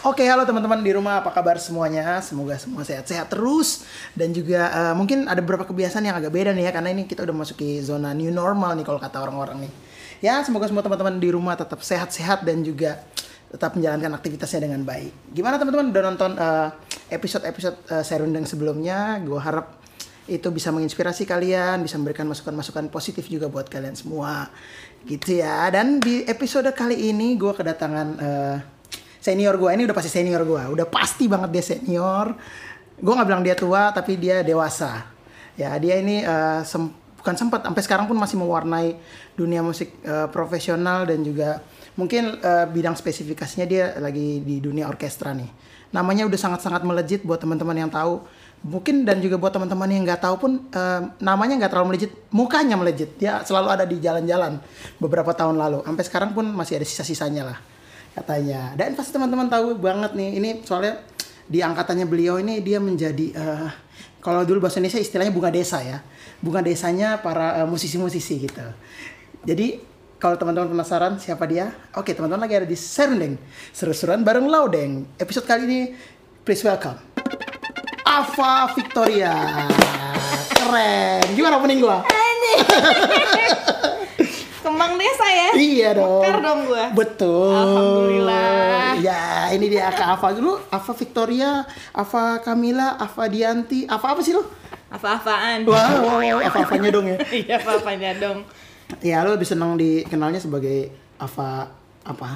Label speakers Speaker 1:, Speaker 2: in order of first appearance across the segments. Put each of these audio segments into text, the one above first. Speaker 1: Oke, halo teman-teman di rumah, apa kabar semuanya? Semoga semua sehat-sehat terus dan juga eh, mungkin ada beberapa kebiasaan yang agak beda nih ya karena ini kita udah masuki zona new normal nih kalau kata orang-orang nih. Ya, semoga semua teman-teman di rumah tetap sehat-sehat dan juga tetap menjalankan aktivitasnya dengan baik. Gimana teman-teman udah nonton eh, episode-episode eh, Serundeng sebelumnya? Gue harap itu bisa menginspirasi kalian, bisa memberikan masukan-masukan positif juga buat kalian semua. Gitu ya. Dan di episode kali ini gue kedatangan eh, senior gue. Ini udah pasti senior gue. Udah pasti banget dia senior. Gue nggak bilang dia tua, tapi dia dewasa. Ya, dia ini eh, sem- bukan sempat sampai sekarang pun masih mewarnai dunia musik eh, profesional dan juga mungkin eh, bidang spesifikasinya dia lagi di dunia orkestra nih. Namanya udah sangat-sangat melejit buat teman-teman yang tahu. Mungkin dan juga buat teman-teman yang nggak tahu pun eh, namanya nggak terlalu melejit, mukanya melejit. Dia selalu ada di jalan-jalan beberapa tahun lalu. Sampai sekarang pun masih ada sisa-sisanya lah katanya. Dan pasti teman-teman tahu banget nih. Ini soalnya di angkatannya beliau ini dia menjadi eh, kalau dulu bahasa Indonesia istilahnya bunga desa ya. Bunga desanya para eh, musisi-musisi gitu. Jadi kalau teman-teman penasaran siapa dia? Oke, teman-teman lagi ada di Serundeng. Seru-seruan bareng Laudeng. Episode kali ini please welcome Ava Victoria. Keren. Gimana opening gua?
Speaker 2: Kembang desa ya?
Speaker 1: Iya dong.
Speaker 2: Mekar dong gua.
Speaker 1: Betul.
Speaker 2: Alhamdulillah.
Speaker 1: Ya, ini dia Kak Ava dulu, Ava Victoria, Ava Kamila, Ava Dianti, Ava apa sih lu?
Speaker 2: Apa-apaan?
Speaker 1: Wah, wow, wow, Ava-Avanya dong ya.
Speaker 2: Iya apa-apanya dong.
Speaker 1: Ya, lu lebih seneng dikenalnya sebagai Ava apa?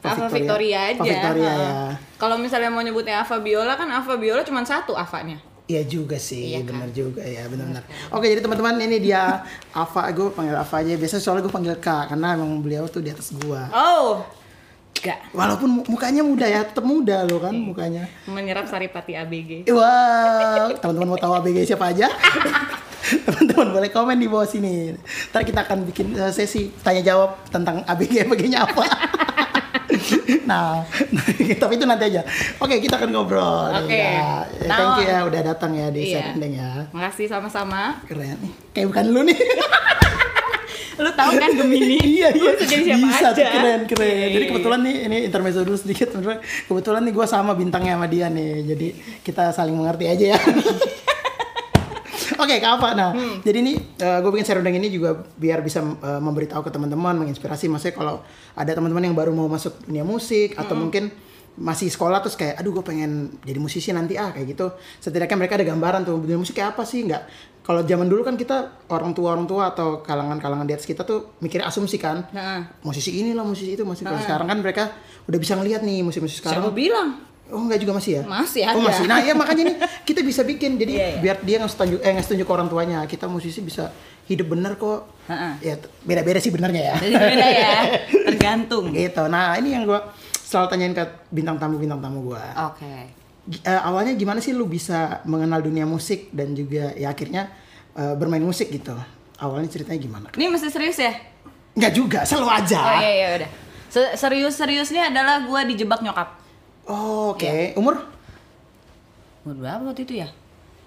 Speaker 2: Ava Victoria aja.
Speaker 1: Ava Victoria
Speaker 2: ha.
Speaker 1: ya.
Speaker 2: Kalau misalnya mau nyebutnya Ava Biola kan Ava Biola cuma satu Avanya.
Speaker 1: Iya juga sih,
Speaker 2: Iya kan?
Speaker 1: benar juga ya, benar-benar. Oke, jadi teman-teman ini dia Ava, gue panggil Ava aja. Biasanya soalnya gue panggil Kak karena emang beliau tuh di atas gua.
Speaker 2: Oh, enggak
Speaker 1: Walaupun mu- mukanya muda ya, tetap muda loh kan
Speaker 2: Iya.
Speaker 1: mukanya.
Speaker 2: menyerap saripati ABG.
Speaker 1: Wow, teman-teman mau tahu ABG siapa aja? teman-teman boleh komen di bawah sini. Ntar kita akan bikin eh, sesi tanya jawab tentang ABG ABG-nya apa. nah, tapi itu nanti aja. Oke, kita akan ngobrol.
Speaker 2: Oke.
Speaker 1: Ya, Ya,
Speaker 2: Nah.
Speaker 1: thank you ya udah datang ya di
Speaker 2: Iya.
Speaker 1: Serendeng ya.
Speaker 2: Makasih sama-sama.
Speaker 1: Keren. nih. Kayak bukan lu nih.
Speaker 2: Lu tahu kan Gemini?
Speaker 1: iya, iya.
Speaker 2: Lu bisa jadi siapa
Speaker 1: Bisa
Speaker 2: aja.
Speaker 1: tuh keren, keren.
Speaker 2: Iya,
Speaker 1: Jadi
Speaker 2: iya,
Speaker 1: kebetulan nih ini intermezzo dulu sedikit sebenarnya. Kebetulan nih gue sama bintangnya sama dia nih. Jadi kita saling mengerti aja ya. Oke, Kak apa? Nah, jadi ini gue bikin serundeng ini juga biar bisa eh, memberitahu ke teman-teman, menginspirasi. Maksudnya kalau ada teman-teman yang baru mau masuk dunia musik atau mungkin masih sekolah terus kayak, aduh gue pengen jadi musisi nanti ah kayak gitu. Setidaknya mereka ada gambaran tuh dunia musik kayak apa sih? Nggak. Kalau zaman dulu kan kita orang tua orang tua atau kalangan-kalangan di atas kita tuh mikir asumsi kan.
Speaker 2: Heeh.
Speaker 1: Musisi inilah musisi itu masih kalau sekarang kan mereka udah bisa ngelihat nih musisi-musisi sekarang.
Speaker 2: Siapa bilang?
Speaker 1: Oh enggak juga masih ya?
Speaker 2: Masih
Speaker 1: Oh
Speaker 2: ada.
Speaker 1: masih. Nah ya makanya nih kita bisa bikin jadi
Speaker 2: Iya, iya.
Speaker 1: biar dia nggak setuju eh nggak setuju ke orang tuanya kita musisi bisa hidup bener kok.
Speaker 2: Heeh.
Speaker 1: Ya t- beda-beda sih benernya ya.
Speaker 2: Jadi beda ya, tergantung. Oke.
Speaker 1: gitu. Nah ini yang gua selalu tanyain ke bintang tamu bintang tamu gua. Gi- eh, awalnya gimana sih lu bisa mengenal dunia musik dan juga ya akhirnya eh, bermain musik gitu. Awalnya ceritanya gimana?
Speaker 2: Ini mesti serius ya?
Speaker 1: Enggak juga, selalu aja.
Speaker 2: Oh iya iya udah. Se- Serius-seriusnya adalah gua dijebak nyokap.
Speaker 1: Oh, Oke,
Speaker 2: Iya.
Speaker 1: umur?
Speaker 2: Umur berapa waktu itu ya?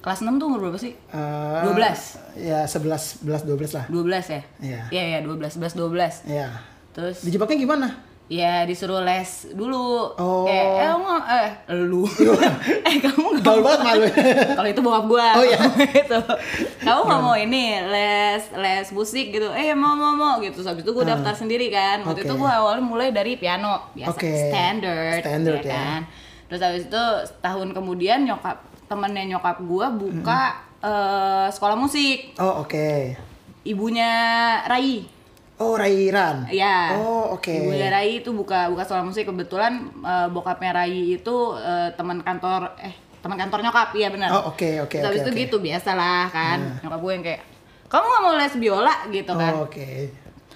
Speaker 2: Kelas 6 tuh umur berapa sih?
Speaker 1: Eh,
Speaker 2: 12.
Speaker 1: Ya 11, 11, 12 lah.
Speaker 2: 12 ya?
Speaker 1: Iya.
Speaker 2: Iya, iya 12, 11, 12.
Speaker 1: Ya.
Speaker 2: Terus
Speaker 1: Dijebaknya gimana?
Speaker 2: ya disuruh les dulu.
Speaker 1: Oh.
Speaker 2: Kayak, eh, lu nggak- eh, lu. eh, kamu nggak
Speaker 1: Gaul
Speaker 2: mau-
Speaker 1: banget malu.
Speaker 2: Kalau itu bokap gua.
Speaker 1: Oh, iya.
Speaker 2: itu. Kamu nggak mau ini les les musik gitu. Eh, mau mau mau gitu. Habis itu gua daftar sendiri kan. Waktu itu
Speaker 1: Ah. Oke.
Speaker 2: gua awalnya mulai dari piano biasa
Speaker 1: Oke.
Speaker 2: standard,
Speaker 1: Standard, ya.
Speaker 2: kan. Terus habis itu tahun kemudian nyokap temennya nyokap gua buka eh, sekolah musik
Speaker 1: Oh oke.
Speaker 2: ibunya Rai
Speaker 1: Oh Rairan.
Speaker 2: ya
Speaker 1: Oh oke.
Speaker 2: ibunya Rai itu buka buka sekolah musik kebetulan eh, bokapnya Rai itu eh, teman kantor eh teman kantor nyokap iya benar
Speaker 1: Oh oke oke
Speaker 2: Terus habis
Speaker 1: oke.
Speaker 2: itu
Speaker 1: oke. Nah.
Speaker 2: gitu biasalah kan nyokap gue yang kayak kamu nggak mau les biola gitu kan
Speaker 1: Oh oke.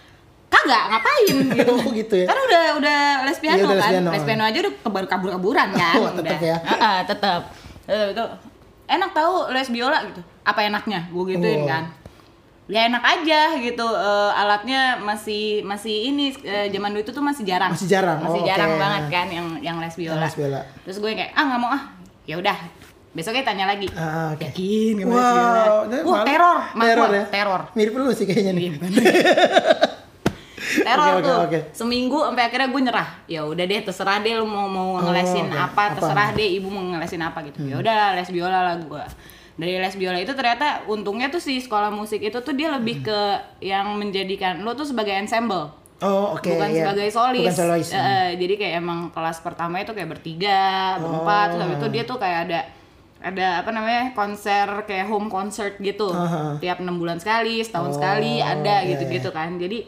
Speaker 2: kagak ngapain gitu
Speaker 1: Oh gitu ya.
Speaker 2: kan udah udah les piano
Speaker 1: Iya, udah les
Speaker 2: kan
Speaker 1: piano.
Speaker 2: les piano aja udah kebur kabur kaburan kan
Speaker 1: Oh, tetep
Speaker 2: udah.
Speaker 1: ya.
Speaker 2: Heeh, tetep Terus itu enak tahu les biola gitu apa enaknya gue gituin
Speaker 1: Oh.
Speaker 2: kan ya enak aja gitu eh, alatnya masih masih ini eh, zaman dulu itu tuh masih jarang
Speaker 1: Masih jarang,
Speaker 2: masih
Speaker 1: oh,
Speaker 2: jarang
Speaker 1: oke.
Speaker 2: banget kan yang yang les biola,
Speaker 1: les biola.
Speaker 2: terus gue kayak ah nggak mau ah ya udah besoknya tanya lagi
Speaker 1: Ah, oke.
Speaker 2: yakin nggak mau les biola?"
Speaker 1: Wow. Nah,
Speaker 2: Wah,
Speaker 1: Malu.
Speaker 2: teror Iya. Mas
Speaker 1: Teror
Speaker 2: gua,
Speaker 1: ya.
Speaker 2: teror
Speaker 1: Mirip lu sih kayaknya nih.
Speaker 2: Iya, bener. teror
Speaker 1: Oke, oke,
Speaker 2: tuh
Speaker 1: oke.
Speaker 2: seminggu sampai akhirnya gue nyerah ya udah deh terserah deh lu mau mau ngelesin
Speaker 1: Oh, oke.
Speaker 2: apa
Speaker 1: Apa? Hmm.
Speaker 2: terserah deh ibu mau ngelesin apa gitu ya udah les biola lah gue dari les biola itu ternyata untungnya tuh si sekolah musik itu tuh dia lebih
Speaker 1: Hmm.
Speaker 2: ke yang menjadikan lu tuh sebagai ensemble
Speaker 1: Oh, oke.
Speaker 2: bukan
Speaker 1: iya.
Speaker 2: sebagai solis.
Speaker 1: Bukan solois.
Speaker 2: Eh, eh, jadi kayak emang kelas pertama itu kayak bertiga,
Speaker 1: Oh.
Speaker 2: berempat, terus habis itu dia tuh kayak ada ada apa namanya konser kayak home concert gitu
Speaker 1: Aha. Oh,
Speaker 2: tiap enam bulan sekali setahun sekali ada
Speaker 1: iya,
Speaker 2: gitu-gitu kan jadi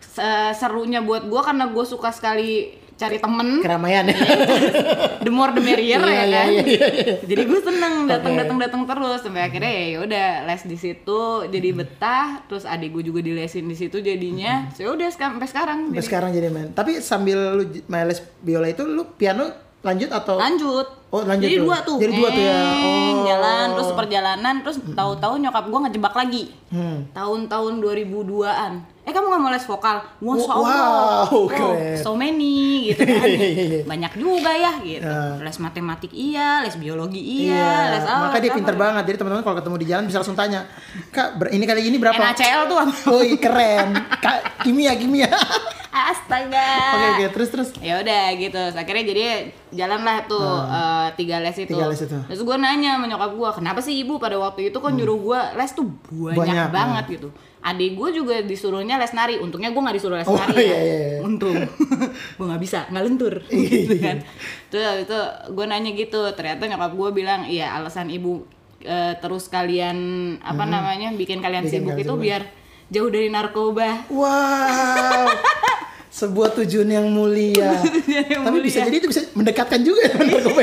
Speaker 2: se- serunya buat gue karena gue suka sekali cari temen
Speaker 1: Keramaian
Speaker 2: Iya,
Speaker 1: ya.
Speaker 2: the more the merrier
Speaker 1: Iya,
Speaker 2: ya
Speaker 1: iya,
Speaker 2: kan.
Speaker 1: iya,
Speaker 2: Jadi gue seneng datang datang datang terus sampai akhirnya ya udah les di situ jadi
Speaker 1: Hmm.
Speaker 2: betah terus adik gue juga dilesin di situ jadinya. So udah sampai sekarang.
Speaker 1: Sampai
Speaker 2: Jadi-
Speaker 1: sekarang jadi main. Tapi sambil lu j- main les biola itu lu piano lanjut atau
Speaker 2: lanjut
Speaker 1: Oh, lanjut
Speaker 2: jadi
Speaker 1: tuh.
Speaker 2: dua tuh
Speaker 1: Jadi dua tuh ya.
Speaker 2: Eng,
Speaker 1: Oh.
Speaker 2: jalan terus perjalanan terus tahu-tahu nyokap gua ngejebak lagi
Speaker 1: Hmm.
Speaker 2: tahun-tahun 2002an eh kamu nggak mau les vokal Wah,
Speaker 1: Wow,
Speaker 2: Allah. Wow,
Speaker 1: wow, keren.
Speaker 2: so many gitu kan
Speaker 1: Iya, iya, iya.
Speaker 2: banyak juga ya gitu
Speaker 1: Ya.
Speaker 2: les matematik iya les biologi iya, les apa
Speaker 1: Maka dia
Speaker 2: les
Speaker 1: pinter
Speaker 2: apa.
Speaker 1: banget. Jadi teman-teman kalau ketemu di jalan bisa langsung tanya, "Kak, ber- ini kali ini berapa?"
Speaker 2: NaCl tuh apa?
Speaker 1: Woi, keren. Kak, kimia, kimia.
Speaker 2: astaga
Speaker 1: Oke, oke, terus terus.
Speaker 2: ya udah gitu Terus akhirnya jadi jalan lah tuh eh, tiga les itu
Speaker 1: Ah. Tiga les itu. Hmm.
Speaker 2: terus gue nanya menyokap gue kenapa sih ibu pada waktu itu kan nyuruh gue les tuh banyak,
Speaker 1: Banyak, ah.
Speaker 2: banget gitu adik gue juga disuruhnya les nari untungnya gue nggak disuruh les
Speaker 1: Oh,
Speaker 2: nari ya.
Speaker 1: iya, iya, iya.
Speaker 2: untung gue nggak bisa nggak lentur gitu kan terus habis itu gue nanya gitu ternyata nyokap gue bilang iya alasan ibu eh, terus kalian apa namanya bikin kalian
Speaker 1: Hmm. Bikin
Speaker 2: sibuk
Speaker 1: kalian
Speaker 2: itu
Speaker 1: sibuk.
Speaker 2: biar jauh dari narkoba
Speaker 1: Wow. Sebuah tujuan yang mulia.
Speaker 2: tujuan yang
Speaker 1: Tapi
Speaker 2: mulia.
Speaker 1: bisa jadi itu bisa mendekatkan juga ya teman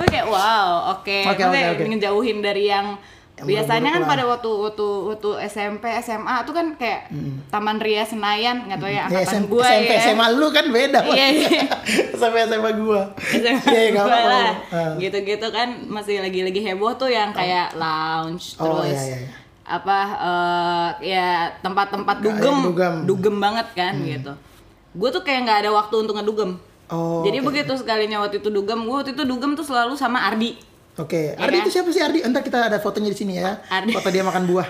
Speaker 2: Oke, wow, oke.
Speaker 1: Oke,
Speaker 2: Maksudnya
Speaker 1: oke, oke.
Speaker 2: ngejauhin dari yang,
Speaker 1: Yang
Speaker 2: biasanya kan
Speaker 1: buruk-buruk
Speaker 2: pada waktu waktu waktu SMP, SMA tuh kan kayak Taman Ria Senayan, nggak tahu ya
Speaker 1: Ya,
Speaker 2: angkatan
Speaker 1: SM-
Speaker 2: gua
Speaker 1: SMP,
Speaker 2: ya.
Speaker 1: SMA lu kan beda. Mas.
Speaker 2: Iya, iya.
Speaker 1: SMP SMA gua.
Speaker 2: SMA
Speaker 1: Iya, nggak
Speaker 2: gua
Speaker 1: apa-apa.
Speaker 2: lah.
Speaker 1: Ah.
Speaker 2: Gitu-gitu kan masih lagi-lagi heboh tuh yang kayak lounge
Speaker 1: Oh,
Speaker 2: terus
Speaker 1: iya, iya, iya.
Speaker 2: apa eh, ya tempat-tempat
Speaker 1: Kayak
Speaker 2: dugem,
Speaker 1: dugem. Mm.
Speaker 2: banget kan gitu. Gue tuh kayak nggak ada waktu untuk ngedugem.
Speaker 1: Oh.
Speaker 2: Jadi
Speaker 1: oke.
Speaker 2: begitu sekalinya waktu itu dugem, gue waktu itu dugem tuh selalu sama Ardi.
Speaker 1: Oke,
Speaker 2: Ya kan?
Speaker 1: Ardi itu siapa sih Ardi? Entar kita ada fotonya di sini ya.
Speaker 2: Ardi.
Speaker 1: Foto dia makan buah.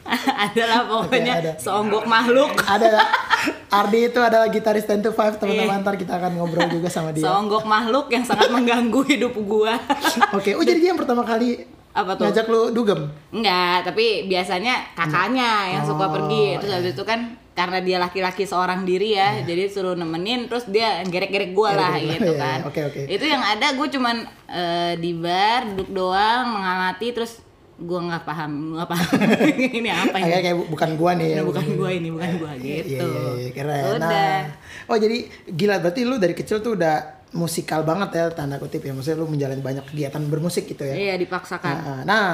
Speaker 2: adalah pokoknya
Speaker 1: ada.
Speaker 2: seonggok makhluk
Speaker 1: Ada Ardi itu adalah gitaris 10 to 5
Speaker 2: Iya.
Speaker 1: teman-teman. Ntar kita akan ngobrol juga sama dia.
Speaker 2: seonggok makhluk yang sangat mengganggu hidup gua
Speaker 1: Oke, oh jadi dia yang pertama kali
Speaker 2: apa tuh
Speaker 1: ngajak lu dugem.
Speaker 2: enggak tapi biasanya kakaknya yang
Speaker 1: Oh,
Speaker 2: suka pergi
Speaker 1: iya.
Speaker 2: terus habis itu kan karena dia laki-laki seorang diri ya jadi suruh nemenin terus dia gerek-gerek gua lah
Speaker 1: Gerek-gerek
Speaker 2: gitu
Speaker 1: Iya. gua, iya,
Speaker 2: kan
Speaker 1: iya. Oke, oke.
Speaker 2: itu yang ada gue cuman eh, di bar duduk doang mengamati terus gua nggak paham nggak paham ini apa ini
Speaker 1: Kayak kayak bu- bukan gua nih ya.
Speaker 2: Ini bukan gua ini bukan gua
Speaker 1: Iya,
Speaker 2: gitu
Speaker 1: iya, iya, keren.
Speaker 2: udah
Speaker 1: Nah, oh jadi gila berarti lu dari kecil tuh udah musikal banget ya tanda kutip ya. Maksudnya lu menjalani banyak kegiatan bermusik gitu ya.
Speaker 2: iya dipaksakan
Speaker 1: Nah, nah,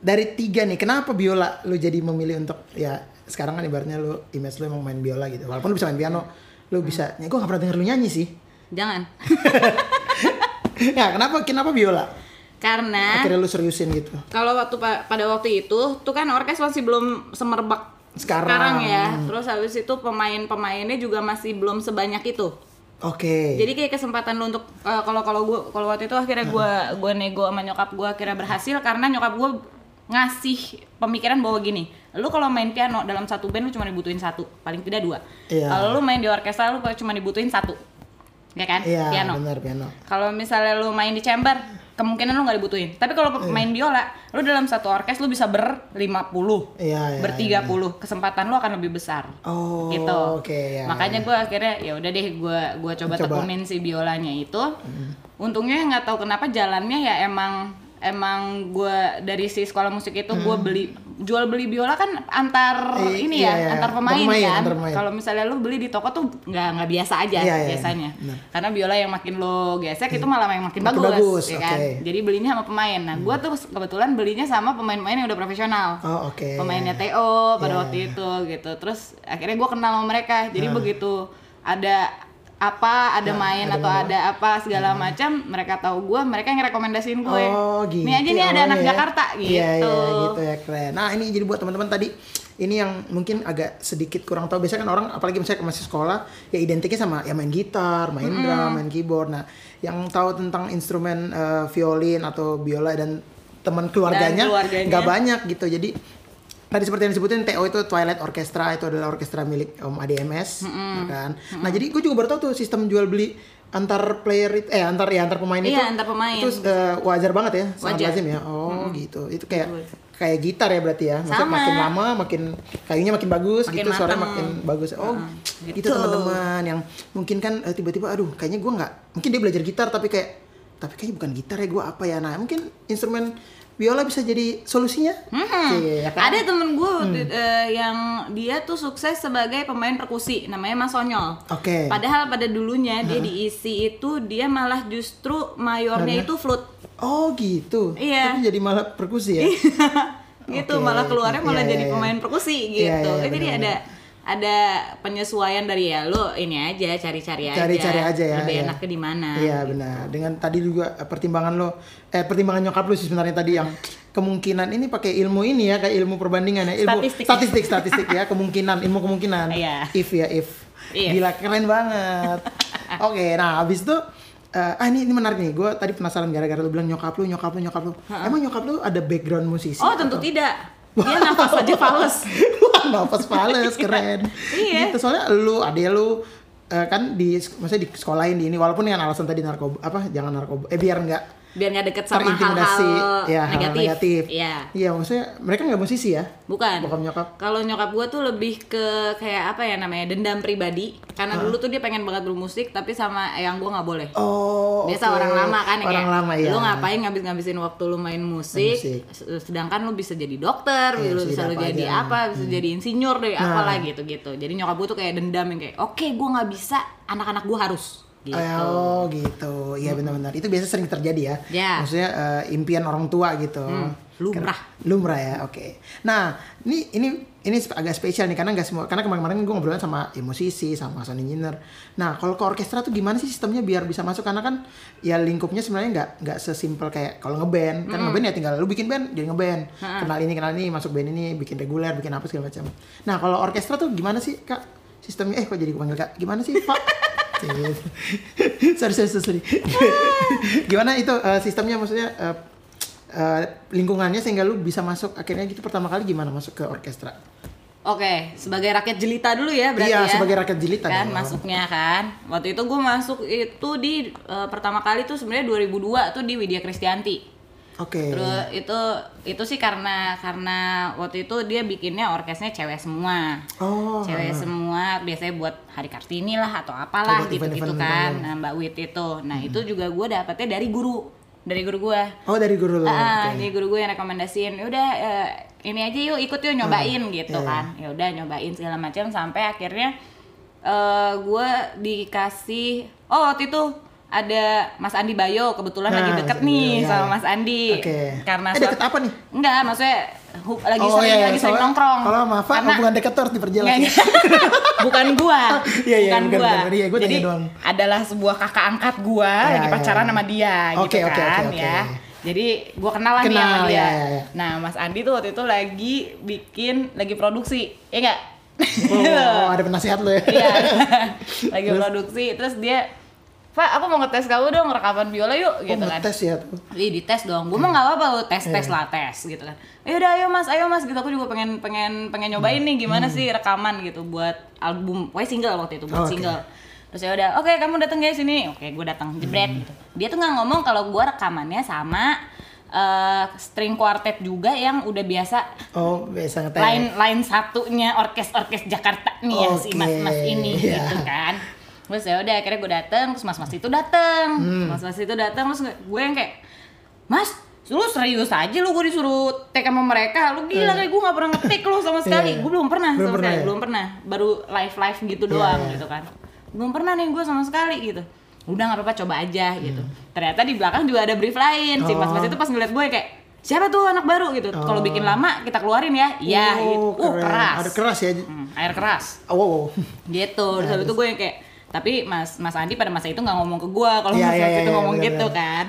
Speaker 1: dari tiga nih, kenapa biola lu jadi memilih untuk ya sekarang kan ibaratnya lu image lu emang main biola gitu. Walaupun lu bisa main piano, lu
Speaker 2: Mm.
Speaker 1: bisa. Ya, gue gak pernah denger lu nyanyi sih.
Speaker 2: jangan
Speaker 1: nah, kenapa kenapa biola?
Speaker 2: karena
Speaker 1: Akhirnya lu seriusin gitu.
Speaker 2: Kalau waktu pa- pada waktu itu tuh kan orkes masih belum semerbak
Speaker 1: Sekarang. Hmm.
Speaker 2: ya. Terus habis itu pemain-pemainnya juga masih belum sebanyak itu.
Speaker 1: Oke.
Speaker 2: Jadi kayak kesempatan lu untuk eh, kalau kalau gua kalau waktu itu akhirnya gua
Speaker 1: Hmm.
Speaker 2: gua nego sama nyokap gua akhirnya berhasil karena nyokap gua ngasih pemikiran bahwa gini, lu kalau main piano dalam satu band lu cuma dibutuhin satu, paling tidak dua.
Speaker 1: Iya.
Speaker 2: Kalau lu main di orkestra lu cuma dibutuhin satu. Ya kan?
Speaker 1: Iya,
Speaker 2: piano.
Speaker 1: benar piano.
Speaker 2: Kalau misalnya lu main di chamber, kemungkinan lu nggak dibutuhin. Tapi kalau
Speaker 1: Iya.
Speaker 2: main biola, lu dalam satu orkes lu bisa ber 50,
Speaker 1: Iya, iya.
Speaker 2: ber 30. Kesempatan lu akan lebih besar.
Speaker 1: Oh,
Speaker 2: gitu.
Speaker 1: oke, ya,
Speaker 2: Makanya gue akhirnya ya udah deh gue gua coba,
Speaker 1: Coba. Hmm.
Speaker 2: tekunin si biolanya itu. Untungnya nggak tahu kenapa jalannya ya emang emang gue dari si sekolah musik itu gue beli jual beli biola kan antar
Speaker 1: I-
Speaker 2: ini
Speaker 1: Hmm. iya, iya.
Speaker 2: ya antar pemain,
Speaker 1: Pemain,
Speaker 2: kan
Speaker 1: antar pemain.
Speaker 2: kalau misalnya lu beli di toko tuh nggak nggak biasa aja
Speaker 1: Iya, iya,
Speaker 2: biasanya
Speaker 1: benar. Iya.
Speaker 2: karena biola yang makin lo gesek itu malah yang makin,
Speaker 1: Makin
Speaker 2: bagus,
Speaker 1: bagus,
Speaker 2: ya kan?
Speaker 1: oke. Hmm.
Speaker 2: Jadi belinya sama pemain. Nah, gua tuh kebetulan belinya sama pemain-pemain yang udah profesional.
Speaker 1: Oh, oke.
Speaker 2: Pemainnya TO pada
Speaker 1: Iya.
Speaker 2: waktu itu gitu. Terus akhirnya gua kenal sama mereka. Jadi begitu ada apa, ada
Speaker 1: Nah,
Speaker 2: main
Speaker 1: ada
Speaker 2: atau
Speaker 1: main.
Speaker 2: ada apa segala macam, mereka tahu gua, mereka yang rekomendasiin gue.
Speaker 1: Oh gitu.
Speaker 2: Nih aja nih ada
Speaker 1: awalnya
Speaker 2: anak
Speaker 1: ya.
Speaker 2: Jakarta gitu.
Speaker 1: Iya iya gitu ya keren. Nah ini jadi buat teman-teman tadi ini yang mungkin agak sedikit kurang tahu. Biasanya kan orang apalagi misalnya masih sekolah ya identiknya sama ya main gitar, main drum, main keyboard. Nah yang tahu tentang instrumen eh, violin atau biola dan teman keluarganya
Speaker 2: keluarganya.
Speaker 1: nggak banyak gitu. Jadi Tadi seperti yang disebutin TO itu Twilight Orchestra itu adalah orkestra milik Om ADMS, ya kan. Nah jadi gue juga baru tahu tuh sistem jual beli antar player it- eh antar ya antar pemain itu.
Speaker 2: Iya, antar pemain.
Speaker 1: Itu eh, wajar banget ya, sangat
Speaker 2: Wajar.
Speaker 1: lazim ya. Oh gitu, itu kayak kayak gitar ya berarti ya. Maksudnya
Speaker 2: Sama.
Speaker 1: Makin lama makin kayunya makin bagus
Speaker 2: Makin
Speaker 1: gitu, suaranya
Speaker 2: mateng.
Speaker 1: makin bagus. Oh gitu, teman-teman yang mungkin kan eh, tiba-tiba aduh kayaknya gue nggak mungkin dia belajar gitar tapi kayak tapi kayaknya bukan gitar ya gue apa ya nah mungkin instrumen biola bisa jadi solusinya Iya, kan?
Speaker 2: Ada temen gue eh, yang dia tuh sukses sebagai pemain perkusi, namanya Mas Onyol.
Speaker 1: oke
Speaker 2: Padahal pada dulunya dia diisi itu dia malah justru mayornya itu flute.
Speaker 1: oh gitu
Speaker 2: Iya.
Speaker 1: tapi jadi malah perkusi ya
Speaker 2: gitu
Speaker 1: Oke,
Speaker 2: malah keluarnya
Speaker 1: iya,
Speaker 2: malah
Speaker 1: iya,
Speaker 2: jadi
Speaker 1: iya.
Speaker 2: pemain perkusi
Speaker 1: Iya,
Speaker 2: gitu.
Speaker 1: iya, iya,
Speaker 2: Jadi ada ada penyesuaian dari ya lo ini aja cari-cari aja.
Speaker 1: Cari-cari aja ya,
Speaker 2: Lebih
Speaker 1: iya.
Speaker 2: enak ke di mana. gitu.
Speaker 1: Iya benar. Dengan tadi juga eh, pertimbangan lo, eh pertimbangan nyokap lo sih sebenarnya tadi yang kemungkinan ini pakai ilmu ini ya kayak ilmu perbandingan ya ilmu
Speaker 2: Statistik.
Speaker 1: statistik statistik ya kemungkinan ilmu kemungkinan
Speaker 2: Iya.
Speaker 1: if ya if
Speaker 2: Iya.
Speaker 1: gila keren banget oke nah habis itu eh, ah ini, ini menarik nih gue tadi penasaran gara-gara lo bilang nyokap lo nyokap lo nyokap lo emang nyokap lo ada background musisi
Speaker 2: Oh tentu tidak. Dia nafas aja fals.
Speaker 1: Wah, nafas fales keren.
Speaker 2: Iya.
Speaker 1: Gitu soalnya lu, adek lu eh, kan di maksudnya di sekolahin di ini walaupun dengan alasan tadi narkoba apa jangan narkoba eh biar nggak
Speaker 2: Biar nggak deket sama
Speaker 1: terintimidasi
Speaker 2: hal-hal
Speaker 1: ya hal
Speaker 2: negatif.
Speaker 1: negatif.
Speaker 2: Iya.
Speaker 1: Iya, maksudnya mereka nggak musisi ya?
Speaker 2: Bukan.
Speaker 1: Bokap nyokap.
Speaker 2: Kalau nyokap gue tuh lebih ke kayak apa ya namanya dendam pribadi. Karena dulu tuh dia pengen banget bermusik tapi sama yang gue nggak boleh.
Speaker 1: Oh.
Speaker 2: Biasa
Speaker 1: oke.
Speaker 2: orang lama kan ya,
Speaker 1: Orang
Speaker 2: kayak,
Speaker 1: lama ya.
Speaker 2: Lu ngapain ngabis-ngabisin waktu lu main musik,
Speaker 1: Musik.
Speaker 2: se- sedangkan lu bisa jadi dokter,
Speaker 1: Iya,
Speaker 2: lu
Speaker 1: bisa
Speaker 2: bisa
Speaker 1: jadi
Speaker 2: lu jadi
Speaker 1: apa aja. Hmm. Nah.
Speaker 2: apa, bisa jadi insinyur dari apalah gitu-gitu. Jadi nyokap gue tuh kayak dendam yang kayak, "Oke, gua nggak bisa, anak-anak gua harus." Gitu. Hmm.
Speaker 1: Oh gitu, iya benar-benar itu biasa sering terjadi ya.
Speaker 2: Ya.
Speaker 1: Maksudnya eh, impian orang tua gitu.
Speaker 2: Hmm. lumrah.
Speaker 1: Karena- Lumrah ya, oke. Nah, ini ini ini sp- agak spesial nih karena nggak semua karena kemarin-kemarin gue ngobrolnya sama ya, musisi, sama sound engineer. Nah, kalau ke orkestra tuh gimana sih sistemnya biar bisa masuk karena kan ya lingkupnya sebenarnya nggak nggak sesimpel kayak kalau ngeband kan ngeband ya tinggal lu bikin band jadi ngeband kenal ini kenal ini masuk band ini bikin reguler bikin apa segala macam. Nah, kalau orkestra tuh gimana sih kak sistemnya? Eh kok jadi gue panggil kak? Gimana sih pak? Cie. sorry sorry sorry. gimana itu eh, sistemnya maksudnya? eh, eh, lingkungannya sehingga lu bisa masuk akhirnya gitu pertama kali gimana masuk ke orkestra
Speaker 2: Oke, sebagai rakyat jelita dulu ya berarti
Speaker 1: iya
Speaker 2: ya.
Speaker 1: sebagai rakyat jelita
Speaker 2: kan
Speaker 1: dong.
Speaker 2: masuknya kan. Waktu itu gua masuk itu di eh, pertama kali tuh sebenarnya 2002 tuh di Widya Kristianti.
Speaker 1: oke
Speaker 2: Terus itu itu sih karena karena waktu itu dia bikinnya orkesnya cewek semua.
Speaker 1: oh
Speaker 2: cewek semua biasanya buat hari kartini lah atau apalah
Speaker 1: Oh, buat
Speaker 2: gitu gitu
Speaker 1: event-event Hmm.
Speaker 2: kan
Speaker 1: gitu.
Speaker 2: nah, mbak Wit itu nah itu juga gue dapetnya dari guru dari guru gue
Speaker 1: oh dari guru lu
Speaker 2: ah
Speaker 1: oke.
Speaker 2: dari guru gue yang rekomendasiin udah eh, ini aja yuk ikut yuk nyobain gitu
Speaker 1: iya.
Speaker 2: kan ya udah nyobain segala macam sampai akhirnya eh gue dikasih oh waktu itu ada Mas Andi Bayo kebetulan
Speaker 1: Nah,
Speaker 2: lagi deket
Speaker 1: Mas Andi
Speaker 2: nih
Speaker 1: Bayo, ya,
Speaker 2: sama
Speaker 1: ya.
Speaker 2: Mas Andi
Speaker 1: Oke.
Speaker 2: karena
Speaker 1: Eh, deket
Speaker 2: suat-
Speaker 1: apa nih?
Speaker 2: Enggak, maksudnya hu- lagi
Speaker 1: Oh,
Speaker 2: sering
Speaker 1: iya, iya.
Speaker 2: lagi sering
Speaker 1: Soalnya
Speaker 2: nongkrong.
Speaker 1: kalau maaf
Speaker 2: Karena- Iya,
Speaker 1: hubungan dekat tuh harus diperjelas ya.
Speaker 2: Nggak, nggak. bukan gua.
Speaker 1: Iya, iya,
Speaker 2: bukan
Speaker 1: bukan,
Speaker 2: gua.
Speaker 1: bukan. Iya, gua tanya
Speaker 2: Jadi
Speaker 1: doang.
Speaker 2: adalah sebuah kakak angkat gua
Speaker 1: Iya,
Speaker 2: lagi
Speaker 1: iya,
Speaker 2: pacaran
Speaker 1: iya.
Speaker 2: sama dia
Speaker 1: Oke,
Speaker 2: gitu
Speaker 1: oke,
Speaker 2: kan
Speaker 1: oke,
Speaker 2: ya.
Speaker 1: oke.
Speaker 2: Jadi gua kenal lah nih
Speaker 1: Kenal,
Speaker 2: sama dia.
Speaker 1: iya, iya, iya.
Speaker 2: Nah, Mas Andi tuh waktu itu lagi bikin lagi produksi. Iya enggak?
Speaker 1: oh ada penasihat lu ya
Speaker 2: Iya. lagi produksi terus dia Pak, aku mau ngetes kamu dong rekaman biola yuk gitu
Speaker 1: oh,
Speaker 2: kan.
Speaker 1: ngetes ya tuh
Speaker 2: Ih, dites dong. Gue mah nggak apa-apa lu tes tes lah tes gitu kan. Ya udah ayo Mas, ayo Mas gitu aku juga pengen pengen pengen nyobain nih gimana sih rekaman gitu buat album, pokoknya single waktu itu buat
Speaker 1: Oh, oke.
Speaker 2: single. Terus ya udah, oke kamu datang guys sini. Oke, gue datang jebret
Speaker 1: Hmm.
Speaker 2: gitu. Dia tuh nggak ngomong kalau gue rekamannya sama eh, string quartet juga yang udah biasa
Speaker 1: oh biasa ngetes
Speaker 2: lain lain satunya orkes orkes Jakarta nih ya si
Speaker 1: Oke,
Speaker 2: mas mas ini
Speaker 1: iya.
Speaker 2: gitu kan terus ya udah akhirnya gue dateng terus mas mas itu dateng
Speaker 1: Hmm.
Speaker 2: mas mas itu dateng terus gue yang kayak mas lu serius aja lu gue disuruh take sama mereka lu gila kayak gue nggak pernah ngetik lu sama sekali
Speaker 1: Hmm. Iya.
Speaker 2: gue belum pernah
Speaker 1: Belum
Speaker 2: sama
Speaker 1: pernah
Speaker 2: sekali
Speaker 1: ya?
Speaker 2: belum pernah baru live live gitu
Speaker 1: Iya,
Speaker 2: doang
Speaker 1: iya.
Speaker 2: gitu kan belum pernah nih gue sama sekali gitu udah nggak apa-apa coba aja gitu ternyata di belakang juga ada brief lain si mas mas
Speaker 1: Hmm. Oh.
Speaker 2: itu pas ngeliat gue kayak siapa tuh anak baru gitu kalau bikin lama kita keluarin ya Iya
Speaker 1: Oh,
Speaker 2: gitu. Uh,
Speaker 1: keren.
Speaker 2: keras.
Speaker 1: ada keras ya
Speaker 2: Hmm, air keras.
Speaker 1: oh, wow, wow.
Speaker 2: Gitu.
Speaker 1: Nah,
Speaker 2: Terus habis itu gue yang kayak tapi Mas Mas Andi pada masa itu nggak ngomong ke gue kalau
Speaker 1: Iya,
Speaker 2: Mas,
Speaker 1: iya,
Speaker 2: Mas
Speaker 1: iya,
Speaker 2: itu
Speaker 1: iya,
Speaker 2: ngomong
Speaker 1: benar,
Speaker 2: gitu
Speaker 1: benar.
Speaker 2: kan.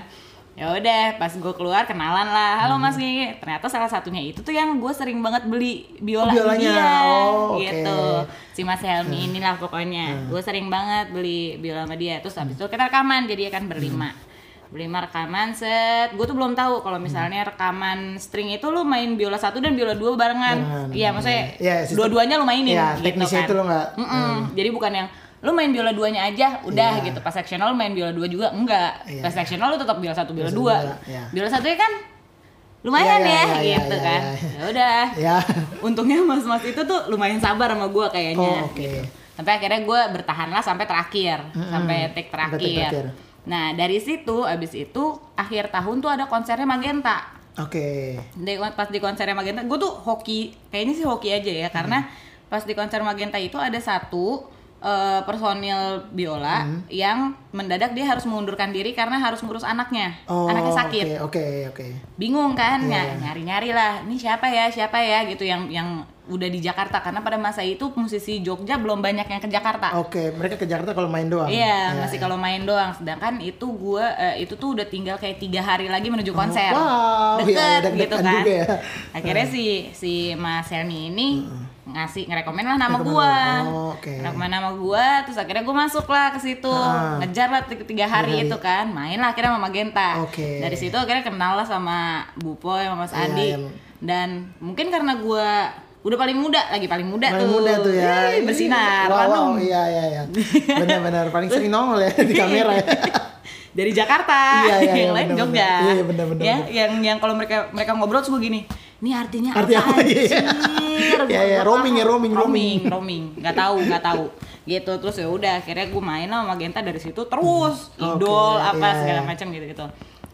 Speaker 2: Ya udah, pas gue keluar kenalan lah.
Speaker 1: Hmm.
Speaker 2: Halo Mas gini. Ternyata salah satunya itu tuh yang gue sering banget beli biola
Speaker 1: Oh, biolanya.
Speaker 2: India
Speaker 1: Oh, oke. Hmm.
Speaker 2: gitu. Si Mas Helmi
Speaker 1: Hmm.
Speaker 2: inilah pokoknya. Gue sering banget beli biola sama dia. Terus habis itu kita rekaman jadi ya kan berlima. beli mah rekaman set gue tuh belum tahu kalau misalnya rekaman string itu lu main biola satu dan biola dua barengan
Speaker 1: Barengan,
Speaker 2: iya maksudnya
Speaker 1: iya. Iya, sistem-
Speaker 2: dua-duanya lu mainin
Speaker 1: Iya,
Speaker 2: gitu
Speaker 1: teknisnya
Speaker 2: kan.
Speaker 1: itu lu nggak-
Speaker 2: Mm-mm. Hmm. jadi bukan yang lu main biola duanya aja udah
Speaker 1: Hmm. Iya.
Speaker 2: gitu pas sectional lu main biola dua juga enggak
Speaker 1: Iya.
Speaker 2: pas sectional lu tetap biola satu biola
Speaker 1: Biola
Speaker 2: dua
Speaker 1: satu, biola- iya.
Speaker 2: biola satunya kan lumayan
Speaker 1: Iya, iya,
Speaker 2: ya
Speaker 1: iya,
Speaker 2: gitu
Speaker 1: iya,
Speaker 2: kan
Speaker 1: iya.
Speaker 2: ya udah
Speaker 1: ya
Speaker 2: untungnya mas-mas itu tuh lumayan sabar sama gue kayaknya
Speaker 1: Oh, oke.
Speaker 2: gitu. Sampai akhirnya gue bertahanlah sampai terakhir,
Speaker 1: Mm-mm.
Speaker 2: sampai take
Speaker 1: Sampai
Speaker 2: terakhir.
Speaker 1: take terakhir.
Speaker 2: Nah dari situ abis itu akhir tahun tuh ada konsernya Magenta.
Speaker 1: oke
Speaker 2: Di, pas di konsernya Magenta, gue tuh hoki, kayaknya sih hoki aja ya karena
Speaker 1: Hmm.
Speaker 2: pas di konser Magenta itu ada satu eh, personil biola
Speaker 1: Hmm.
Speaker 2: yang mendadak dia harus mengundurkan diri karena harus ngurus anaknya,
Speaker 1: oh
Speaker 2: anaknya sakit
Speaker 1: oke oke oke
Speaker 2: bingung kan
Speaker 1: Iya.
Speaker 2: nyari nyari lah ini siapa ya siapa ya gitu yang yang udah di Jakarta karena pada masa itu musisi Jogja belum banyak yang ke Jakarta
Speaker 1: oke mereka ke Jakarta kalau main doang Ya.
Speaker 2: iya masih kalau main doang sedangkan itu gua eh, itu tuh udah tinggal kayak tiga hari lagi menuju konser
Speaker 1: Oh, wow.
Speaker 2: deket
Speaker 1: Iya, deg-degan
Speaker 2: gitu kan
Speaker 1: juga ya.
Speaker 2: akhirnya si si Mas Helmi ini ngasih ngerekomen lah nama
Speaker 1: Ngerekomen
Speaker 2: gua
Speaker 1: lu. Oh, oke.
Speaker 2: ngerekomen nama gua terus akhirnya gua masuk lah ke situ
Speaker 1: Ah.
Speaker 2: ngejar lah tiga, tiga hari
Speaker 1: hari.
Speaker 2: itu kan main lah akhirnya sama Magenta
Speaker 1: Oke.
Speaker 2: dari situ akhirnya kenal lah sama Bu Poy sama Mas
Speaker 1: Iya,
Speaker 2: Adi
Speaker 1: iya.
Speaker 2: dan mungkin karena gua udah paling muda lagi paling muda
Speaker 1: Paling
Speaker 2: tuh
Speaker 1: muda tuh ya
Speaker 2: Yeay, bersinar
Speaker 1: wow, wow.
Speaker 2: Hanum.
Speaker 1: iya iya iya benar-benar paling sering nongol ya di kamera ya
Speaker 2: Iya. dari Jakarta,
Speaker 1: Iya, iya, iya,
Speaker 2: yang lain
Speaker 1: bener-bener.
Speaker 2: Jogja.
Speaker 1: Iya, iya, bener-bener.
Speaker 2: Ya, yang yang kalau mereka mereka ngobrol tuh gue gini, ini artinya
Speaker 1: Arti apa,
Speaker 2: apa?
Speaker 1: iya.
Speaker 2: anjir?"
Speaker 1: Iya,
Speaker 2: Gua
Speaker 1: iya,
Speaker 2: nggak
Speaker 1: roaming ya,
Speaker 2: tahu.
Speaker 1: roaming, roaming.
Speaker 2: roaming, roaming, nggak tahu, nggak tahu. Gitu terus ya udah, akhirnya gue main sama Magenta dari situ terus
Speaker 1: Oke,
Speaker 2: idol apa
Speaker 1: iya,
Speaker 2: segala
Speaker 1: iya.
Speaker 2: macam gitu gitu.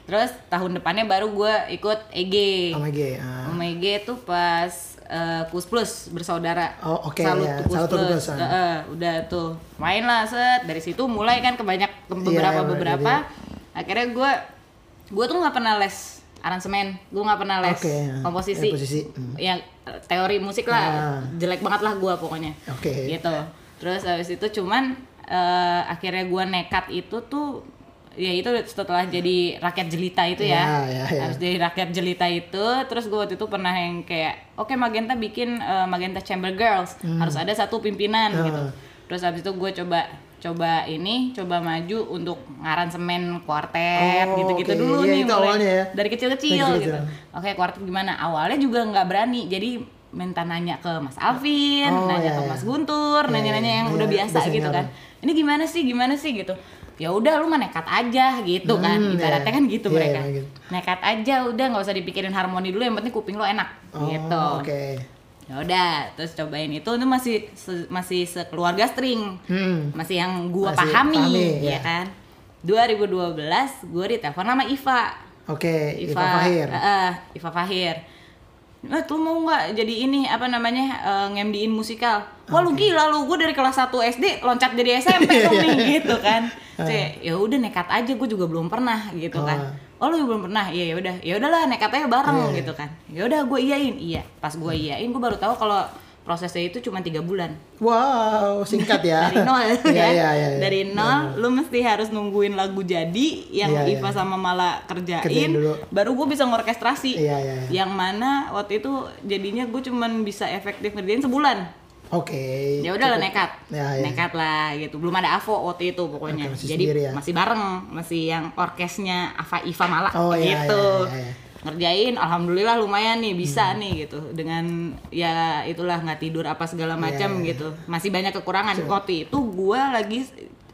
Speaker 2: Terus tahun depannya baru gue ikut E EG.
Speaker 1: oh my god ah.
Speaker 2: Sama EG tuh pas eh, Kus Plus bersaudara.
Speaker 1: Oh, oke,
Speaker 2: Salut
Speaker 1: iya.
Speaker 2: to Kus
Speaker 1: Salut to Kus
Speaker 2: Plus.
Speaker 1: Plus, ah.
Speaker 2: Heeh, udah tuh main lah set dari situ mulai kan ke banyak ke
Speaker 1: Iya,
Speaker 2: beberapa
Speaker 1: emang,
Speaker 2: beberapa. Akhirnya gue gue tuh nggak pernah les aransemen, gue nggak pernah les
Speaker 1: Oke, ya.
Speaker 2: komposisi,
Speaker 1: Ya, posisi, hmm.
Speaker 2: ya teori musik lah,
Speaker 1: Ah.
Speaker 2: jelek banget lah gue pokoknya.
Speaker 1: Oke.
Speaker 2: Gitu. Terus habis itu cuman eh, akhirnya gue nekat itu tuh ya itu setelah jadi rakyat jelita itu ya,
Speaker 1: Ya, ya, ya.
Speaker 2: Habis dari rakyat jelita itu terus gue waktu itu pernah yang kayak oke magenta bikin eh, magenta chamber girls
Speaker 1: Hmm.
Speaker 2: harus ada satu pimpinan gitu terus abis itu gue coba coba ini coba maju untuk ngaransemen kuartet
Speaker 1: Oh,
Speaker 2: gitu-gitu
Speaker 1: oke.
Speaker 2: dulu
Speaker 1: Iya,
Speaker 2: nih
Speaker 1: itu
Speaker 2: mulai.
Speaker 1: awalnya ya.
Speaker 2: dari kecil-kecil
Speaker 1: Dari
Speaker 2: gitu
Speaker 1: kecil-kecil.
Speaker 2: oke kuartet gimana awalnya juga nggak berani jadi minta nanya ke Mas Alvin,
Speaker 1: Oh,
Speaker 2: nanya
Speaker 1: iya,
Speaker 2: ke
Speaker 1: iya.
Speaker 2: Mas Guntur,
Speaker 1: Iya,
Speaker 2: nanya-nanya
Speaker 1: iya,
Speaker 2: yang
Speaker 1: iya,
Speaker 2: udah biasa
Speaker 1: biasanya
Speaker 2: gitu kan. Ini gimana sih, gimana sih gitu. Ya udah lu mah nekat aja gitu kan.
Speaker 1: Hmm,
Speaker 2: Ibaratnya
Speaker 1: iya.
Speaker 2: kan gitu
Speaker 1: Iya,
Speaker 2: mereka.
Speaker 1: iya, gitu.
Speaker 2: Nekat aja udah nggak usah dipikirin harmoni dulu yang penting kuping lo enak
Speaker 1: Oh,
Speaker 2: gitu.
Speaker 1: oke
Speaker 2: Ya udah, terus cobain itu itu masih se- masih sekeluarga string.
Speaker 1: Hmm.
Speaker 2: Masih yang gua
Speaker 1: Masih
Speaker 2: pahami,
Speaker 1: pahami,
Speaker 2: ya
Speaker 1: iya.
Speaker 2: kan. 2012 gua ditelepon sama Iva.
Speaker 1: oke Iva
Speaker 2: Iva
Speaker 1: Fahir
Speaker 2: Heeh, Iva Fahir. Eh, tuh mau nggak jadi ini apa namanya eh, ngemdiin musikal? Wah lu gila lu, gue dari kelas 1 SD loncat jadi
Speaker 1: Iya.
Speaker 2: SMP dong nih gitu kan. Cek, ya udah nekat aja, gue juga belum pernah gitu kan. Oh lu belum pernah, iya ya udah, ya udahlah nekat aja bareng
Speaker 1: Iya,
Speaker 2: gitu kan. Ya udah gue iyain, iya. Pas gue iyain, gue baru tahu kalau prosesnya itu cuma tiga bulan
Speaker 1: wow singkat ya
Speaker 2: dari nol
Speaker 1: Iya,
Speaker 2: kan?
Speaker 1: iya, iya, iya.
Speaker 2: dari nol lu mesti harus nungguin lagu jadi yang
Speaker 1: Iya, iya.
Speaker 2: Iva sama Mala kerjain,
Speaker 1: Kerjain dulu.
Speaker 2: baru gue bisa ngorkestrasi
Speaker 1: Iya, iya, iya.
Speaker 2: yang mana waktu itu jadinya gue cuman bisa efektif ngerjain sebulan
Speaker 1: oke
Speaker 2: ya udah lah nekat
Speaker 1: Ya, ya.
Speaker 2: nekat lah gitu belum ada avo waktu itu pokoknya
Speaker 1: Oke, masih
Speaker 2: jadi
Speaker 1: sendiri ya.
Speaker 2: masih bareng masih yang orkesnya Ava Iva malah
Speaker 1: Oh, iya,
Speaker 2: gitu
Speaker 1: iya, iya, iya.
Speaker 2: ngerjain alhamdulillah lumayan nih bisa
Speaker 1: Hmm.
Speaker 2: nih gitu dengan ya itulah nggak tidur apa segala macam
Speaker 1: Iya, iya.
Speaker 2: gitu masih banyak kekurangan waktu itu gua lagi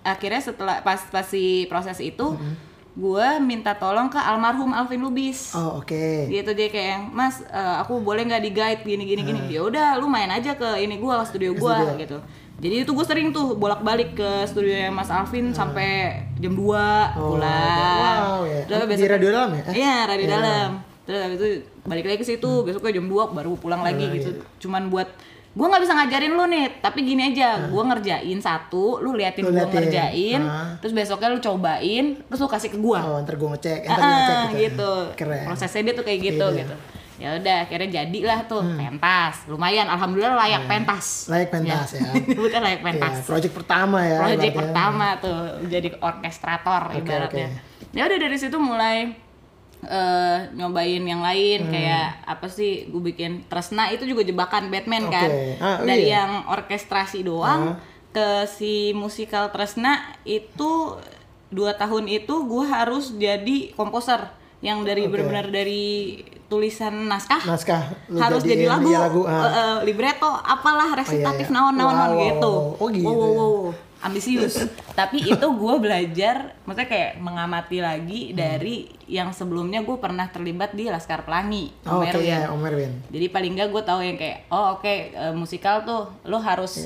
Speaker 2: akhirnya setelah pas pas si proses itu
Speaker 1: Hmm.
Speaker 2: gua minta tolong ke almarhum Alvin Lubis
Speaker 1: oh oke
Speaker 2: gitu dia kayak yang, mas eh, aku boleh nggak di guide gini gini gini ya udah lu main aja ke ini gua studio gua
Speaker 1: Hmm. Studio.
Speaker 2: gitu jadi itu gue sering tuh bolak balik ke studio Mas Alvin sampai jam 2
Speaker 1: Hmm. Oh,
Speaker 2: pulang
Speaker 1: wow, ya.
Speaker 2: Terus
Speaker 1: Di
Speaker 2: besok-
Speaker 1: radio dalam ya? Hmm. Eh?
Speaker 2: iya radio
Speaker 1: Iya.
Speaker 2: dalam terus habis itu balik lagi ke situ besoknya jam 2 baru pulang lagi
Speaker 1: Oh,
Speaker 2: gitu
Speaker 1: iya.
Speaker 2: cuman buat gua nggak bisa ngajarin lu nih tapi gini aja gua ngerjain satu lu liatin
Speaker 1: Ah. Lu
Speaker 2: gua
Speaker 1: liatin.
Speaker 2: ngerjain
Speaker 1: Ah.
Speaker 2: terus besoknya lu cobain terus lu kasih ke gua
Speaker 1: oh ntar gue ngecek ntar gua ngecek
Speaker 2: Ah,
Speaker 1: ya.
Speaker 2: gitu.
Speaker 1: keren
Speaker 2: Prosesnya dia tuh kayak gitu
Speaker 1: Iya. Hmm.
Speaker 2: gitu. Ya udah akhirnya jadilah tuh pentas. Lumayan alhamdulillah layak pentas.
Speaker 1: Iya. Layak pentas, ya.
Speaker 2: Bukan layak pentas.
Speaker 1: Iya, project pertama ya
Speaker 2: Project
Speaker 1: ibaratnya.
Speaker 2: pertama tuh jadi orkestrator
Speaker 1: Oke,
Speaker 2: ibaratnya. Ya udah dari situ mulai eh, nyobain yang
Speaker 1: Hmm.
Speaker 2: lain kayak apa sih gue bikin Tresna itu juga jebakan Batman
Speaker 1: Oke.
Speaker 2: kan.
Speaker 1: Ah,
Speaker 2: Dari
Speaker 1: iya. Ah.
Speaker 2: yang orkestrasi doang ke si musikal Tresna itu dua tahun itu gue harus jadi komposer yang dari
Speaker 1: Oke.
Speaker 2: benar-benar dari tulisan naskah,
Speaker 1: Naskah lu
Speaker 2: harus jadi
Speaker 1: jadiin
Speaker 2: lagu,
Speaker 1: jadi lagu, ah.
Speaker 2: eh, eh, libretto, apalah resitatif
Speaker 1: iya.
Speaker 2: naon-naon
Speaker 1: Wow, wow,
Speaker 2: gitu.
Speaker 1: wow. Oh, gitu
Speaker 2: Wow, wow,
Speaker 1: ya.
Speaker 2: wow, wow. Ambisius. Tapi itu gue belajar, maksudnya kayak mengamati lagi dari yang sebelumnya gue pernah terlibat di Laskar Pelangi,
Speaker 1: Oh,
Speaker 2: eh, Om
Speaker 1: Oke
Speaker 2: Erwin.
Speaker 1: ya, Om Erwin.
Speaker 2: Jadi paling nggak gue tahu yang kayak, oh oke eh, musikal tuh lo harus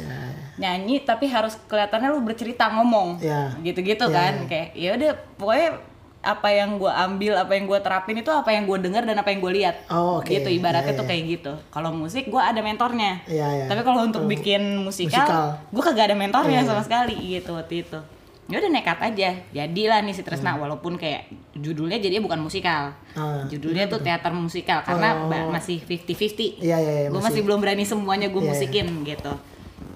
Speaker 2: nyanyi tapi harus kelihatannya lo bercerita ngomong,
Speaker 1: Iya.
Speaker 2: gitu-gitu
Speaker 1: Iya,
Speaker 2: kan.
Speaker 1: iya.
Speaker 2: Kayak ya udah pokoknya apa yang gue ambil, apa yang gue terapin itu apa yang gue dengar dan apa yang gue lihat.
Speaker 1: Oh, oke.
Speaker 2: Gitu ibaratnya
Speaker 1: Iya,
Speaker 2: tuh
Speaker 1: iya.
Speaker 2: kayak gitu. Kalau musik gue ada mentornya.
Speaker 1: Iya, iya.
Speaker 2: Tapi kalau untuk bikin
Speaker 1: musikal.
Speaker 2: musikal, gue kagak ada mentornya
Speaker 1: Iya, iya.
Speaker 2: sama sekali gitu waktu itu. Ya udah nekat aja. Jadilah nih si Tresna walaupun kayak judulnya jadinya bukan musikal.
Speaker 1: Hmm. Ah,
Speaker 2: judulnya tuh teater musikal karena
Speaker 1: Oh.
Speaker 2: ba- masih 50-50
Speaker 1: Iya, iya, iya,
Speaker 2: gue masih,
Speaker 1: masih.
Speaker 2: belum berani semuanya gue
Speaker 1: Iya, iya.
Speaker 2: musikin gitu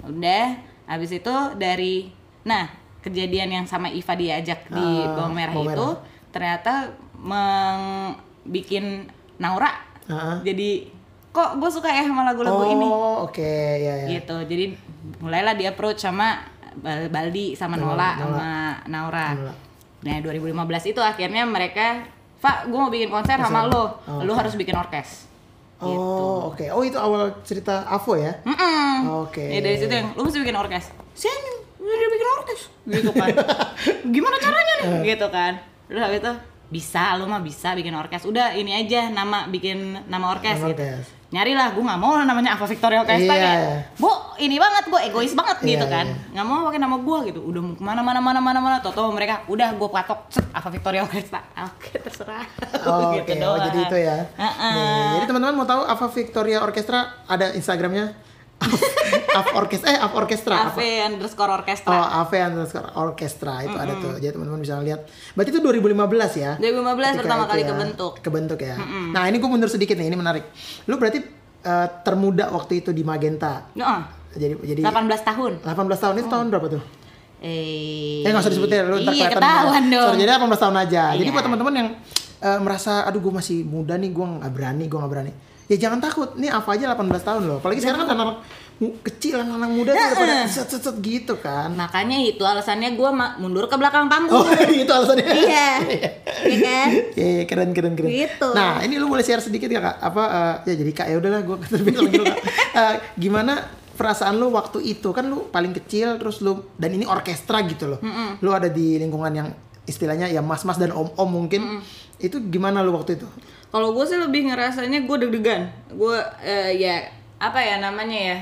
Speaker 2: udah habis itu dari nah kejadian yang sama Iva diajak di
Speaker 1: Ah,
Speaker 2: bawang merah
Speaker 1: Bawang
Speaker 2: itu
Speaker 1: Merah.
Speaker 2: ternyata meng bikin Naura
Speaker 1: Ah.
Speaker 2: jadi kok gue suka ya sama lagu-lagu
Speaker 1: oh,
Speaker 2: ini
Speaker 1: oke, ya ya.
Speaker 2: gitu jadi mulailah di approach sama Bal- Baldi sama Nola,
Speaker 1: Nola.
Speaker 2: sama Naura
Speaker 1: Nola.
Speaker 2: nah 2015 itu akhirnya mereka Pak gue mau bikin konser sama lo lo harus bikin orkes Gitu.
Speaker 1: Oh, oke. Oh, itu awal cerita Avo ya?
Speaker 2: Mm-mm.
Speaker 1: Oke.
Speaker 2: Ya dari situ yang lu mesti bikin orkes. Sen, udah bikin orkes gitu kan. Gimana caranya nih?
Speaker 1: Eh.
Speaker 2: gitu kan. Terus habis itu bisa lu mah bisa bikin orkes. Udah ini aja nama bikin nama orkes
Speaker 1: Nama
Speaker 2: gitu.
Speaker 1: orkes.
Speaker 2: Nyarilah gue nggak mau lah namanya Ava Victoria Orkestra
Speaker 1: Iya.
Speaker 2: kayak, Bu, ini banget gue egois banget
Speaker 1: Iya,
Speaker 2: gitu kan.
Speaker 1: iya.
Speaker 2: Nggak mau pakai nama gue gitu. Udah mau kemana mana mana mana mana toto mereka udah gue patok cet Ava Victoria Orkestra. Oke, terserah.
Speaker 1: Oh,
Speaker 2: Gitu
Speaker 1: oke. Oh, jadi
Speaker 2: doang.
Speaker 1: itu ya.
Speaker 2: Heeh.
Speaker 1: Nih, jadi teman-teman mau tahu Ava Victoria Orkestra ada Instagramnya? Av Orkestra, eh Av Orkestra. Av-
Speaker 2: Ave underscore orkestra.
Speaker 1: Oh, Ave underscore Orkestra itu ada tuh. Jadi teman-teman bisa lihat. Berarti itu 2015 ya?
Speaker 2: 2015
Speaker 1: Ketika
Speaker 2: pertama
Speaker 1: itu
Speaker 2: kali
Speaker 1: ya,
Speaker 2: kebentuk.
Speaker 1: Kebentuk ya. Nah, ini gue mundur sedikit nih, ini menarik. Lu berarti eh, termuda waktu itu di Magenta.
Speaker 2: Nuh,
Speaker 1: Jadi jadi
Speaker 2: 18 tahun.
Speaker 1: 18 tahun itu tahun berapa tuh?
Speaker 2: Eh,
Speaker 1: Ya nggak usah disebutin lu ntar
Speaker 2: Iya,
Speaker 1: kelihatan.
Speaker 2: ketahuan dong.
Speaker 1: Sorry, jadi 18 tahun aja. Jadi
Speaker 2: Iya.
Speaker 1: buat teman-teman yang eh, merasa aduh gue masih muda nih, gue nggak berani, gue nggak berani. Ya jangan takut, nih apa aja 18 tahun loh. Apalagi sekarang kan anak-anak mu- kecil, anak-anak muda tuh udah pada set, set, set gitu kan.
Speaker 2: Makanya itu alasannya gue mundur ke belakang panggung.
Speaker 1: Oh itu alasannya.
Speaker 2: Iya. Iya kan?
Speaker 1: Iya, iya, keren keren keren.
Speaker 2: Gitu.
Speaker 1: Nah, ini lu boleh share sedikit gak kak? Apa eh, ya jadi kak ya udahlah gue terbit lagi dulu, Kak. Eh, gimana perasaan lu waktu itu kan lu paling kecil terus lu dan ini orkestra gitu loh. Lu ada di lingkungan yang istilahnya ya mas-mas dan om-om mungkin. Itu gimana lu waktu itu?
Speaker 2: Kalau gue sih lebih ngerasanya gue deg-degan. Gue eh, ya apa ya namanya ya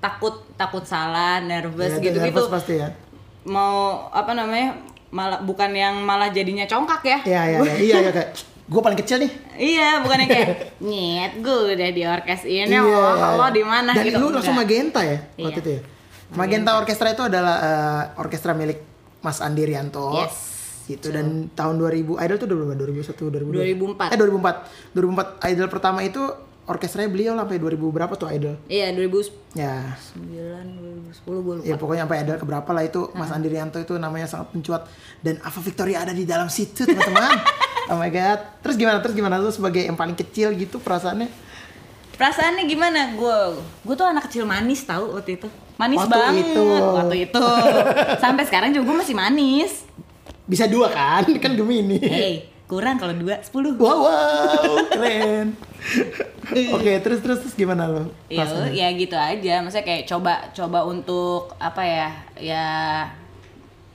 Speaker 2: takut takut salah, nervous
Speaker 1: Ya,
Speaker 2: gitu gitu.
Speaker 1: nervous pasti ya.
Speaker 2: Mau apa namanya? Malah bukan yang malah jadinya congkak ya.
Speaker 1: Iya iya iya iya, iya kayak gue paling kecil nih.
Speaker 2: Iya, bukan yang kayak nyet gue udah di orkes ini,
Speaker 1: Iya.
Speaker 2: oh, Allah di mana
Speaker 1: Dan
Speaker 2: gitu.
Speaker 1: lu langsung
Speaker 2: Enggak.
Speaker 1: Magenta ya
Speaker 2: Iya.
Speaker 1: waktu itu ya. Magenta Orkestra itu adalah eh, orkestra milik Mas Andi Rianto.
Speaker 2: Yes.
Speaker 1: Gitu dan tahun 2000 Idol itu udah berapa? 2001
Speaker 2: 2004.
Speaker 1: 2002. Eh 2004. 2004 Idol pertama itu orkestranya beliau sampai 2000 berapa tuh Idol?
Speaker 2: Iya, 2009,
Speaker 1: Ya.
Speaker 2: 2010 gue lupa.
Speaker 1: Ya pokoknya sampai Idol keberapa lah itu Mas Andi Rianto itu namanya sangat mencuat dan Ava Victoria ada di dalam situ teman-teman. oh my god. Terus gimana? Terus gimana lu sebagai yang paling kecil gitu perasaannya?
Speaker 2: Perasaannya gimana? Gue gue tuh anak kecil manis tahu waktu itu. Manis
Speaker 1: Waktu
Speaker 2: banget
Speaker 1: itu.
Speaker 2: waktu itu. Sampai sekarang juga gue masih manis.
Speaker 1: Bisa dua kan? Kan Gemini.
Speaker 2: Hey, kurang kalau dua, sepuluh.
Speaker 1: Wow, wow, keren. Oke, terus terus terus gimana lo?
Speaker 2: Ya, ya gitu aja. Maksudnya kayak coba coba untuk apa ya? Ya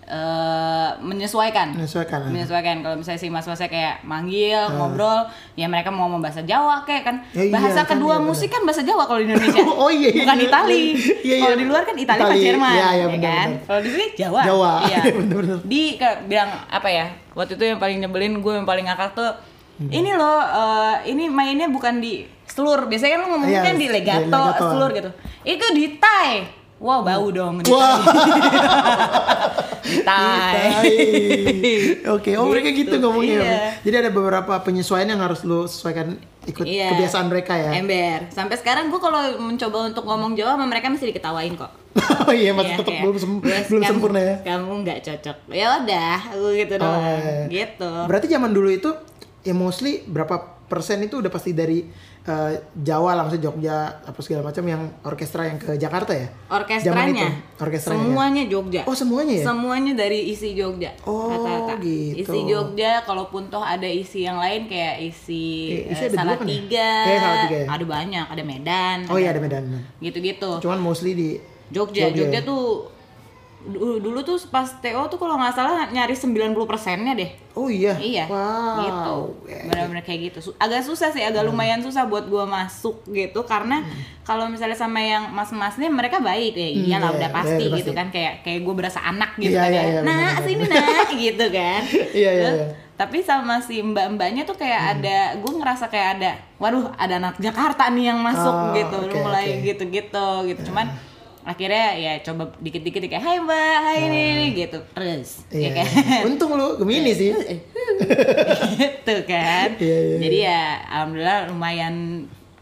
Speaker 2: eh menyesuaikan.
Speaker 1: Menyesuaikan.
Speaker 2: Menyesuaikan. Kalau misalnya si mas-masnya kayak manggil, ngobrol, ya mereka mau ngomong bahasa Jawa kayak kan.
Speaker 1: Ya Ah. iya,
Speaker 2: bahasa
Speaker 1: kan,
Speaker 2: kedua
Speaker 1: iya benar.
Speaker 2: musik kan bahasa Jawa kalau di Indonesia.
Speaker 1: Oh, iya, iya,
Speaker 2: Bukan
Speaker 1: iya,
Speaker 2: Itali.
Speaker 1: iya, iya.
Speaker 2: Kalau di luar kan Itali, sama
Speaker 1: Itali.
Speaker 2: Jerman,
Speaker 1: Iya, iya,
Speaker 2: ya
Speaker 1: benar,
Speaker 2: kan.
Speaker 1: benar.
Speaker 2: Kalau di sini Jawa.
Speaker 1: Jawa.
Speaker 2: Iya.
Speaker 1: Iya, benar, benar.
Speaker 2: di ke- bilang apa ya? Waktu itu yang paling nyebelin gue yang paling ngakak tuh
Speaker 1: Hmm.
Speaker 2: ini loh, eh, ini mainnya bukan di seluruh. Biasanya kan lu ngomongnya
Speaker 1: Iya,
Speaker 2: kan di
Speaker 1: di
Speaker 2: legato,
Speaker 1: legato. Hmm.
Speaker 2: seluruh gitu. Itu di Thai. Wow, bau dong. Di
Speaker 1: Wah.
Speaker 2: di Thai.
Speaker 1: Oke, oh mereka gitu
Speaker 2: Gitu,
Speaker 1: ngomongnya.
Speaker 2: iya.
Speaker 1: Jadi ada beberapa penyesuaian yang harus lo sesuaikan ikut
Speaker 2: Iya.
Speaker 1: kebiasaan mereka ya.
Speaker 2: Ember. Sampai sekarang gue kalau mencoba untuk ngomong Jawa sama mereka masih diketawain kok.
Speaker 1: oh iya, masih
Speaker 2: Iya,
Speaker 1: tetap
Speaker 2: kayak,
Speaker 1: belum sem-
Speaker 2: "Wes,
Speaker 1: belum
Speaker 2: kamu-
Speaker 1: sempurna ya.
Speaker 2: Kamu nggak cocok. Ya udah, gue gitu
Speaker 1: Oh,
Speaker 2: doang.
Speaker 1: iya.
Speaker 2: Gitu.
Speaker 1: Berarti zaman dulu itu ya mostly berapa persen itu udah pasti dari eh, Jawa lah maksudnya Jogja apa segala macam yang orkestra yang ke Jakarta ya Zaman itu,
Speaker 2: orkestranya,
Speaker 1: orkestranya ya?
Speaker 2: semuanya Jogja.
Speaker 1: oh semuanya ya
Speaker 2: Semuanya dari isi Jogja.
Speaker 1: Oh, gitu.
Speaker 2: Isi Jogja, kalaupun toh ada isi yang lain kayak isi,
Speaker 1: Eh, isi
Speaker 2: eh,
Speaker 1: ada dua kan ya?
Speaker 2: Salatiga,
Speaker 1: Eh, Salatiga ya.
Speaker 2: ada banyak, ada Medan,
Speaker 1: oh iya ada Medan
Speaker 2: gitu-gitu.
Speaker 1: cuman mostly di
Speaker 2: Jogja,
Speaker 1: Jogja.
Speaker 2: Jogja tuh dulu, dulu tuh pas TO tuh kalau nggak salah nyari 90 persennya deh.
Speaker 1: oh iya
Speaker 2: Iya,
Speaker 1: wow Hmm.
Speaker 2: gitu.
Speaker 1: Eh,
Speaker 2: Benar-benar kayak gitu. Su- Agak susah sih, agak lumayan susah buat gua masuk gitu karena kalau misalnya sama yang mas-masnya mereka baik ya.
Speaker 1: Hmm,
Speaker 2: Iyalah
Speaker 1: iya,
Speaker 2: udah
Speaker 1: iya,
Speaker 2: pasti
Speaker 1: udah
Speaker 2: gitu
Speaker 1: pasti.
Speaker 2: kan kayak kayak gua berasa anak gitu
Speaker 1: Iya,
Speaker 2: kan.
Speaker 1: iya,
Speaker 2: ya.
Speaker 1: iya,
Speaker 2: nah,
Speaker 1: benar-benar.
Speaker 2: sini nah gitu kan.
Speaker 1: Iya, iya,
Speaker 2: Terus,
Speaker 1: iya. Hmm.
Speaker 2: Tapi sama si mbak-mbaknya tuh kayak ada gua ngerasa kayak ada waduh ada anak Jakarta nih yang masuk
Speaker 1: Oh,
Speaker 2: gitu.
Speaker 1: oke,
Speaker 2: mulai
Speaker 1: oke. Iya.
Speaker 2: gitu-gitu gitu. Cuman akhirnya ya coba dikit-dikit kayak hai mbak, hai ini, ini," gitu. Terus ya
Speaker 1: iya,
Speaker 2: kan? Iya.
Speaker 1: iya. untung lu Gemini sih
Speaker 2: gitu kan
Speaker 1: Iya, iya,
Speaker 2: jadi ya alhamdulillah lumayan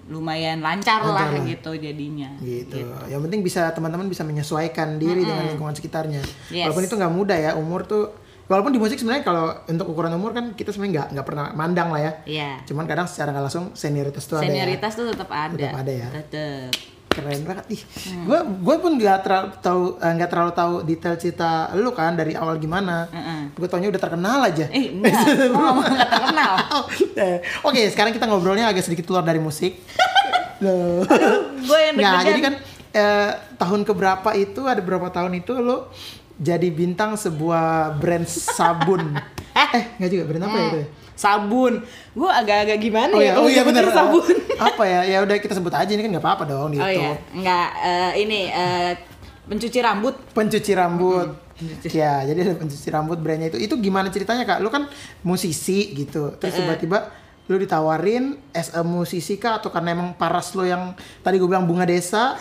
Speaker 2: lumayan lancar,
Speaker 1: Lancar
Speaker 2: lah
Speaker 1: lah.
Speaker 2: gitu jadinya
Speaker 1: gitu.
Speaker 2: Iya.
Speaker 1: Yang penting bisa teman-teman bisa menyesuaikan diri dengan lingkungan sekitarnya.
Speaker 2: Yes.
Speaker 1: Walaupun itu nggak mudah ya, umur tuh walaupun di musik sebenarnya kalau untuk ukuran umur kan kita sebenarnya nggak nggak pernah mandang lah ya.
Speaker 2: Iya.
Speaker 1: Cuman kadang secara nggak langsung senioritas tuh ada. ya.
Speaker 2: senioritas tuh tetap ada
Speaker 1: Tetap ada ya.
Speaker 2: Tetep.
Speaker 1: Keren banget. Ih,
Speaker 2: Mm.
Speaker 1: gua gua pun nggak terlalu tahu eh, nggak terlalu tahu detail cerita lu kan dari awal gimana.
Speaker 2: Mm-mm.
Speaker 1: Gue taunya udah terkenal aja.
Speaker 2: Mm. eh enggak gua ngomong nggak terkenal
Speaker 1: Oh, eh, Oke, sekarang kita ngobrolnya agak sedikit keluar dari musik. Loh.
Speaker 2: gue yang
Speaker 1: Nggak,
Speaker 2: deg-degan.
Speaker 1: jadi kan eh, tahun keberapa itu ada berapa tahun itu lo jadi bintang sebuah brand sabun. eh, nggak juga brand apa ya itu? ya?
Speaker 2: Hmm.
Speaker 1: Oh
Speaker 2: sabun gue agak-agak gimana ya kalau nyebutin
Speaker 1: iya, bener.
Speaker 2: sabun
Speaker 1: apa ya? Ya udah kita sebut aja ini kan nggak apa-apa dong di
Speaker 2: oh iya
Speaker 1: YouTube.
Speaker 2: enggak eh, ini eh, pencuci rambut
Speaker 1: Pencuci rambut.
Speaker 2: Hmm,
Speaker 1: Ya, jadi ada pencuci rambut brandnya itu. Itu gimana ceritanya kak? Lu kan musisi gitu, terus tiba-tiba lu ditawarin as a musisi kak atau karena emang paras lo yang tadi gue bilang bunga desa?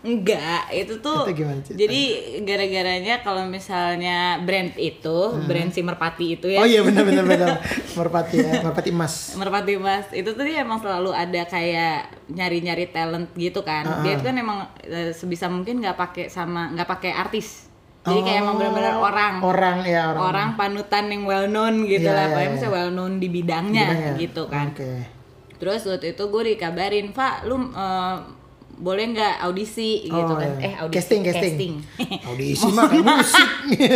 Speaker 2: Enggak, itu tuh.
Speaker 1: Itu gimana ceritanya?
Speaker 2: jadi gara-garanya kalau misalnya brand itu, brand si Merpati itu ya.
Speaker 1: Hmm. Oh iya benar-benar benar. Merpati ya, merpati emas.
Speaker 2: Merpati Mas, itu tuh dia emang selalu ada kayak nyari-nyari talent gitu kan. Dia itu kan emang eh, sebisa mungkin nggak pakai sama nggak pakai artis. Jadi kayak emang benar-benar orang.
Speaker 1: Oh. orang ya orang,
Speaker 2: Orang panutan yang well known gitu
Speaker 1: Iya,
Speaker 2: lah,
Speaker 1: iya,
Speaker 2: pokoknya
Speaker 1: iya.
Speaker 2: misalnya well known di bidangnya
Speaker 1: Gimana ya?
Speaker 2: gitu kan.
Speaker 1: oke
Speaker 2: Terus waktu itu gue dikabarin, Pak, lu eh, boleh nggak audisi gitu
Speaker 1: Oh,
Speaker 2: kan? Eh
Speaker 1: iya.
Speaker 2: audisi,
Speaker 1: casting casting,
Speaker 2: casting.
Speaker 1: audisi mah kayak musik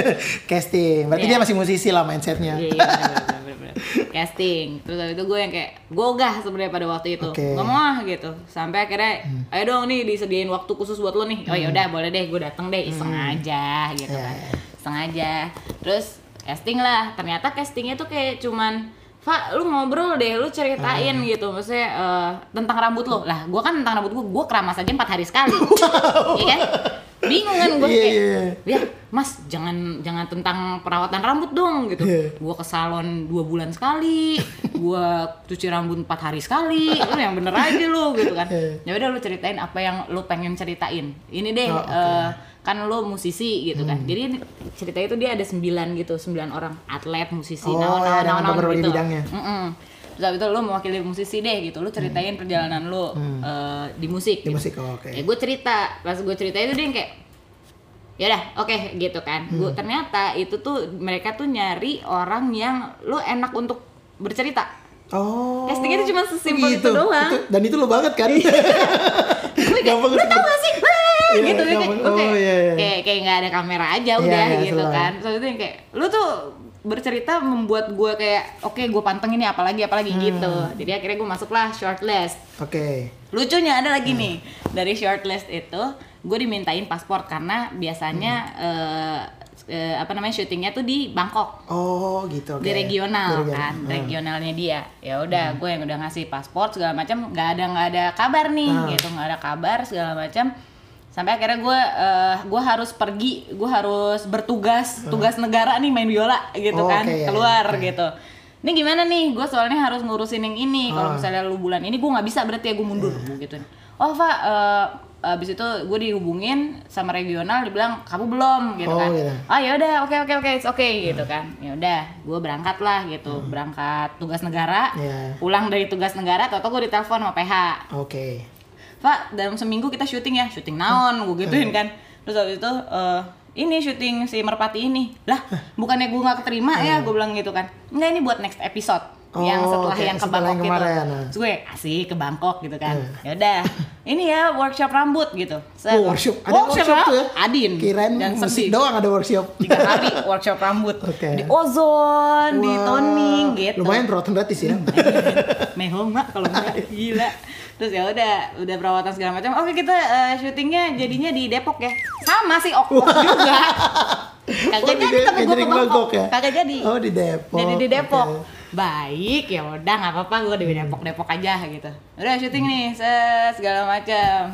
Speaker 1: casting berarti
Speaker 2: Iya.
Speaker 1: dia masih musisi lah mindsetnya
Speaker 2: Iya, iya, bener, bener, bener. casting terus habis itu gue yang kayak gogah sebenarnya pada waktu itu
Speaker 1: Oke. Hmm.
Speaker 2: ngomong ah gitu sampai akhirnya ayo dong nih disediain waktu khusus buat lo nih oh yaudah boleh deh gue dateng deh iseng aja gitu
Speaker 1: Hmm. Iya,
Speaker 2: kan
Speaker 1: iya.
Speaker 2: iseng aja terus casting lah ternyata castingnya tuh kayak cuman Fa, lu ngobrol deh, lu ceritain
Speaker 1: Hmm.
Speaker 2: gitu, maksudnya eh, tentang rambut lo. Lah, gua kan tentang rambut gua, gua keramas aja empat hari sekali, iya kan? Bingung kan gue
Speaker 1: Iya,
Speaker 2: kayak,
Speaker 1: iya, iya.
Speaker 2: ya mas jangan jangan tentang perawatan rambut dong gitu
Speaker 1: Iya.
Speaker 2: gua ke salon dua bulan sekali gua cuci rambut empat hari sekali lu yang bener aja lu gitu kan
Speaker 1: Iya.
Speaker 2: ya udah lu ceritain apa yang lu pengen ceritain ini deh
Speaker 1: Oh, oke. Hmm.
Speaker 2: eh, kan lu musisi gitu kan jadi cerita itu dia ada sembilan gitu sembilan orang atlet musisi
Speaker 1: Oh,
Speaker 2: naon, naon,
Speaker 1: iya, dengan
Speaker 2: naon, naon
Speaker 1: berbagai
Speaker 2: gitu.
Speaker 1: bidangnya.
Speaker 2: Mm-mm. Terus abis itu lu mewakili musisi deh gitu, lu ceritain perjalanan lu eh, di musik.
Speaker 1: Hmm. Di
Speaker 2: gitu.
Speaker 1: musik, oh, oke.
Speaker 2: Ya gue cerita, pas gue cerita itu dia yang kayak yaudah oke gitu kan
Speaker 1: Hmm.
Speaker 2: gue ternyata itu tuh mereka tuh nyari orang yang lu enak untuk bercerita
Speaker 1: oh
Speaker 2: Castingnya itu cuma sesimpel itu doang. Iya.
Speaker 1: dan itu lo banget kan gampang
Speaker 2: lu tau gak sih Wah,
Speaker 1: Iya,
Speaker 2: gitu dia
Speaker 1: gampang.
Speaker 2: kayak, gua kayak,
Speaker 1: Oh, iya, iya.
Speaker 2: kayak kayak nggak ada kamera aja
Speaker 1: Iya,
Speaker 2: udah
Speaker 1: iya,
Speaker 2: gitu
Speaker 1: selalu.
Speaker 2: kan terus itu yang kayak lu tuh bercerita membuat gue kayak oke gue pantengin nih apalagi
Speaker 1: Hmm.
Speaker 2: apalagi gitu jadi akhirnya gue masuklah shortlist
Speaker 1: oke
Speaker 2: Lucunya ada lagi nih dari shortlist itu gue dimintain paspor karena biasanya eh, eh, apa namanya syutingnya tuh di Bangkok
Speaker 1: oh gitu oke
Speaker 2: di regional
Speaker 1: Di
Speaker 2: kan
Speaker 1: Hmm.
Speaker 2: regionalnya dia ya udah gue yang udah ngasih paspor segala macam nggak ada nggak ada kabar nih
Speaker 1: Hmm.
Speaker 2: gitu nggak ada kabar segala macam sampai akhirnya gue eh, gue harus pergi gue harus bertugas tugas negara nih main biola gitu
Speaker 1: Hmm. Oh,
Speaker 2: kan
Speaker 1: oke, iya,
Speaker 2: keluar
Speaker 1: iya.
Speaker 2: gitu ini gimana nih gue soalnya harus ngurusin yang ini kalau
Speaker 1: Ah.
Speaker 2: misalnya lu bulan ini gue nggak bisa berarti ya gue mundur
Speaker 1: Hmm.
Speaker 2: Gua gitu oh pak eh, abis itu gue dihubungin sama regional dibilang kamu belum gitu
Speaker 1: Oh,
Speaker 2: kan
Speaker 1: gitu.
Speaker 2: oh ya udah oke oke oke it's okay gitu kan ya udah gue berangkat lah gitu berangkat tugas negara
Speaker 1: Hmm. Iya.
Speaker 2: pulang dari tugas negara atau gue ditelepon sama PH
Speaker 1: oke
Speaker 2: Pak, dalam seminggu kita syuting ya, syuting naon, gue gituin
Speaker 1: Iya.
Speaker 2: kan. Terus habis itu, eh, ini syuting si Merpati ini. Lah, bukannya gue gak keterima ya, gue bilang gitu kan. Enggak, ini buat next episode.
Speaker 1: Iya. Oh,
Speaker 2: yang setelah
Speaker 1: oke,
Speaker 2: yang ke
Speaker 1: setelah
Speaker 2: Bangkok
Speaker 1: yang
Speaker 2: gitu.
Speaker 1: kemarin, nah.
Speaker 2: Terus gue asik ke Bangkok gitu kan. Ya udah. Ini ya workshop rambut gitu. Set.
Speaker 1: Oh, workshop. Ada workshop,
Speaker 2: ra-
Speaker 1: tuh ya?
Speaker 2: Adin.
Speaker 1: Kirain
Speaker 2: Jangan
Speaker 1: musik
Speaker 2: sedih.
Speaker 1: doang ada workshop.
Speaker 2: Tiga hari workshop rambut.
Speaker 1: Oke.
Speaker 2: Di ozon, di
Speaker 1: Wah,
Speaker 2: toning gitu.
Speaker 1: Lumayan perawatan gratis ya.
Speaker 2: Mehong mak kalau enggak gila. Terus ya udah, udah perawatan segala macam. Oke, kita eh, syutingnya jadinya di Depok ya. Sama sih Okpok juga. Kagak
Speaker 1: Oh, di
Speaker 2: jadi
Speaker 1: Dep-
Speaker 2: tapi gue
Speaker 1: jadi
Speaker 2: ke
Speaker 1: ke
Speaker 2: Bangkok.
Speaker 1: Bangkok ya?
Speaker 2: Kagak jadi.
Speaker 1: Oh, di Depok.
Speaker 2: Jadi di Depok.
Speaker 1: Oke. Hmm.
Speaker 2: Baik, ya udah nggak apa-apa gue di Depok Depok aja gitu. Udah syuting nih, set, segala macam.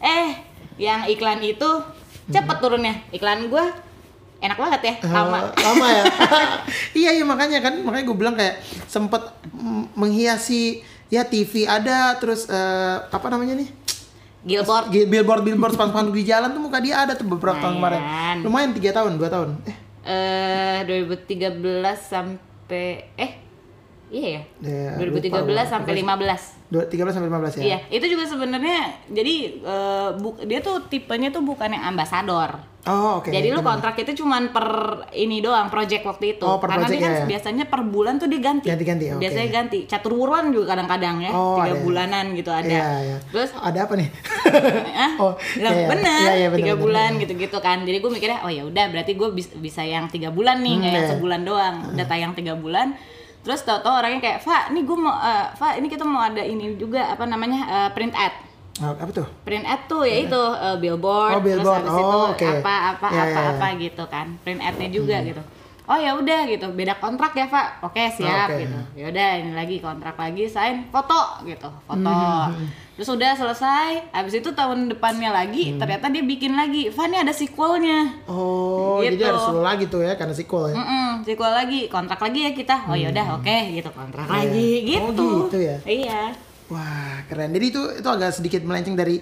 Speaker 2: Eh, yang iklan itu cepet turunnya. Iklan gue enak banget ya, lama.
Speaker 1: Hmm. Eh, lama ya. iya iya makanya kan makanya gue bilang kayak sempet mm, menghiasi ya TV ada terus eh, apa namanya nih
Speaker 2: Billboard
Speaker 1: billboard billboard spanduk di jalan tuh muka dia ada tuh beberapa tahun kemarin
Speaker 2: Lumayan.
Speaker 1: lumayan tiga tahun dua tahun eh
Speaker 2: eh 2013 sampai eh iya ya.
Speaker 1: Ya,
Speaker 2: 2013
Speaker 1: lupa gua.
Speaker 2: sampai 15.
Speaker 1: dua tiga belas sampai lima belas ya
Speaker 2: Iya, itu juga sebenarnya jadi eh, bu- dia tuh tipenya tuh bukan yang ambasador.
Speaker 1: oh oke
Speaker 2: jadi lu
Speaker 1: Gimana?
Speaker 2: kontrak itu cuman per ini doang project waktu itu.
Speaker 1: Oh, per
Speaker 2: Karena dia
Speaker 1: project-nya
Speaker 2: kan
Speaker 1: ya.
Speaker 2: biasanya per bulan tuh dia ganti.
Speaker 1: Ganti-ganti, oke.
Speaker 2: Biasanya ganti. Caturuan juga kadang-kadang ya,
Speaker 1: Oh,
Speaker 2: tiga
Speaker 1: ada.
Speaker 2: bulanan gitu ada.
Speaker 1: Iya, iya.
Speaker 2: Terus
Speaker 1: ada apa nih
Speaker 2: ah
Speaker 1: Oh,
Speaker 2: lah,
Speaker 1: iya, iya.
Speaker 2: bener,
Speaker 1: Iya, iya, bener,
Speaker 2: tiga
Speaker 1: bener,
Speaker 2: bulan gitu-gitu kan jadi gue mikirnya oh ya udah berarti gue bisa yang tiga bulan nih nggak yang
Speaker 1: iya.
Speaker 2: sebulan doang udah tayang tiga bulan terus tau-tau orangnya kayak Fa ini gue mau eh, Fa ini kita mau ada ini juga apa namanya eh, print ad
Speaker 1: Ah, apa tuh
Speaker 2: print ad tuh ya itu eh, billboard,
Speaker 1: Oh, billboard.
Speaker 2: terus habis
Speaker 1: Oh,
Speaker 2: itu
Speaker 1: oke.
Speaker 2: apa apa
Speaker 1: Ya,
Speaker 2: apa
Speaker 1: ya, ya.
Speaker 2: apa gitu kan print adnya juga gitu oh ya udah gitu beda kontrak ya pak oke siap
Speaker 1: Oh, Oke.
Speaker 2: gitu ya udah ini lagi kontrak lagi sign foto gitu foto
Speaker 1: Mm-hmm.
Speaker 2: terus udah selesai habis itu tahun depannya lagi
Speaker 1: Mm.
Speaker 2: ternyata dia bikin lagi Van ini ada sequelnya
Speaker 1: oh
Speaker 2: Gitu.
Speaker 1: jadi harus lu lagi tuh ya karena sequel ya
Speaker 2: Mm-mm, sequel lagi kontrak lagi ya kita oh ya udah oke gitu kontrak lagi
Speaker 1: Mm. Oh,
Speaker 2: gitu
Speaker 1: gitu ya.
Speaker 2: iya
Speaker 1: Wah keren. Jadi itu itu agak sedikit melenceng dari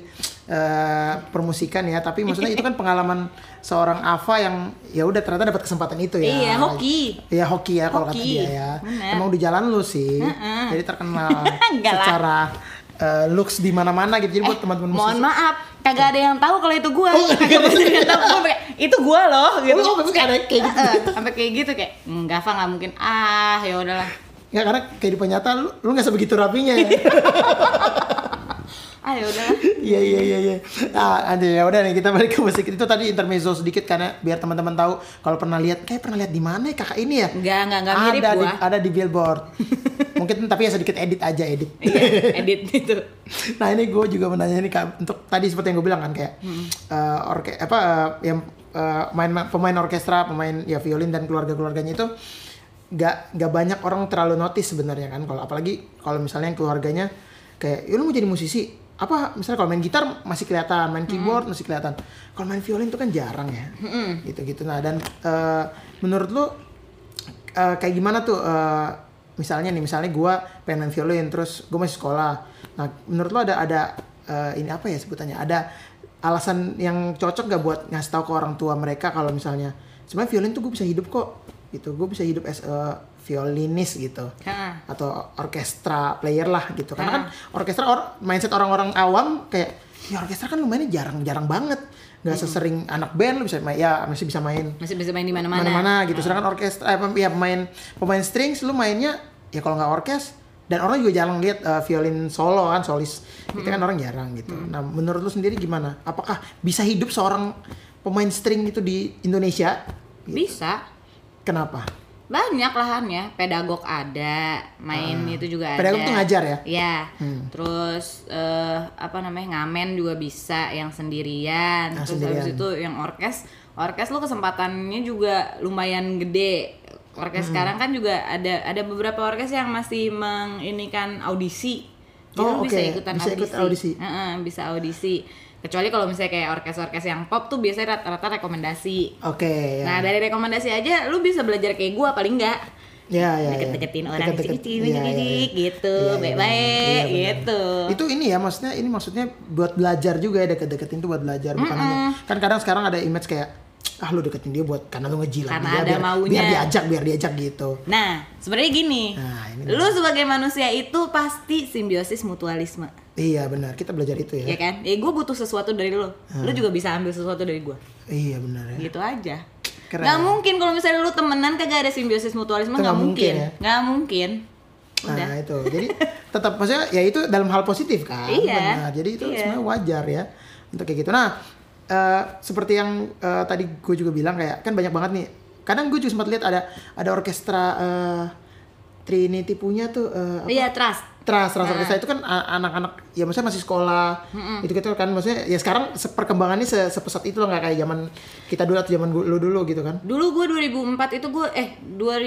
Speaker 1: eh, permusikan ya, tapi maksudnya itu kan pengalaman seorang Ava yang ya udah ternyata dapat kesempatan itu ya.
Speaker 2: iya hoki
Speaker 1: Iya hoki ya kalau kata
Speaker 2: Hoki.
Speaker 1: dia ya.
Speaker 2: Bener.
Speaker 1: Emang di jalan lu sih. Jadi terkenal
Speaker 2: Enggak lah.
Speaker 1: secara eh, looks di mana-mana gitu. Jadi buat teman-teman
Speaker 2: Eh, Mohon
Speaker 1: musisi.
Speaker 2: maaf, kagak ada yang tahu kalau itu gua. Kagak ada yang tahu gua pakai, itu gua loh gitu.
Speaker 1: iya. Oh, maksudnya kayak ada kayak gitu.
Speaker 2: Eh, sampai kayak gitu kayak enggak apa nggak mungkin ah ya udahlah
Speaker 1: Enggak karena kehidupan nyata lu lu nggak sebegitu rapinya ya.
Speaker 2: ah ya udahlah
Speaker 1: Iya iya iya iya. Ah, ada ya udah nih kita balik ke musik itu tadi intermezzo sedikit karena biar teman-teman tahu kalau pernah lihat kayak pernah lihat di mana ya kakak ini ya?
Speaker 2: enggak enggak enggak mirip
Speaker 1: ada di,
Speaker 2: gua
Speaker 1: ada di billboard. Mungkin tapi ya sedikit edit aja edit.
Speaker 2: iya edit itu
Speaker 1: nah ini gue juga menanya ini kak untuk tadi seperti yang gue bilang kan kayak eh, orke apa eh, yang eh, main pemain orkestra pemain ya violin dan keluarga keluarganya itu gak gak banyak orang terlalu notice sebenarnya kan kalau apalagi kalau misalnya yang keluarganya kayak ya lu mau jadi musisi apa misalnya kalau main gitar masih kelihatan main keyboard masih kelihatan kalau main violin itu kan jarang ya gitu gitu nah dan eh, menurut lu Eh, kayak gimana tuh eh, misalnya nih misalnya gua pengen main violin terus gue masih sekolah nah menurut lo ada ada eh, ini apa ya sebutannya ada alasan yang cocok gak buat ngasih tahu ke orang tua mereka kalau misalnya sebenarnya violin tuh gue bisa hidup kok gitu gue bisa hidup as a violinist gitu
Speaker 2: Heeh.
Speaker 1: atau orkestra player lah gitu karena kan orkestra or, mindset orang-orang awam kayak ya orkestra kan lumayan jarang-jarang banget nggak sesering anak band lu bisa main ya masih bisa main
Speaker 2: masih bisa main di mana-mana
Speaker 1: mana-mana
Speaker 2: Ah.
Speaker 1: gitu. Sedangkan orkestra eh, pem- ya pemain pemain strings lu mainnya ya kalau nggak orkes dan orang juga jarang lihat eh, violin solo kan solis. Itu kan orang jarang gitu. Nah, menurut lu sendiri gimana? Apakah bisa hidup seorang pemain string itu di Indonesia?
Speaker 2: bisa
Speaker 1: Kenapa?
Speaker 2: banyak lahannya pedagog ada main itu juga ada
Speaker 1: Ah. Pedagog tuh ngajar ya?
Speaker 2: Iya. terus eh, apa namanya ngamen juga bisa yang sendirian
Speaker 1: Ah,
Speaker 2: terus
Speaker 1: sendirian.
Speaker 2: habis itu yang orkes orkes lo kesempatannya juga lumayan gede
Speaker 1: Hmm.
Speaker 2: orkes sekarang kan juga ada ada beberapa orkes yang masih menginikan audisi jadi
Speaker 1: Oh,
Speaker 2: lo bisa
Speaker 1: oke.
Speaker 2: ikutan
Speaker 1: Bisa ikut
Speaker 2: audisi,
Speaker 1: audisi.
Speaker 2: Heeh, bisa audisi kecuali kalau misalnya kayak orkes-orkes yang pop tuh biasanya rata-rata rekomendasi
Speaker 1: Oke, ya.
Speaker 2: Nah dari rekomendasi aja lu bisa belajar kayak gua paling enggak
Speaker 1: ya, ya, ya.
Speaker 2: deket-deketin orang
Speaker 1: Deket-deket.
Speaker 2: cicik-cicik
Speaker 1: Iya, iya, iya.
Speaker 2: gitu
Speaker 1: Iya, iya,
Speaker 2: baik-baik
Speaker 1: benar. Iya,
Speaker 2: gitu
Speaker 1: itu ini ya maksudnya ini maksudnya buat belajar juga ya deket-deketin tuh buat belajar bukan hanya kan kadang sekarang ada image kayak ah lu deketin dia buat karena lu ngejilat
Speaker 2: Karena
Speaker 1: dia
Speaker 2: ada
Speaker 1: biar,
Speaker 2: maunya."
Speaker 1: biar diajak biar diajak gitu
Speaker 2: Nah sebenarnya gini
Speaker 1: Nah, ini
Speaker 2: lu sebagai manusia itu pasti simbiosis mutualisme
Speaker 1: iya benar kita belajar itu ya,
Speaker 2: ya kan ya gue butuh sesuatu dari lu lu juga bisa ambil sesuatu dari gua
Speaker 1: iya benar ya
Speaker 2: gitu aja
Speaker 1: Keren.
Speaker 2: Nggak mungkin kalau misalnya lu temenan kagak ada simbiosis mutualisme
Speaker 1: Itu
Speaker 2: nggak
Speaker 1: nggak mungkin
Speaker 2: mungkin
Speaker 1: ya.
Speaker 2: nggak mungkin Udah.
Speaker 1: Nah itu, jadi tetap maksudnya ya itu dalam hal positif kan.
Speaker 2: Iya.
Speaker 1: Benar. Jadi itu
Speaker 2: Iya.
Speaker 1: sebenarnya wajar ya untuk kayak gitu. Nah eh, seperti yang eh, tadi gue juga bilang kayak kan banyak banget nih. Kadang gue juga sempat lihat ada ada orkestra eh, Trinity punya tuh eh, apa?
Speaker 2: Iya, trust.
Speaker 1: Trust, trust
Speaker 2: Nah.
Speaker 1: orkestra itu kan a- anak-anak ya maksudnya masih sekolah itu gitu kan maksudnya ya sekarang se- perkembangannya se- sepesat itu loh nggak kayak zaman kita dulu atau zaman gu- lu dulu gitu kan
Speaker 2: Dulu gue 2004 itu gue eh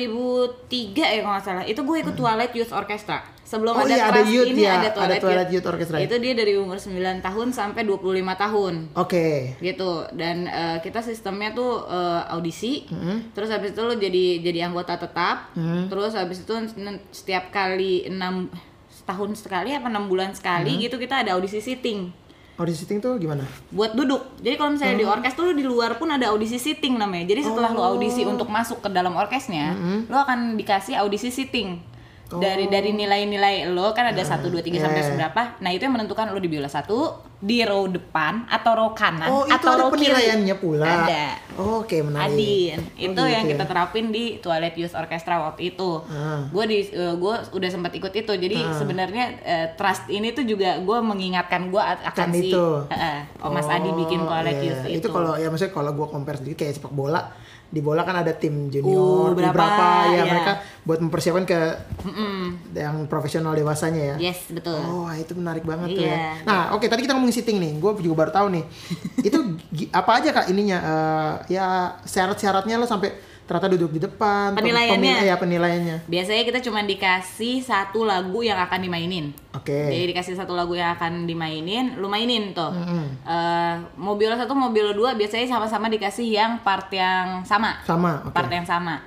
Speaker 2: 2003 ya kalau nggak salah. Itu gue ikut Twilight Youth Orchestra. Sebelum
Speaker 1: Hmm. Oh
Speaker 2: ada
Speaker 1: iya, ada
Speaker 2: Trust
Speaker 1: youth
Speaker 2: ini
Speaker 1: ya,
Speaker 2: ada
Speaker 1: ada
Speaker 2: Twilight,
Speaker 1: Twilight Youth Orchestra.
Speaker 2: Itu dia dari umur 9 tahun sampai 25 tahun
Speaker 1: oke
Speaker 2: gitu dan eh, kita sistemnya tuh eh, audisi
Speaker 1: Hmm.
Speaker 2: terus habis itu lo jadi jadi anggota tetap terus habis itu n- setiap kali enam setahun sekali apa enam bulan
Speaker 1: Hmm.
Speaker 2: sekali gitu kita ada audisi sitting
Speaker 1: audisi sitting tuh gimana
Speaker 2: buat duduk jadi kalau misalnya
Speaker 1: Oh.
Speaker 2: di orkes tuh lo di luar pun ada audisi sitting namanya jadi setelah lo audisi untuk masuk ke dalam orkesnya
Speaker 1: Mm-hmm.
Speaker 2: lo akan dikasih audisi sitting dari dari nilai-nilai lo kan ada satu dua tiga sampai
Speaker 1: Oh. yeah.
Speaker 2: seberapa nah itu yang menentukan lo di biola satu di row depan atau row kanan
Speaker 1: Oh, itu
Speaker 2: Nah, atau
Speaker 1: ada
Speaker 2: row kiri.
Speaker 1: penilaiannya pula.
Speaker 2: ada
Speaker 1: Oke, menarik.
Speaker 2: Adin
Speaker 1: Oh,
Speaker 2: itu
Speaker 1: gitu
Speaker 2: yang
Speaker 1: ya.
Speaker 2: kita terapin di Twilight Youth Orchestra waktu itu
Speaker 1: Ah.
Speaker 2: gue di gue udah sempat ikut itu jadi sebenarnya eh, trust ini tuh juga gue mengingatkan gue akan
Speaker 1: Kan
Speaker 2: si
Speaker 1: itu.
Speaker 2: Heeh, oh, Mas Adi bikin
Speaker 1: Oh,
Speaker 2: Twilight
Speaker 1: iya.
Speaker 2: Youth itu,
Speaker 1: Itu kalau ya maksudnya kalau gua compare sedikit kayak sepak bola, di bola kan ada tim
Speaker 2: U
Speaker 1: junior,
Speaker 2: berapa,
Speaker 1: beberapa
Speaker 2: iya.
Speaker 1: ya mereka buat mempersiapkan ke yang profesional dewasanya ya.
Speaker 2: yes betul
Speaker 1: Oh, itu menarik banget tuh
Speaker 2: Iya.
Speaker 1: ya. Nah, oke tadi kita ngomongin sitting nih. Gue juga baru tahu nih. itu gi- apa aja Kak ininya? Eh, ya syarat-syaratnya lo sampai ternyata duduk di depan, pem-
Speaker 2: Penilaiannya.
Speaker 1: pemil- ya penilaiannya.
Speaker 2: biasanya kita cuma dikasih satu lagu yang akan dimainin
Speaker 1: Oke.
Speaker 2: Jadi dikasih satu lagu yang akan dimainin, lu mainin tuh. Eh, mau biola satu, mau biola dua, biasanya sama-sama dikasih yang part yang sama.
Speaker 1: Sama, oke.
Speaker 2: Part yang sama.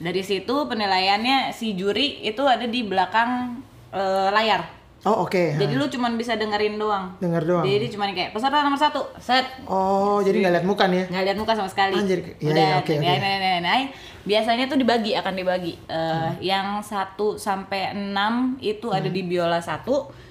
Speaker 2: Dari situ penilaiannya si juri itu ada di belakang eh, layar.
Speaker 1: Oh, oke.
Speaker 2: Jadi lu cuman bisa dengerin doang.
Speaker 1: Dengar doang.
Speaker 2: Jadi cuman kayak peserta nomor satu, set.
Speaker 1: Oh, jadi nggak lihat muka nih ya?
Speaker 2: Nggak lihat muka sama sekali.
Speaker 1: Anjir, iya,
Speaker 2: Udah,
Speaker 1: iya, oke, oke.
Speaker 2: naik, naik, naik, naik. Biasanya tuh dibagi, akan dibagi. Eh,
Speaker 1: Hmm.
Speaker 2: Yang 1 sampai 6 itu ada di biola 1,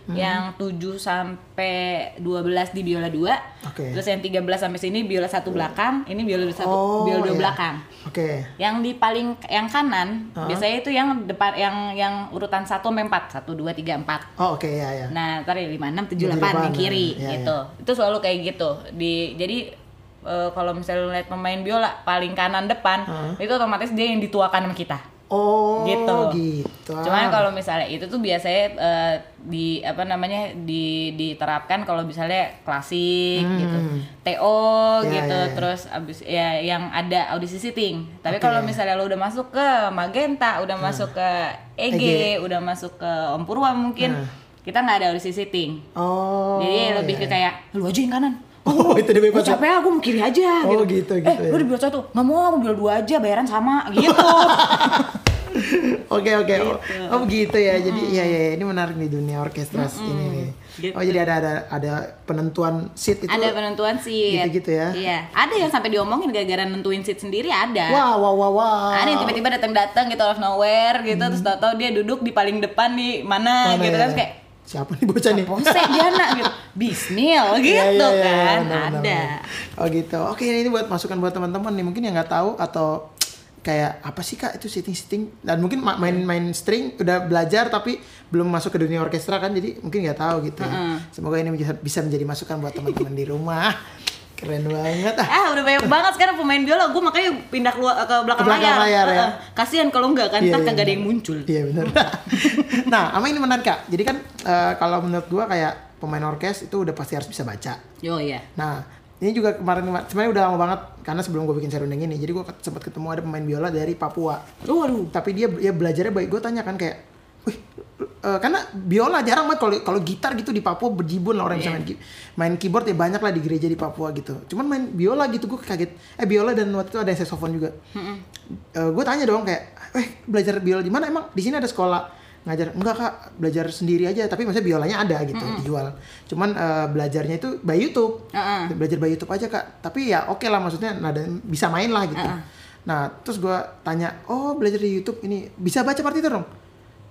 Speaker 1: Hmm.
Speaker 2: yang 7 sampai 12 di biola 2.
Speaker 1: Oke.
Speaker 2: Terus yang 13 sampai sini biola 1 belakang, ini biola 1,
Speaker 1: Oh,
Speaker 2: biola 2
Speaker 1: iya.
Speaker 2: belakang.
Speaker 1: Oke.
Speaker 2: Yang di paling yang kanan biasanya itu yang depan yang yang urutan 1 sampai 4, 1 2 3 4.
Speaker 1: Oh, oke ya ya.
Speaker 2: Nah, ntar ya 5, 6, 7,
Speaker 1: 7,
Speaker 2: 8
Speaker 1: 8,
Speaker 2: di kiri
Speaker 1: nah, iya,
Speaker 2: gitu. Itu selalu kayak gitu. Di jadi eh, kalau misalnya lu lihat pemain biola paling kanan depan, itu otomatis dia yang dituakan sama kita.
Speaker 1: Oh,
Speaker 2: Gitu.
Speaker 1: gitu.
Speaker 2: Cuman kalau misalnya itu tuh biasanya eh, di apa namanya di diterapkan kalau misalnya klasik gitu, TO
Speaker 1: Hmm. Ya,
Speaker 2: gitu,
Speaker 1: ya, ya.
Speaker 2: terus abis ya yang ada audisi sitting. Tapi kalau misalnya lo udah masuk ke Magenta,
Speaker 1: Nah.
Speaker 2: udah masuk ke EG,
Speaker 1: EG.
Speaker 2: udah masuk ke Om Purwa mungkin kita nggak ada audisi sitting.
Speaker 1: Nah. Oh.
Speaker 2: Jadi lebih
Speaker 1: iya.
Speaker 2: ke kayak lu aja yang kanan.
Speaker 1: Oh, itu dia
Speaker 2: Gue
Speaker 1: bebas.
Speaker 2: capek aku mau kiri aja
Speaker 1: Oh, gitu,
Speaker 2: gitu.
Speaker 1: gitu,
Speaker 2: Eh,
Speaker 1: ya.
Speaker 2: lu di biola satu, nggak mau aku biola dua aja bayaran sama gitu.
Speaker 1: Oke, oke. Oh, Oh, begitu ya. Jadi iya ya ini menarik di dunia orkestra ini nih. Oh, jadi ada ada ada penentuan seat itu.
Speaker 2: Gitu. ada penentuan sih.
Speaker 1: Gitu. gitu-gitu ya.
Speaker 2: Iya, ada yang sampai diomongin gara-gara nentuin seat sendiri ada.
Speaker 1: Wah, wah, wah, wah.
Speaker 2: Ada yang tiba-tiba datang-datang gitu out of nowhere gitu terus tau-tau dia duduk di paling depan nih mana,
Speaker 1: Hmm. Mana
Speaker 2: gitu
Speaker 1: ya?
Speaker 2: kan kayak
Speaker 1: siapa nih bocah nih?
Speaker 2: Pose Diana gitu. Bismil gitu
Speaker 1: Iya, iya, iya, iya,
Speaker 2: kan.
Speaker 1: benar, benar,
Speaker 2: ada.
Speaker 1: benar. Oh gitu. Oke, ini buat masukan buat teman-teman nih mungkin yang nggak tahu atau kayak apa sih kak itu sitting sitting dan mungkin ma-
Speaker 2: Iya.
Speaker 1: main-main string udah belajar tapi belum masuk ke dunia orkestra kan jadi mungkin nggak tahu gitu. ya. Semoga ini bisa, bisa menjadi masukan buat teman-teman di rumah. Keren banget ah.
Speaker 2: Ah udah banyak banget sekarang pemain biola, gue makanya pindah keluar ke belakang,
Speaker 1: Ke belakang layar, ya.
Speaker 2: Heeh. Kasihan kalau enggak kan,
Speaker 1: Iya,
Speaker 2: ntar
Speaker 1: iya,
Speaker 2: kagak ada
Speaker 1: iya.
Speaker 2: yang muncul.
Speaker 1: Iya benar. nah, ama ini menarik kak. Jadi kan eh, kalau menurut gua kayak pemain orkes itu udah pasti harus bisa baca.
Speaker 2: Yo ya.
Speaker 1: Nah, ini juga kemarin kemarin- sebenarnya udah lama banget karena sebelum gue bikin serundeng ini, jadi gue sempat ketemu ada pemain biola dari Papua.
Speaker 2: Oh, aduh.
Speaker 1: Tapi dia ya belajarnya baik. Gue tanya kan kayak, wih, eh, karena biola jarang banget kalau kalau gitar gitu di Papua berjibun lah orang yang bisa main ki- main keyboard ya banyak lah di gereja di Papua gitu. Cuman main biola gitu gue kaget. Eh biola dan waktu itu ada saxophone juga. gue tanya dong kayak, eh belajar biola di mana emang? Di sini ada sekolah ngajar enggak kak belajar sendiri aja tapi maksudnya biolanya ada gitu dijual cuman eh, belajarnya itu by YouTube
Speaker 2: Heeh.
Speaker 1: belajar by YouTube aja kak tapi ya oke lah maksudnya nada bisa main lah gitu nah terus gua tanya oh belajar di YouTube ini bisa baca partitur dong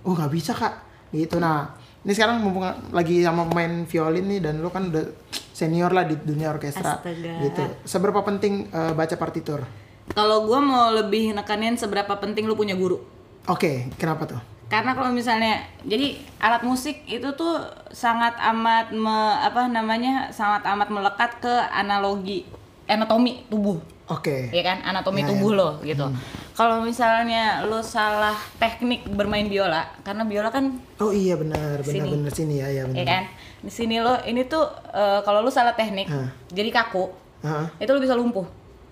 Speaker 1: oh nggak bisa kak gitu nah ini sekarang mumpung lagi sama main violin nih dan lu kan udah senior lah di dunia orkestra
Speaker 2: Astaga.
Speaker 1: gitu seberapa penting eh, baca partitur
Speaker 2: Kalau gue mau lebih nekanin seberapa penting lu punya guru.
Speaker 1: oke kenapa tuh
Speaker 2: karena kalau misalnya jadi alat musik itu tuh sangat amat me- apa namanya sangat amat melekat ke analogi anatomi tubuh
Speaker 1: Oke.
Speaker 2: ya kan anatomi
Speaker 1: Ya, ya.
Speaker 2: tubuh lo gitu kalau misalnya lo salah teknik bermain biola karena biola kan
Speaker 1: Oh iya benar,
Speaker 2: Sini.
Speaker 1: benar-benar sini ya, ya
Speaker 2: ya
Speaker 1: benar.
Speaker 2: kan di sini lo ini tuh eh, kalau lo salah teknik
Speaker 1: Hah.
Speaker 2: jadi kaku
Speaker 1: Hah?
Speaker 2: itu lo bisa lumpuh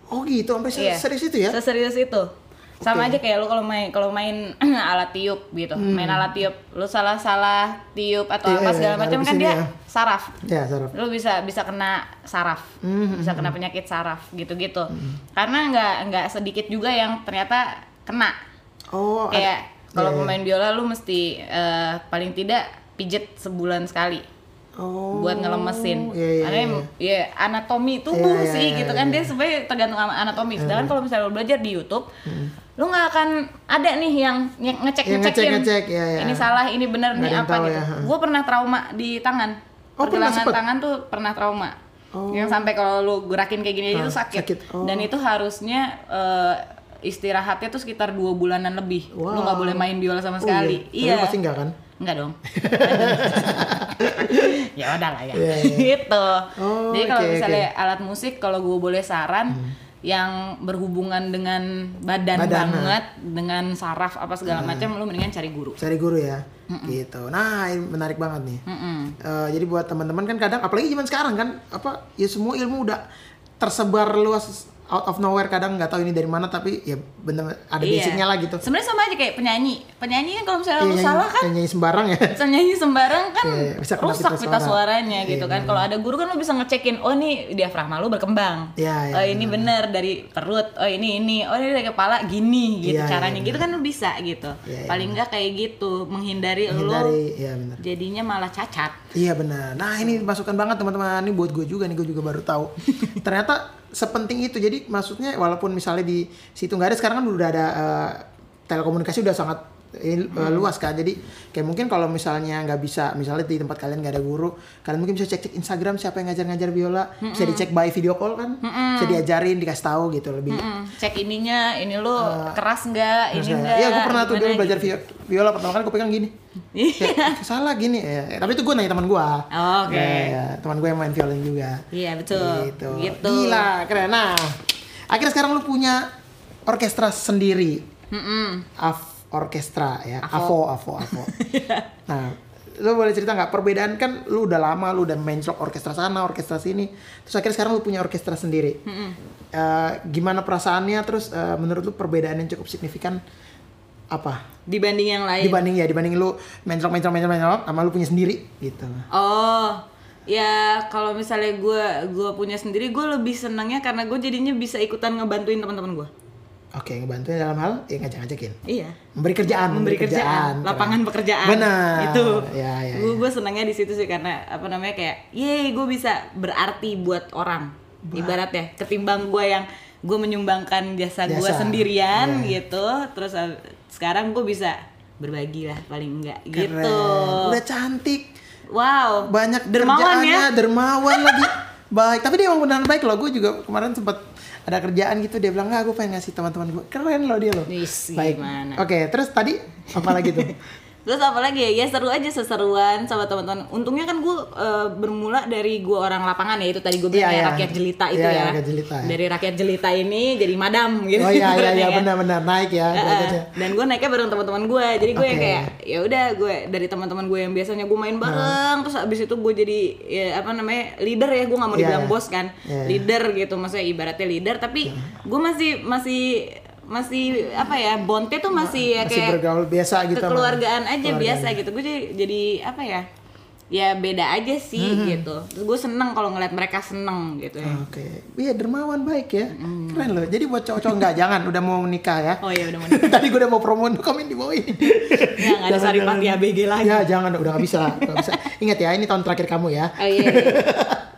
Speaker 1: Oh gitu, sampai se-
Speaker 2: Iya.
Speaker 1: serius itu ya?
Speaker 2: Seserius itu. Sama aja kayak lu kalau main kalau main alat tiup gitu. Main alat tiup, lu salah-salah tiup atau
Speaker 1: Hmm. Iya,
Speaker 2: apa
Speaker 1: iya,
Speaker 2: segala
Speaker 1: iya,
Speaker 2: macam
Speaker 1: ada di
Speaker 2: kan
Speaker 1: sini
Speaker 2: dia
Speaker 1: ya.
Speaker 2: saraf.
Speaker 1: Ya, saraf.
Speaker 2: Lu bisa bisa kena saraf.
Speaker 1: Hmm,
Speaker 2: Bisa kena penyakit saraf gitu-gitu. Karena nggak nggak sedikit juga yang ternyata kena.
Speaker 1: Oh, ada-
Speaker 2: Kayak kalau
Speaker 1: Iya, iya.
Speaker 2: pemain biola lu mesti eh, paling tidak pijet sebulan sekali
Speaker 1: oh.
Speaker 2: buat ngelemesin.
Speaker 1: Iya, iya,
Speaker 2: Karena
Speaker 1: iya.
Speaker 2: ya anatomi tubuh
Speaker 1: Iya, iya,
Speaker 2: sih
Speaker 1: iya,
Speaker 2: gitu
Speaker 1: iya.
Speaker 2: kan dia sebenarnya tergantung sama anatomi. Sedangkan kalau misalnya lo belajar di YouTube, lo nggak akan ada nih yang ngecek
Speaker 1: Hmm. Yang
Speaker 2: ngecekin.
Speaker 1: ngecek-ngecek, iya, iya.
Speaker 2: Ini salah, ini benar
Speaker 1: Nggak
Speaker 2: nih
Speaker 1: ada yang
Speaker 2: apa
Speaker 1: tahu
Speaker 2: gitu.
Speaker 1: ya, ha.
Speaker 2: Gue pernah trauma di tangan.
Speaker 1: Oh, pernah
Speaker 2: Pergelangan
Speaker 1: sempet?
Speaker 2: tangan tuh pernah trauma.
Speaker 1: Oh.
Speaker 2: Yang sampai kalau lo gerakin kayak gini aja
Speaker 1: Ah,
Speaker 2: tuh sakit.
Speaker 1: sakit. Oh.
Speaker 2: Dan itu harusnya eh, istirahatnya tuh sekitar dua bulanan lebih. Lo nggak
Speaker 1: Wow.
Speaker 2: boleh main biola sama
Speaker 1: Oh,
Speaker 2: sekali. Iya.
Speaker 1: Tapi lu pasti enggak kan?
Speaker 2: Enggak dong. ya udah lah ya.
Speaker 1: Iya, iya.
Speaker 2: gitu.
Speaker 1: Oh,
Speaker 2: Jadi kalau
Speaker 1: oke, Hmm.
Speaker 2: misalnya alat musik kalau gue boleh saran yang berhubungan dengan badan,
Speaker 1: Badan, nah.
Speaker 2: banget, dengan saraf apa segala macam lu mendingan cari guru.
Speaker 1: Cari guru ya. Gitu. Nah, ini menarik banget nih.
Speaker 2: Mm-mm.
Speaker 1: Eh, jadi buat teman-teman kan kadang apalagi zaman sekarang kan apa ya semua ilmu udah tersebar luas out of nowhere kadang nggak tahu ini dari mana tapi ya bener ada
Speaker 2: Iya.
Speaker 1: basicnya lah gitu.
Speaker 2: Sebenarnya sama aja kayak penyanyi. Penyanyi kan kalau misalnya lu
Speaker 1: Iya, nyanyi-
Speaker 2: salah kan
Speaker 1: nyanyi sembarang ya.
Speaker 2: bisa nyanyi sembarang kan
Speaker 1: Iya, bisa kena
Speaker 2: rusak
Speaker 1: pita
Speaker 2: pita
Speaker 1: suara.
Speaker 2: suaranya gitu
Speaker 1: Iya,
Speaker 2: kan. Kalau ada guru kan lo bisa ngecekin, oh ini diafragma lo berkembang.
Speaker 1: Iya, iya,
Speaker 2: oh ini bener dari perut. Oh ini ini. Oh ini dari kepala gini gitu
Speaker 1: Iya, iya,
Speaker 2: caranya.
Speaker 1: bener.
Speaker 2: gitu kan lo bisa gitu.
Speaker 1: Iya, iya,
Speaker 2: Paling enggak kayak gitu menghindari, lo
Speaker 1: Hindari ya benar.
Speaker 2: jadinya malah cacat.
Speaker 1: Iya benar. Nah ini masukan banget teman-teman. Ini buat gue juga nih. Gue juga baru tahu. Ternyata sepenting itu. Jadi maksudnya walaupun misalnya di situ nggak ada sekarang kan udah ada eh, telekomunikasi udah sangat eh, luas kan. Jadi kayak mungkin kalau misalnya nggak bisa, misalnya di tempat kalian nggak ada guru, kalian mungkin bisa cek cek Instagram siapa yang ngajar-ngajar biola. Bisa dicek by video call kan. Bisa diajarin, dikasih tahu gitu lebih.
Speaker 2: Mm, cek ininya, ini lo keras enggak, ini
Speaker 1: Terus kayak,
Speaker 2: enggak.
Speaker 1: Eh, Iya, gue pernah
Speaker 2: gimana
Speaker 1: tuh
Speaker 2: gitu. Iya.
Speaker 1: dulu belajar vi- viola pertama kali gue pegang gini. Kayak, salah gini ya. Tapi itu gue nanya teman gue.
Speaker 2: Oke.
Speaker 1: teman gue yang main violin juga.
Speaker 2: Iya betul.
Speaker 1: Gitu.
Speaker 2: Gitu.
Speaker 1: Gila, keren. Nah, akhirnya sekarang lu punya orkestra sendiri.
Speaker 2: Mm-mm.
Speaker 1: Av orkestra ya. Avo, Avo, Avo.
Speaker 2: Iya.
Speaker 1: nah, lu boleh cerita nggak perbedaan kan lu udah lama lu udah main slok orkestra sana, orkestra sini. Terus akhirnya sekarang lu punya orkestra sendiri. Eh, gimana perasaannya terus eh, menurut lu perbedaan yang cukup signifikan apa?
Speaker 2: Dibanding yang lain.
Speaker 1: Dibanding ya, dibanding lu main slok, main slok, main slok, main slok, sama lu punya sendiri gitu.
Speaker 2: Oh, ya kalau misalnya gue gua punya sendiri, gue lebih senangnya karena gue jadinya bisa ikutan ngebantuin teman-teman gue.
Speaker 1: Oke, ngebantuin dalam hal ya ngajak-ngajakin.
Speaker 2: Iya.
Speaker 1: memberi kerjaan
Speaker 2: Memberi kerjaan,
Speaker 1: Keren.
Speaker 2: lapangan pekerjaan.
Speaker 1: benar
Speaker 2: Itu.
Speaker 1: ya ya, ya.
Speaker 2: Gue gue senangnya di situ sih karena apa namanya kayak, yeay gue bisa berarti buat orang. Ibaratnya ketimbang gue yang gue menyumbangkan jasa gue
Speaker 1: Jasa. Iya.
Speaker 2: sendirian gitu, terus ah, sekarang gue bisa berbagi lah paling enggak
Speaker 1: Keren.
Speaker 2: gitu.
Speaker 1: udah cantik
Speaker 2: Wow.
Speaker 1: banyak
Speaker 2: dermawan
Speaker 1: kerjaannya,
Speaker 2: ya.
Speaker 1: dermawan lagi baik tapi dia emang benar baik loh gue juga kemarin sempat ada kerjaan gitu dia bilang nggak gue pengen ngasih teman-teman gue keren loh dia loh
Speaker 2: Wis,
Speaker 1: baik
Speaker 2: gimana?
Speaker 1: oke terus tadi apa lagi tuh
Speaker 2: Terus apalagi ya, ya seru aja seseruan sama teman-teman. Untungnya kan gue bermula dari gue orang lapangan ya itu tadi gue bilang
Speaker 1: Iya,
Speaker 2: ya,
Speaker 1: iya.
Speaker 2: rakyat jelita itu
Speaker 1: Iya,
Speaker 2: ya.
Speaker 1: iya, rakyat jelita, ya.
Speaker 2: Dari rakyat jelita ini jadi madam gitu.
Speaker 1: oh iya iya iya
Speaker 2: kan.
Speaker 1: benar-benar naik ya
Speaker 2: Heeh.
Speaker 1: derajatnya.
Speaker 2: dan gue naiknya bareng teman-teman gue jadi gue yang
Speaker 1: Oke.
Speaker 2: kayak ya udah gue dari teman-teman gue yang biasanya gue main bareng terus abis itu gue jadi ya, apa namanya leader ya gue nggak mau
Speaker 1: Iya,
Speaker 2: dibilang
Speaker 1: iya.
Speaker 2: bos kan
Speaker 1: Iya, iya.
Speaker 2: leader gitu maksudnya ibaratnya leader tapi gue masih masih masih apa ya bonte tuh masih, ya
Speaker 1: masih
Speaker 2: kayak
Speaker 1: bergaul biasa gitu sama-
Speaker 2: kekeluargaan aja
Speaker 1: keluargaan.
Speaker 2: biasa gitu gue jadi, jadi apa ya ya beda aja sih
Speaker 1: Mm-hmm.
Speaker 2: gitu terus gue seneng kalau ngeliat mereka seneng gitu ya
Speaker 1: Oke, iya dermawan baik ya,
Speaker 2: Hmm.
Speaker 1: keren loh. Jadi buat cowok-cowok nggak jangan, udah mau menikah ya.
Speaker 2: oh iya udah mau
Speaker 1: Tadi gue udah mau promoin komen di bawah ini.
Speaker 2: ya nggak ada
Speaker 1: Jangan,
Speaker 2: saripati
Speaker 1: jangan.
Speaker 2: ABG lagi
Speaker 1: Ya jangan, udah nggak bisa, nggak bisa. Ingat ya, ini tahun terakhir kamu ya.
Speaker 2: oh iya iya.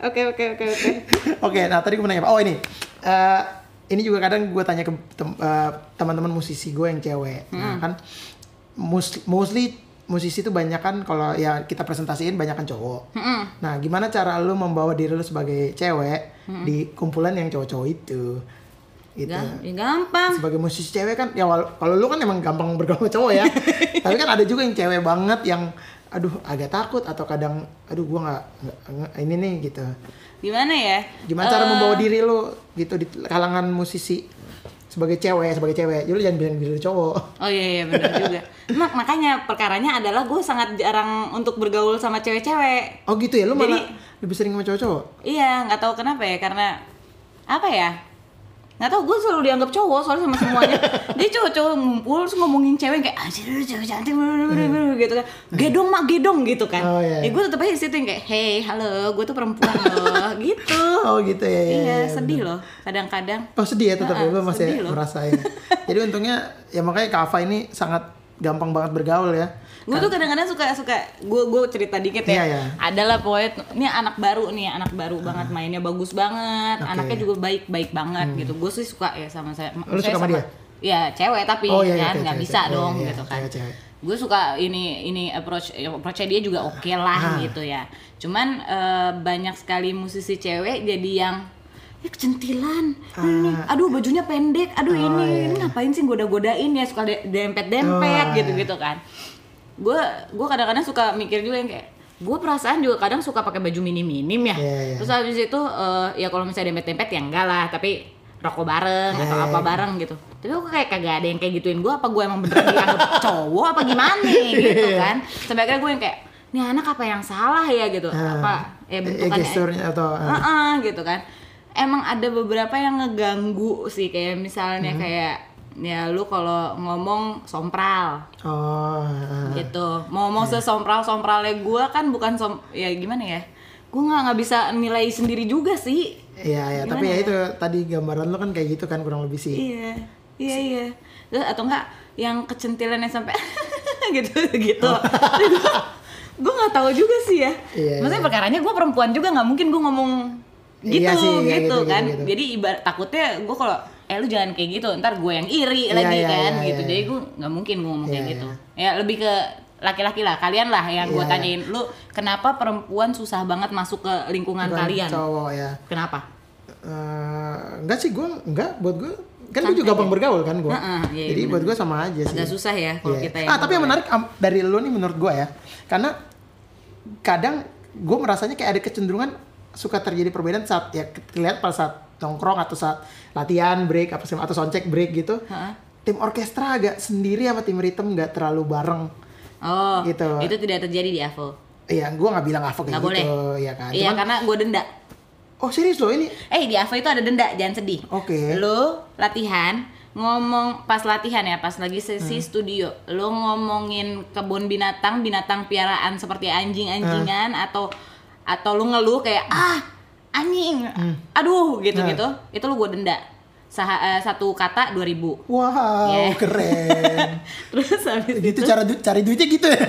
Speaker 2: oke oke oke oke
Speaker 1: Oke, nah tadi gue mau nanya, apa? oh ini, Eh, ini juga kadang gue tanya ke tem- eh, teman-teman musisi gue yang cewek, nah, kan mus- mostly musisi itu banyak kan kalau ya kita presentasiin banyak kan
Speaker 2: Hmm.
Speaker 1: cowok. Nah, gimana cara lu membawa diri lu sebagai cewek di kumpulan yang cowok-cowok itu? Gitu.
Speaker 2: Gam- ya, gampang
Speaker 1: sebagai musisi cewek kan ya wala- kalau lu kan emang gampang bergaul sama cowok ya tapi kan ada juga yang cewek banget yang aduh agak takut atau kadang aduh gua nggak nggak- nggak- ini nih gitu
Speaker 2: gimana ya
Speaker 1: gimana cara membawa diri lu gitu di kalangan musisi sebagai cewek sebagai cewek jadi lu jangan bilang diri lu cowok
Speaker 2: Oh iya iya benar juga. Mak- makanya perkaranya adalah gue sangat jarang untuk bergaul sama cewek-cewek.
Speaker 1: oh gitu ya lu
Speaker 2: Jadi-
Speaker 1: malah lebih sering sama cowok-cowok
Speaker 2: Iya, nggak tahu kenapa ya, karena apa ya? Nggak tahu, gue selalu dianggap cowok soalnya sama semuanya. Dia cowok-cowok ngumpul, terus ngomongin cewek kayak anjir lu cewek cantik blablabla," gitu kan. Gedong mak gedong gitu kan.
Speaker 1: Hmm. Oh, iya,
Speaker 2: Ya
Speaker 1: iya.
Speaker 2: gue tetap aja di situ yang kayak, "Hey, halo, gue tuh perempuan loh." gitu.
Speaker 1: oh gitu ya, ya,
Speaker 2: iya,
Speaker 1: ya,
Speaker 2: sedih loh kadang-kadang.
Speaker 1: Oh sedih ya tetap ya,
Speaker 2: Iya. Heeh,
Speaker 1: lu masih
Speaker 2: sedih loh.
Speaker 1: merasa ya. Jadi untungnya ya makanya Kava ini sangat gampang banget bergaul ya.
Speaker 2: Gue tuh kadang-kadang suka suka gue gue cerita dikit
Speaker 1: Iya,
Speaker 2: ya.
Speaker 1: iya. Ah.
Speaker 2: Adalah pokoknya t- ini anak baru nih, anak baru banget mainnya bagus banget,
Speaker 1: Oke. Hmm.
Speaker 2: anaknya juga baik-baik banget gitu. Gue sih suka ya sama saya.
Speaker 1: Lu
Speaker 2: saya
Speaker 1: suka sama dia?
Speaker 2: Iya, cewek tapi
Speaker 1: Oh, iya, iya,
Speaker 2: kan
Speaker 1: cewek,
Speaker 2: nggak
Speaker 1: cewek,
Speaker 2: bisa
Speaker 1: cewek.
Speaker 2: dong
Speaker 1: Iya, iya,
Speaker 2: gitu kan.
Speaker 1: cewek, cewek.
Speaker 2: Gue suka ini ini approach ya, approach-nya dia juga oke
Speaker 1: Ah.
Speaker 2: lah gitu ya. Cuman eh, banyak sekali musisi cewek jadi yang ya kecentilan, ini, aduh bajunya pendek, aduh
Speaker 1: Ah. Oh,
Speaker 2: ini,
Speaker 1: iya,
Speaker 2: ini ngapain sih goda-godain ya suka de- dempet-dempet
Speaker 1: Oh, iya.
Speaker 2: gitu-gitu gitu kan gue gue kadang-kadang suka mikir juga yang kayak gue perasaan juga kadang suka pakai baju minim minim ya
Speaker 1: Iya, iya.
Speaker 2: terus habis itu eh, ya kalau misalnya dempet dempet ya enggak lah tapi rokok bareng
Speaker 1: Iya,
Speaker 2: atau
Speaker 1: iya,
Speaker 2: apa
Speaker 1: iya.
Speaker 2: bareng gitu tapi gue kayak kagak ada yang kayak gituin gue apa gue emang bener dianggap cowok apa gimana gitu
Speaker 1: Iya.
Speaker 2: kan sampai akhirnya gue yang kayak nih anak apa yang salah ya gitu apa ya
Speaker 1: Eh,
Speaker 2: bentukannya
Speaker 1: gesturnya atau ah.
Speaker 2: Heeh, gitu kan emang ada beberapa yang ngeganggu sih kayak misalnya
Speaker 1: Hmm.
Speaker 2: kayak ya lu kalau ngomong sompral
Speaker 1: oh ah.
Speaker 2: gitu mau mau sesompral sompralnya gue kan bukan som ya gimana ya gue nggak nggak bisa nilai sendiri juga sih
Speaker 1: Iya ya, tapi
Speaker 2: Gimana
Speaker 1: ya itu tadi gambaran lu kan kayak gitu kan kurang lebih sih.
Speaker 2: iya iya iya Terus, atau enggak yang kecentilannya sampai gitu gitu gue nggak tahu juga sih ya
Speaker 1: Iya,
Speaker 2: maksudnya perkaranya gue perempuan juga nggak mungkin gue ngomong gitu
Speaker 1: Iya sih, iya,
Speaker 2: gitu
Speaker 1: gitu,
Speaker 2: kan
Speaker 1: gitu, gitu.
Speaker 2: jadi ibarat takutnya gue kalau eh lu jangan kayak gitu ntar gue yang iri
Speaker 1: Iya,
Speaker 2: lagi
Speaker 1: iya,
Speaker 2: kan
Speaker 1: iya,
Speaker 2: gitu
Speaker 1: iya.
Speaker 2: jadi gue nggak mungkin gue ngomong kayak
Speaker 1: Iya,
Speaker 2: gitu ya lebih ke laki-laki lah kalian lah yang gue
Speaker 1: Iya, iya.
Speaker 2: tanyain lu kenapa perempuan susah banget masuk ke lingkungan
Speaker 1: Bukan
Speaker 2: kalian
Speaker 1: Cowok ya.
Speaker 2: kenapa
Speaker 1: Eh, enggak sih gue enggak buat gue kan gue juga gampang bergaul kan gue.
Speaker 2: Heeh, iya, iya,
Speaker 1: Jadi buat gue sama aja sih.
Speaker 2: agak susah ya kalau
Speaker 1: Iya.
Speaker 2: kita yang
Speaker 1: ah tapi yang menarik am- dari lu nih menurut gue ya, karena kadang gue merasanya kayak ada kecenderungan suka terjadi perbedaan saat ya ke- kelihatan pada saat nongkrong atau saat latihan break apa sih atau soundcheck break gitu.
Speaker 2: Heeh.
Speaker 1: Tim orkestra agak sendiri sama tim ritme nggak terlalu bareng.
Speaker 2: Oh,
Speaker 1: Gitu.
Speaker 2: itu tidak terjadi di AVO.
Speaker 1: Iya, gua nggak bilang apa kayak
Speaker 2: Nggak
Speaker 1: gitu,
Speaker 2: boleh.
Speaker 1: ya kan.
Speaker 2: Iya,
Speaker 1: Cuman,
Speaker 2: karena gue denda.
Speaker 1: oh serius loh ini.
Speaker 2: Eh, di AVO itu ada denda, jangan sedih.
Speaker 1: Oke.
Speaker 2: Lo latihan, ngomong pas latihan ya, pas lagi sesi
Speaker 1: Hmm.
Speaker 2: studio, lo ngomongin kebun binatang, binatang piaraan seperti anjing-anjingan
Speaker 1: Hmm.
Speaker 2: atau atau lu ngeluh kayak ah anjing,
Speaker 1: Hmm.
Speaker 2: aduh gitu-gitu, itu lo gue denda. Saha- eh, satu kata 2000
Speaker 1: Wow,
Speaker 2: Iya.
Speaker 1: keren.
Speaker 2: Terus habis
Speaker 1: gitu cara du- cari duitnya gitu ya.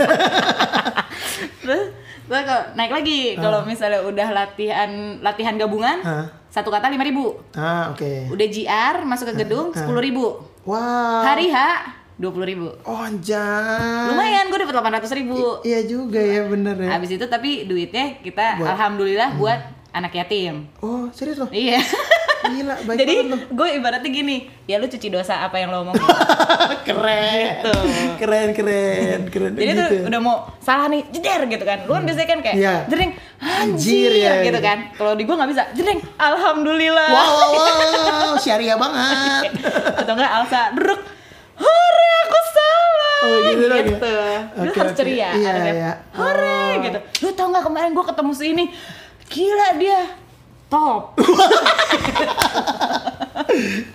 Speaker 2: terus terus kalau naik lagi kalau
Speaker 1: Hmm.
Speaker 2: misalnya udah latihan latihan gabungan
Speaker 1: Ah.
Speaker 2: satu kata lima ribu
Speaker 1: ah, oke.
Speaker 2: Ya. udah GR masuk ke gedung sepuluh ribu
Speaker 1: Wow.
Speaker 2: hari H dua puluh ribu
Speaker 1: Oh, anjay.
Speaker 2: lumayan gue dapet delapan ratus ribu
Speaker 1: Iya juga ya, bener ya.
Speaker 2: habis itu tapi duitnya kita alhamdulillah
Speaker 1: Hmm.
Speaker 2: buat anak yatim
Speaker 1: Oh, serius loh.
Speaker 2: iya
Speaker 1: Gila, baik
Speaker 2: jadi
Speaker 1: banget loh.
Speaker 2: gue ibaratnya gini ya lu cuci dosa apa yang lo omongin
Speaker 1: keren.
Speaker 2: Gitu.
Speaker 1: Keren, keren, keren.
Speaker 2: Jadi tuh
Speaker 1: gitu.
Speaker 2: udah mau salah nih, jeder gitu kan. Lu kan biasanya kan kayak
Speaker 1: Iya.
Speaker 2: jering,
Speaker 1: Anjir,
Speaker 2: anjir,
Speaker 1: iya,
Speaker 2: gitu
Speaker 1: iya.
Speaker 2: kan. Kalau di gua nggak bisa, jering, alhamdulillah.
Speaker 1: Wow, wow, wow, syariah banget.
Speaker 2: Atau enggak Alsa, druk, hore aku salah.
Speaker 1: Oh, gitu
Speaker 2: gitu.
Speaker 1: dong ya?
Speaker 2: Lu
Speaker 1: Oke,
Speaker 2: harus
Speaker 1: oke.
Speaker 2: ceria.
Speaker 1: Iya,
Speaker 2: ada kayak,
Speaker 1: iya.
Speaker 2: Hore
Speaker 1: Oh.
Speaker 2: gitu. Lu tau nggak kemarin gua ketemu si ini, gila dia top.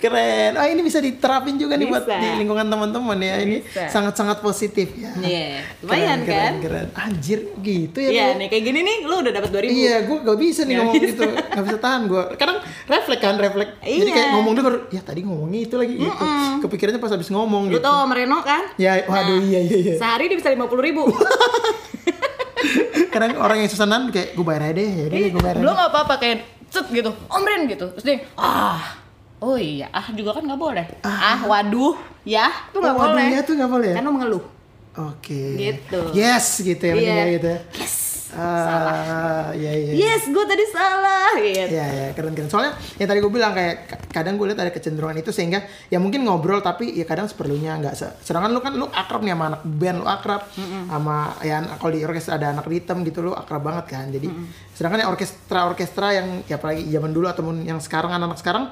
Speaker 1: Keren. Oh, ini bisa diterapin juga nih buat
Speaker 2: Bisa.
Speaker 1: di lingkungan teman-teman ya. Ini
Speaker 2: Bisa.
Speaker 1: sangat-sangat positif ya.
Speaker 2: Iya,
Speaker 1: Keren,
Speaker 2: lumayan kan?
Speaker 1: Keren, keren. Anjir, gitu ya.
Speaker 2: Iya
Speaker 1: Bu?
Speaker 2: nih kayak gini nih, lu udah dapat 2000
Speaker 1: Iya, gue gak bisa nih
Speaker 2: Nggak
Speaker 1: ngomong
Speaker 2: bisa.
Speaker 1: gitu, gak bisa tahan gue. Kadang refleks kan, refleks. Jadi
Speaker 2: Iya.
Speaker 1: kayak ngomong dulu baru, ya tadi ngomongnya itu lagi gitu. Kepikirannya pas habis ngomong
Speaker 2: Lu
Speaker 1: gitu.
Speaker 2: tau sama Reno kan?
Speaker 1: Ya, waduh, iya, iya, iya.
Speaker 2: Sehari dia bisa 50.000 ribu
Speaker 1: Kadang orang yang susanan kayak gue bayar aja deh, ya deh gue bayar. aja."
Speaker 2: belum apa-apa kayak cet gitu om Ren gitu terus dia ah oh iya ah juga kan nggak boleh ah, waduh ya tuh nggak
Speaker 1: Oh, waduh,
Speaker 2: boleh Kan
Speaker 1: ya tuh nggak boleh. ya?
Speaker 2: karena mengeluh
Speaker 1: Oke.
Speaker 2: Gitu.
Speaker 1: Yes, gitu
Speaker 2: Iya.
Speaker 1: ya, mending kayak gitu. ya.
Speaker 2: yes
Speaker 1: Ah, iya iya.
Speaker 2: Yes, gue tadi salah gitu.
Speaker 1: Iya ya keren keren. Soalnya yang tadi gue bilang kayak ka- kadang gue lihat ada kecenderungan itu sehingga ya mungkin ngobrol tapi ya kadang seperlunya nggak se- Sedangkan lu kan lu akrab nih sama anak band lu akrab sama ya anak- kalau di orkestra ada anak ritem gitu lu akrab banget kan. Jadi sedangkan yang orkestra orkestra yang ya apalagi zaman dulu ataupun yang sekarang anak-anak sekarang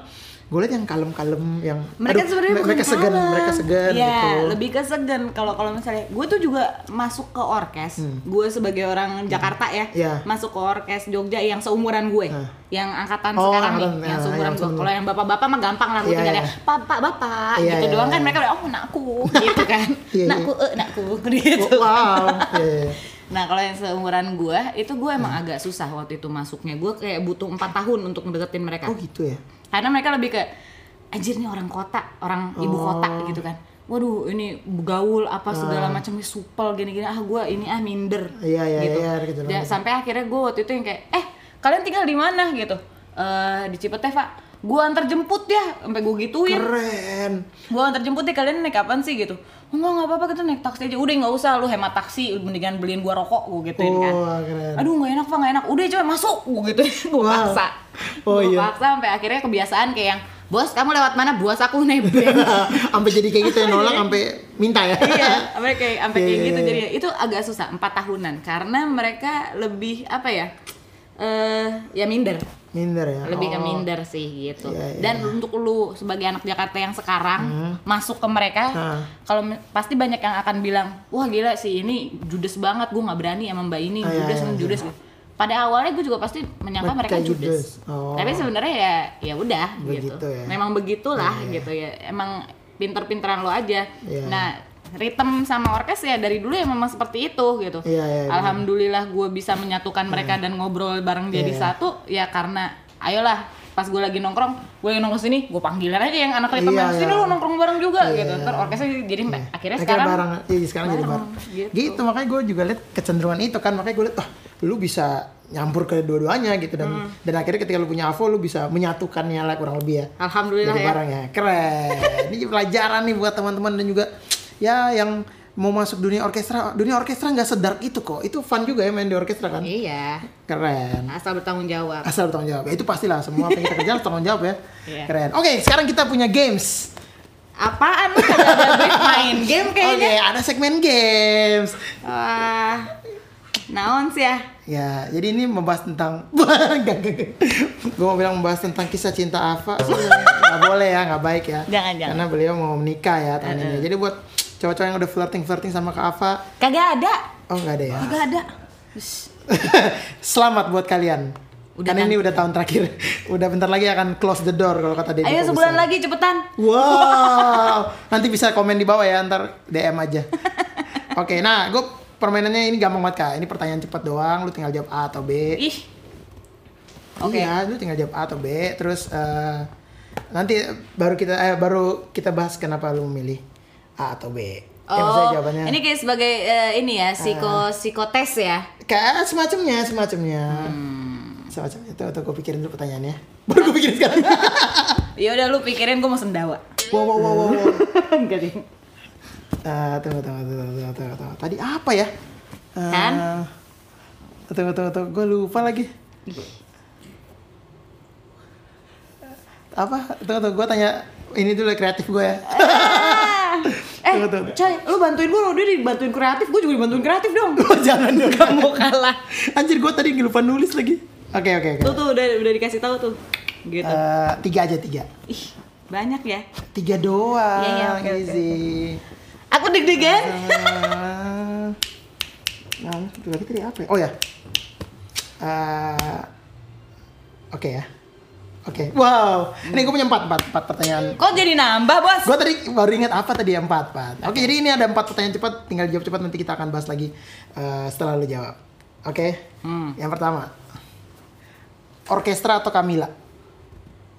Speaker 1: gue lihat yang kalem-kalem yang
Speaker 2: mereka
Speaker 1: aduh,
Speaker 2: sebenarnya
Speaker 1: me-
Speaker 2: bukan
Speaker 1: mereka segan
Speaker 2: kalem.
Speaker 1: mereka segan
Speaker 2: Iya,
Speaker 1: gitu.
Speaker 2: lebih ke segan kalau kalau misalnya gue tuh juga masuk ke orkes gue sebagai orang Jakarta ya
Speaker 1: Hmm. Iya.
Speaker 2: masuk ke orkes Jogja yang seumuran gue yang angkatan
Speaker 1: Oh,
Speaker 2: sekarang
Speaker 1: angkatan,
Speaker 2: nih
Speaker 1: ya,
Speaker 2: yang seumuran
Speaker 1: yang
Speaker 2: gue
Speaker 1: sebelum.
Speaker 2: kalau yang bapak-bapak mah gampang lah gue
Speaker 1: Iya,
Speaker 2: tinggal
Speaker 1: iya.
Speaker 2: ya bapak bapak
Speaker 1: Iya,
Speaker 2: gitu
Speaker 1: iya,
Speaker 2: doang kan
Speaker 1: iya.
Speaker 2: mereka udah oh nakku gitu kan
Speaker 1: Iya, iya.
Speaker 2: nakku eh nakku gitu
Speaker 1: Oh, Wow. Iya, iya.
Speaker 2: Nah kalau yang seumuran gue itu gue emang agak susah waktu itu masuknya gue kayak butuh empat tahun untuk ngedeketin mereka
Speaker 1: Oh gitu ya.
Speaker 2: karena mereka lebih ke anjir nih orang kota orang ibu
Speaker 1: Oh.
Speaker 2: kota gitu kan waduh ini gaul apa segala macam nih, supel gini-gini ah gue ini ah minder
Speaker 1: Ah. Iya, iya,
Speaker 2: gitu
Speaker 1: iya, ada kecenderungan
Speaker 2: Dan
Speaker 1: gitu.
Speaker 2: sampai akhirnya gue waktu itu yang kayak eh kalian tinggal di mana gitu "Eh, di Cipete pak gue antar jemput ya sampai gue gituin
Speaker 1: Keren.
Speaker 2: gue antar jemput deh kalian naik kapan sih gitu enggak nggak apa-apa kita naik taksi aja udah nggak usah lu hemat taksi mendingan beliin gua rokok gue gituin kan
Speaker 1: Wah, keren.
Speaker 2: aduh nggak enak pak nggak enak udah coba masuk gue gitu gue
Speaker 1: Wow.
Speaker 2: paksa
Speaker 1: iya. Oh,
Speaker 2: gue
Speaker 1: iya.
Speaker 2: paksa sampai akhirnya kebiasaan kayak yang bos kamu lewat mana bos aku Iya. nebeng
Speaker 1: Sampai jadi kayak gitu ya nolak sampai minta ya.
Speaker 2: iya sampai kayak sampai kayak
Speaker 1: Iya,
Speaker 2: gitu
Speaker 1: iya,
Speaker 2: jadi itu agak susah empat tahunan karena mereka lebih apa ya eh ya minder
Speaker 1: Minder ya.
Speaker 2: lebih ke
Speaker 1: Oh.
Speaker 2: minder sih gitu
Speaker 1: Iya, Hmm. iya.
Speaker 2: dan untuk lu sebagai anak Jakarta yang sekarang masuk ke mereka
Speaker 1: Hah.
Speaker 2: kalau mi- pasti banyak yang akan bilang wah gila sih ini judes banget gue nggak berani sama mbak ini
Speaker 1: Ah, iya,
Speaker 2: judes
Speaker 1: iya,
Speaker 2: ini
Speaker 1: iya.
Speaker 2: judes gitu. pada awalnya gue juga pasti menyangka
Speaker 1: Mereka
Speaker 2: mereka judes,
Speaker 1: judes. Oh.
Speaker 2: tapi sebenarnya ya ya udah gitu
Speaker 1: Begitu ya.
Speaker 2: memang begitulah gitu ya emang pinter-pinteran lo aja
Speaker 1: Iya.
Speaker 2: nah ritme sama orkes ya dari dulu ya memang seperti itu gitu
Speaker 1: Iya, iya, iya.
Speaker 2: alhamdulillah gue bisa menyatukan mereka dan ngobrol bareng jadi
Speaker 1: Iya.
Speaker 2: satu ya karena ayolah pas gue lagi nongkrong gue yang nongkrong sini gue panggilan aja yang anak ritme
Speaker 1: Iya,
Speaker 2: yang sini
Speaker 1: iya.
Speaker 2: lo nongkrong bareng juga
Speaker 1: Iya,
Speaker 2: gitu
Speaker 1: iya.
Speaker 2: ntar orkesnya jadi
Speaker 1: Iya.
Speaker 2: akhirnya, sekarang
Speaker 1: bareng, iya, sekarang jadi bareng.
Speaker 2: bareng,
Speaker 1: Gitu.
Speaker 2: gitu.
Speaker 1: makanya gue juga lihat kecenderungan itu kan, makanya gue lihat wah lu bisa nyampur ke dua-duanya gitu dan
Speaker 2: Hmm.
Speaker 1: dan akhirnya ketika lu punya Avo lu bisa menyatukannya lah kurang lebih ya.
Speaker 2: alhamdulillah
Speaker 1: Jadi
Speaker 2: ya
Speaker 1: bareng ya. Keren. Ini pelajaran nih buat teman-teman dan juga ya yang mau masuk dunia orkestra, dunia orkestra nggak sedark itu kok. Itu fun juga ya main di orkestra kan.
Speaker 2: iya
Speaker 1: Keren.
Speaker 2: asal bertanggung jawab
Speaker 1: Asal bertanggung jawab. Ya, itu pastilah semua apa yang kita kerjain harus tanggung jawab ya.
Speaker 2: Iya.
Speaker 1: Keren. Oke, sekarang kita punya games.
Speaker 2: apaan lu kagak ada duit main game
Speaker 1: Oke,
Speaker 2: kayaknya
Speaker 1: ada segmen games.
Speaker 2: wah naon sih ya
Speaker 1: Ya, jadi ini membahas tentang gue mau bilang membahas tentang kisah cinta Ava. nggak boleh ya, nggak baik ya.
Speaker 2: Jangan, jangan.
Speaker 1: Karena beliau mau menikah ya tahun ini. Jadi buat cowok-cowok yang udah flirting flirting sama Kak Ava,
Speaker 2: kagak ada
Speaker 1: oh nggak ada ya.
Speaker 2: kagak ada Shh.
Speaker 1: Selamat buat kalian.
Speaker 2: Udah
Speaker 1: Karena
Speaker 2: kan?
Speaker 1: ini udah tahun terakhir. udah bentar lagi akan close the door kalau kata Deddy.
Speaker 2: ayo
Speaker 1: Corbuzier.
Speaker 2: sebulan lagi cepetan
Speaker 1: Wow, nanti bisa komen di bawah ya, ntar DM aja. Oke, nah gue permainannya ini gampang banget kak. Ini pertanyaan cepat doang, lu tinggal jawab A atau B.
Speaker 2: ih oke.
Speaker 1: Iya, lu tinggal jawab A atau B. Terus eh, nanti baru kita eh, baru kita bahas kenapa lu memilih A atau B. Ya maksudnya jawabannya.
Speaker 2: oh,
Speaker 1: Ah.
Speaker 2: ini kayak sebagai eh, ini ya psiko psikotes ya.
Speaker 1: Kayak semacamnya, semacamnya.
Speaker 2: Hmm.
Speaker 1: Semacamnya. Tuh, tuh gue pikirin dulu pertanyaannya. Baru gue pikirin sekarang.
Speaker 2: Ya udah lu pikirin gue mau sendawa.
Speaker 1: wow, wow, wow, wow. wow.
Speaker 2: Enggak deh.
Speaker 1: Eh, tunggu, tunggu, tunggu, tunggu, tunggu, tunggu. Tadi apa ya? Eh,
Speaker 2: Kan?
Speaker 1: Tunggu, tunggu, tunggu. Gue lupa lagi. Apa? Tunggu, tunggu. Gue tanya ini dulu ya, kreatif gue ya.
Speaker 2: Eh,
Speaker 1: Tunggu, tunggu.
Speaker 2: coy, lu bantuin gue, lu dia dibantuin kreatif, gue juga dibantuin kreatif dong.
Speaker 1: Jangan dong.
Speaker 2: Gak mau kalah.
Speaker 1: Anjir, gue tadi lupa nulis lagi. Oke, oke, oke.
Speaker 2: Tuh tuh udah udah dikasih tahu tuh. Gitu.
Speaker 1: Eh, tiga aja, tiga.
Speaker 2: Ih, banyak ya.
Speaker 1: Tiga doang.
Speaker 2: Iya, iya, oke, oke.
Speaker 1: Easy.
Speaker 2: Aku deg-degan.
Speaker 1: Eh, Nah, itu lagi tadi apa ya? Oh ya. Eh, Oke ya. Oke. Wow. Ini gue punya empat, empat, empat pertanyaan.
Speaker 2: Kok jadi nambah, Bos?
Speaker 1: Gue tadi baru ingat apa tadi ya? empat, empat. Oke, jadi ini ada empat pertanyaan cepat. Tinggal jawab cepat nanti kita akan bahas lagi eh, setelah lu jawab. Oke.
Speaker 2: Hmm.
Speaker 1: Yang pertama. Orkestra atau Kamila?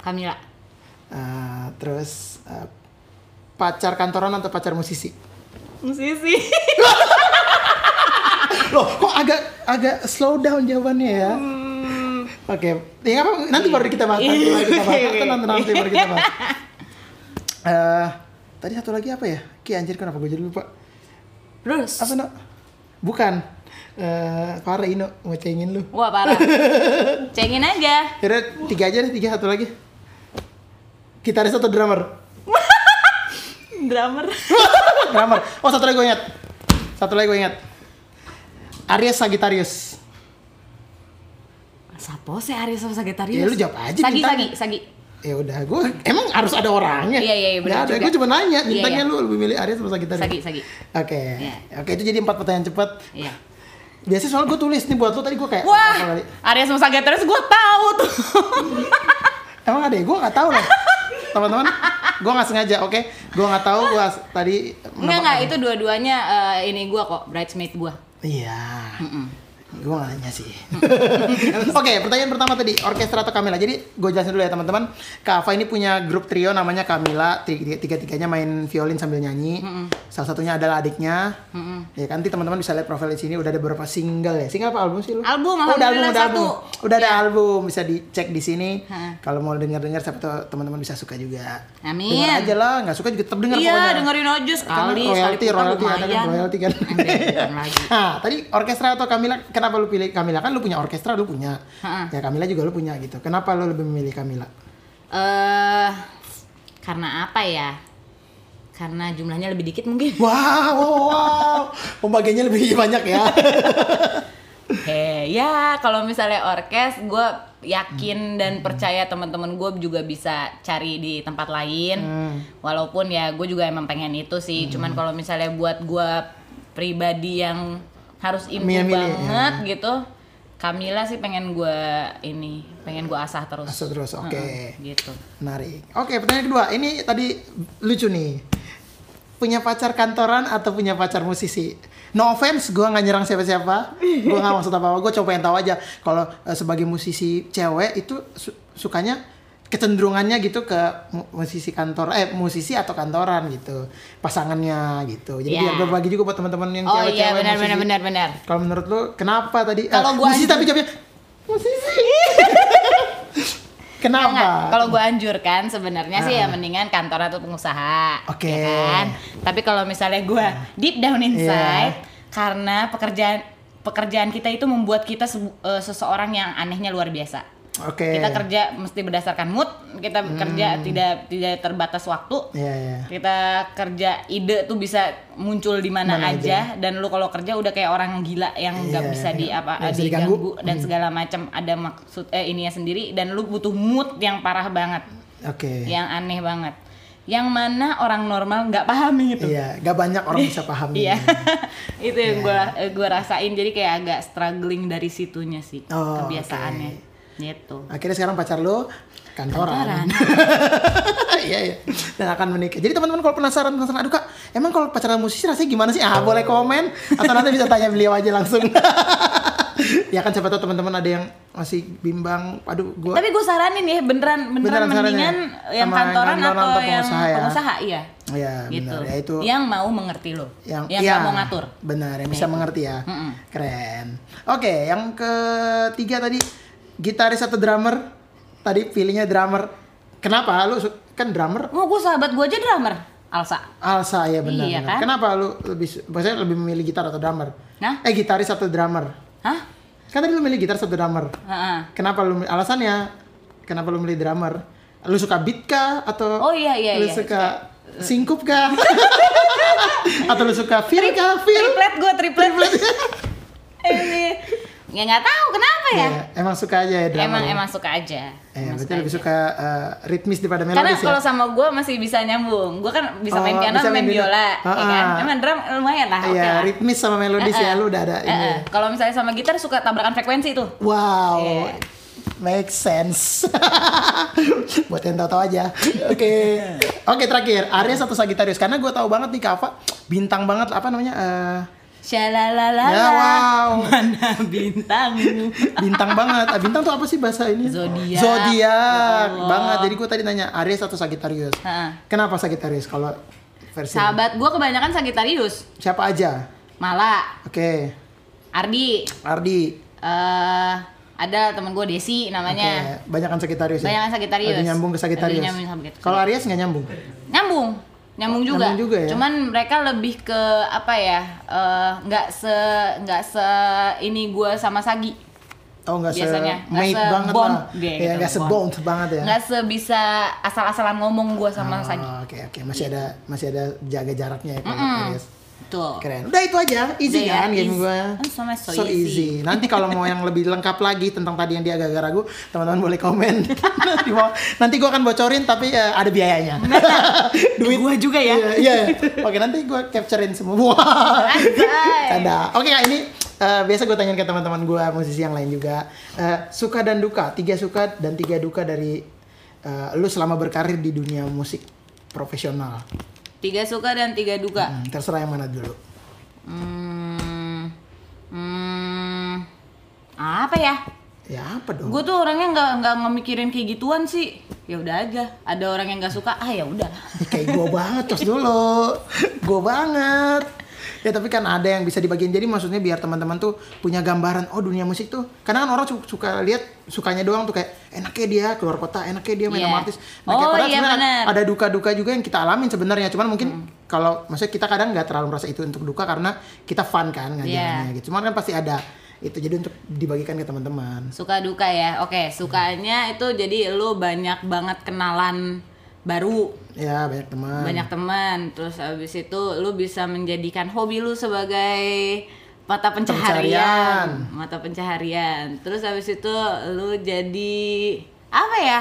Speaker 2: Kamila,
Speaker 1: Eh, terus eh, pacar kantoran atau pacar musisi?
Speaker 2: musisi.
Speaker 1: Loh, kok agak agak slow down jawabannya ya? Oke, ya apa? Nanti baru kita bahas. Nanti baru kita bahas. Atau nanti nanti baru kita bahas. Eh, tadi satu lagi apa ya? Ki anjir kenapa gue jadi lupa?
Speaker 2: Terus
Speaker 1: Apa nak? Bukan. eh parah Ino mau cengin lu.
Speaker 2: Wah parah. Cengin aja.
Speaker 1: Yaudah tiga aja deh, tiga satu lagi. Gitaris atau drummer?
Speaker 2: Drummer.
Speaker 1: drummer. Oh satu lagi gue ingat. Satu lagi gue ingat. Aries Sagittarius.
Speaker 2: Sapo sih Aries sama Sagittarius?
Speaker 1: Ya, lu jawab aja
Speaker 2: Sagi,
Speaker 1: bintangnya.
Speaker 2: Sagi, Sagi.
Speaker 1: Ya udah, gue emang harus ada orangnya.
Speaker 2: Iya, iya, iya, benar
Speaker 1: Nggak ada.
Speaker 2: juga.
Speaker 1: Gue cuma nanya,
Speaker 2: Iya,
Speaker 1: bintangnya
Speaker 2: iya.
Speaker 1: lu lebih milih Aries atau Sagittarius?
Speaker 2: Sagi, Sagi.
Speaker 1: Oke,
Speaker 2: Iya.
Speaker 1: oke itu jadi empat pertanyaan cepat.
Speaker 2: Iya.
Speaker 1: Biasanya soal gue tulis nih buat lu tadi gue kayak
Speaker 2: Wah, Aries sama Sagittarius gue tahu tuh.
Speaker 1: Emang ada ya? Gue nggak tahu loh. Teman-teman, gue nggak sengaja, oke? Gue nggak tahu gue tadi.
Speaker 2: Enggak enggak itu dua-duanya eh, ini gue kok bridesmaid gue.
Speaker 1: Iya. Gue nggak nanya sih. oke, pertanyaan pertama tadi orkestra atau Kamila. Jadi gue jelasin dulu ya teman-teman. Kak Ava ini punya grup trio namanya Kamila. Tiga- Tiga-tiganya main violin sambil nyanyi. Salah satunya adalah adiknya. Ya kan, nanti teman-teman bisa lihat profil di sini. Udah ada beberapa single ya. Single apa album sih lu?
Speaker 2: Album,
Speaker 1: Oh, udah album,
Speaker 2: alhamdulillah
Speaker 1: udah album.
Speaker 2: satu.
Speaker 1: Udah ada album bisa dicek di sini.
Speaker 2: Ha.
Speaker 1: Kalau mau dengar-dengar, siapa tahu teman-teman bisa suka juga.
Speaker 2: Amin.
Speaker 1: Dengar aja lah, nggak suka juga tetap dengar pokoknya.
Speaker 2: Iya, dengerin aja sekali,
Speaker 1: Karena
Speaker 2: sekali
Speaker 1: royalty,
Speaker 2: putar
Speaker 1: royalty, ada kan
Speaker 2: lumayan.
Speaker 1: royalty kan.
Speaker 2: Ambil bukan lagi.
Speaker 1: Nah, tadi orkestra atau Kamila, kenapa lu pilih Kamila? Kan lu punya orkestra, lu punya.
Speaker 2: Ha-ha.
Speaker 1: Ya Kamila juga lu punya gitu. Kenapa lu lebih memilih Kamila?
Speaker 2: Eh, karena apa ya? Karena jumlahnya lebih dikit mungkin.
Speaker 1: Wow, wow, wow. Pembagiannya lebih banyak ya.
Speaker 2: Heh, ya kalau misalnya orkes, gue yakin dan percaya teman-teman gue juga bisa cari di tempat lain.
Speaker 1: Hmm.
Speaker 2: Walaupun ya gue juga emang pengen itu sih. Cuman kalau misalnya buat gue pribadi yang harus improve
Speaker 1: Milih-milih, ya.
Speaker 2: banget gitu, Kamila sih pengen gue ini, pengen gue asah terus.
Speaker 1: Masuk terus, oke.
Speaker 2: Heeh, gitu.
Speaker 1: Menarik. Oke, pertanyaan kedua. Ini tadi lucu nih. Punya pacar kantoran atau punya pacar musisi? No offense, gue nggak nyerang siapa-siapa. Gue nggak maksud apa-apa. Gue coba yang tahu aja. Kalau eh, sebagai musisi cewek itu su- sukanya kecenderungannya gitu ke mu- musisi kantor eh musisi atau kantoran gitu pasangannya gitu jadi
Speaker 2: Iya.
Speaker 1: biar berbagi juga buat teman-teman yang
Speaker 2: Oh
Speaker 1: cewek-cewek
Speaker 2: iya benar
Speaker 1: musisi.
Speaker 2: benar benar benar.
Speaker 1: Kalau menurut lu kenapa tadi? eh,
Speaker 2: Kalau gua
Speaker 1: musisi
Speaker 2: anjing.
Speaker 1: tapi jawabnya musisi. kenapa?
Speaker 2: Enggak, kalau gue anjurkan sebenarnya sih ya mendingan kantor atau pengusaha.
Speaker 1: Oke. Iya.
Speaker 2: ya kan? Tapi kalau misalnya gue deep down inside karena pekerjaan pekerjaan kita itu membuat kita sebu- eh, seseorang yang anehnya luar biasa.
Speaker 1: Oke. Hmm.
Speaker 2: Kita kerja mesti berdasarkan mood, kita kerja tidak tidak terbatas waktu.
Speaker 1: Iya, iya.
Speaker 2: Kita kerja ide tuh bisa muncul di mana
Speaker 1: Mana
Speaker 2: aja dan lu kalau kerja udah kayak orang gila yang nggak
Speaker 1: Iya,
Speaker 2: bisa di
Speaker 1: iya.
Speaker 2: apa
Speaker 1: Nggak bisa
Speaker 2: diganggu
Speaker 1: diganggu. Hmm.
Speaker 2: dan segala macam ada maksud eh ininya sendiri dan lu butuh mood yang parah banget,
Speaker 1: Oke.
Speaker 2: yang aneh banget. Yang mana orang normal nggak pahami gitu.
Speaker 1: Iya, Hmm. gak banyak orang bisa paham.
Speaker 2: Iya. Itu yang gua eh, gua rasain jadi kayak agak struggling dari situnya sih
Speaker 1: Oh,
Speaker 2: kebiasaannya. Gitu.
Speaker 1: Akhirnya sekarang pacar lu
Speaker 2: Kantoran.
Speaker 1: kantoran. Iya, iya. Dan akan menikah. Jadi teman-teman kalau penasaran penasaran aduh Kak, emang kalau pacaran musisi rasanya gimana sih? Ah, boleh komen atau nanti bisa tanya beliau aja langsung. ya kan siapa tahu teman-teman ada yang masih bimbang, aduh gua
Speaker 2: Tapi gue saranin ya beneran beneran,
Speaker 1: Beneran saranin ya?
Speaker 2: mendingan yang
Speaker 1: Sama
Speaker 2: kantoran,
Speaker 1: kantoran
Speaker 2: atau,
Speaker 1: atau
Speaker 2: yang
Speaker 1: pengusaha ya?
Speaker 2: pengusaha iya.
Speaker 1: Iya,
Speaker 2: gitu.
Speaker 1: benar. Ya itu
Speaker 2: Yang mau mengerti lo, yang, yang
Speaker 1: iya,
Speaker 2: nggak mau ngatur.
Speaker 1: Benar, yang bisa mengerti ya.
Speaker 2: Mm-mm.
Speaker 1: Keren. Oke, yang ketiga tadi gitaris atau drummer? Tadi pilihnya drummer. Kenapa lu su- kan drummer?
Speaker 2: Mau gue sahabat gue aja drummer, Alsa.
Speaker 1: Alsa ya benar.
Speaker 2: Iya,
Speaker 1: benar.
Speaker 2: kan?
Speaker 1: Kenapa lu lebih su- maksudnya lebih memilih gitar atau drummer?
Speaker 2: Nah?
Speaker 1: Eh gitaris atau drummer?
Speaker 2: Hah?
Speaker 1: Kan tadi lu milih gitar atau drummer.
Speaker 2: Heeh.
Speaker 1: Kenapa lu alasannya? Kenapa lu milih drummer? Lu suka beat kah
Speaker 2: Oh
Speaker 1: atau
Speaker 2: iya iya
Speaker 1: lu
Speaker 2: iya.
Speaker 1: suka singkup kah? atau lu suka feel kah? Feel?
Speaker 2: Triplet gue triplet. Ini ya nggak tahu kenapa ya.
Speaker 1: Iya, emang suka aja ya drama.
Speaker 2: Emang
Speaker 1: ya?
Speaker 2: emang suka aja.
Speaker 1: Eh,
Speaker 2: Emang
Speaker 1: berarti
Speaker 2: suka
Speaker 1: lebih
Speaker 2: aja.
Speaker 1: suka eh, ritmis daripada
Speaker 2: Karena
Speaker 1: melodis
Speaker 2: kalau
Speaker 1: ya?
Speaker 2: sama gue masih bisa nyambung. Gue kan bisa main
Speaker 1: Oh,
Speaker 2: piano,
Speaker 1: bisa
Speaker 2: main
Speaker 1: main piano.
Speaker 2: biola, ya kan.
Speaker 1: Ah.
Speaker 2: Emang drum lumayan lah. oke
Speaker 1: Iya,
Speaker 2: lah.
Speaker 1: ritmis sama melodis ya, lu udah ada
Speaker 2: Eh,
Speaker 1: ini.
Speaker 2: eh. Kalau misalnya sama gitar suka tabrakan frekuensi tuh.
Speaker 1: Wow,
Speaker 2: Iya.
Speaker 1: make sense. Buat yang tahu-tahu aja. Oke, oke terakhir Aries atau Sagittarius karena gue tahu banget nih Kava bintang banget apa namanya? eh,
Speaker 2: Shalalala.
Speaker 1: Ya, wow.
Speaker 2: Mana bintangmu?
Speaker 1: bintang banget. Ah, Bintang tuh apa sih bahasa ini?
Speaker 2: Zodiak.
Speaker 1: Zodiak
Speaker 2: Ya Allah.
Speaker 1: banget. Jadi gue tadi nanya Aries atau Sagittarius.
Speaker 2: Ha.
Speaker 1: Kenapa Sagittarius kalau versi
Speaker 2: Sahabat gue kebanyakan Sagitarius.
Speaker 1: siapa aja?
Speaker 2: Mala,
Speaker 1: Oke.
Speaker 2: Ardi,
Speaker 1: Ardi.
Speaker 2: eh ada temen gue Desi namanya.
Speaker 1: Oke, banyakan Sagittarius. ya?
Speaker 2: Banyakan Sagittarius.
Speaker 1: Lebih nyambung ke
Speaker 2: Lebih
Speaker 1: Sagittarius.
Speaker 2: nyambung sama Sagittarius.
Speaker 1: Kalau Aries nggak nyambung.
Speaker 2: Nyambung. nyambung juga.
Speaker 1: Nyambung juga ya?
Speaker 2: Cuman mereka lebih ke apa ya? eh, nggak se nggak se ini gua sama Sagi.
Speaker 1: Oh nggak se
Speaker 2: Biasanya, nggak
Speaker 1: made
Speaker 2: se-
Speaker 1: banget
Speaker 2: bond.
Speaker 1: lah,
Speaker 2: Iya,
Speaker 1: ya
Speaker 2: gitu,
Speaker 1: nggak se
Speaker 2: bond.
Speaker 1: bond banget ya.
Speaker 2: Nggak sebisa asal-asalan ngomong gua sama
Speaker 1: Oh,
Speaker 2: Sagi.
Speaker 1: Oke oke masih ada masih ada jaga jaraknya ya kalau Aries.
Speaker 2: Tuh.
Speaker 1: Keren. Udah itu aja,
Speaker 2: Udah
Speaker 1: easy
Speaker 2: ya,
Speaker 1: kan game
Speaker 2: easy.
Speaker 1: gue.
Speaker 2: Oh, so much so easy.
Speaker 1: Nanti kalau mau yang lebih lengkap lagi tentang tadi yang dia agak-agak ragu, teman-teman boleh komen di bawah. Nanti gue akan bocorin tapi eh, ada biayanya.
Speaker 2: Duit gua juga ya.
Speaker 1: Iya, iya. Oke, nanti gue capturein semua.
Speaker 2: Nah, Anjay.
Speaker 1: Canda. Oke, Kak, ini eh, biasa gue tanyain ke teman-teman gue musisi yang lain juga. Eh, suka dan duka, tiga suka dan tiga duka dari eh, lu selama berkarir di dunia musik profesional.
Speaker 2: Tiga suka dan tiga duka.
Speaker 1: Hmm, terserah yang mana dulu.
Speaker 2: Hmm, hmm, apa ya?
Speaker 1: Ya apa dong?
Speaker 2: Gue tuh orangnya nggak nggak ngemikirin kayak gituan sih. Ya udah aja. Ada orang yang nggak suka, ah ya udah.
Speaker 1: Kayak gue banget terus dulu. gue banget. Ya tapi kan ada yang bisa dibagiin jadi maksudnya biar teman-teman tuh punya gambaran oh dunia musik tuh karena kan orang su- suka lihat sukanya doang tuh kayak enaknya dia keluar kota enaknya dia main
Speaker 2: Iya.
Speaker 1: sama artis enaknya
Speaker 2: Oh,
Speaker 1: padahal
Speaker 2: iya,
Speaker 1: sebenarnya kan
Speaker 2: benar. Hmm.
Speaker 1: ada duka-duka juga yang kita alamin sebenarnya cuman mungkin kalau maksudnya kita kadang nggak terlalu merasa itu untuk duka karena kita fun
Speaker 2: Iya.
Speaker 1: kan ngajarinnya gitu cuman kan pasti ada itu jadi untuk dibagikan ke teman-teman
Speaker 2: Suka duka ya. Oke, sukanya itu jadi lu banyak banget kenalan baru,
Speaker 1: ya banyak teman
Speaker 2: banyak teman. Terus abis itu lu bisa menjadikan hobi lu sebagai mata
Speaker 1: Pencaharian.
Speaker 2: pencaharian, mata pencaharian. Terus abis itu lu jadi apa ya?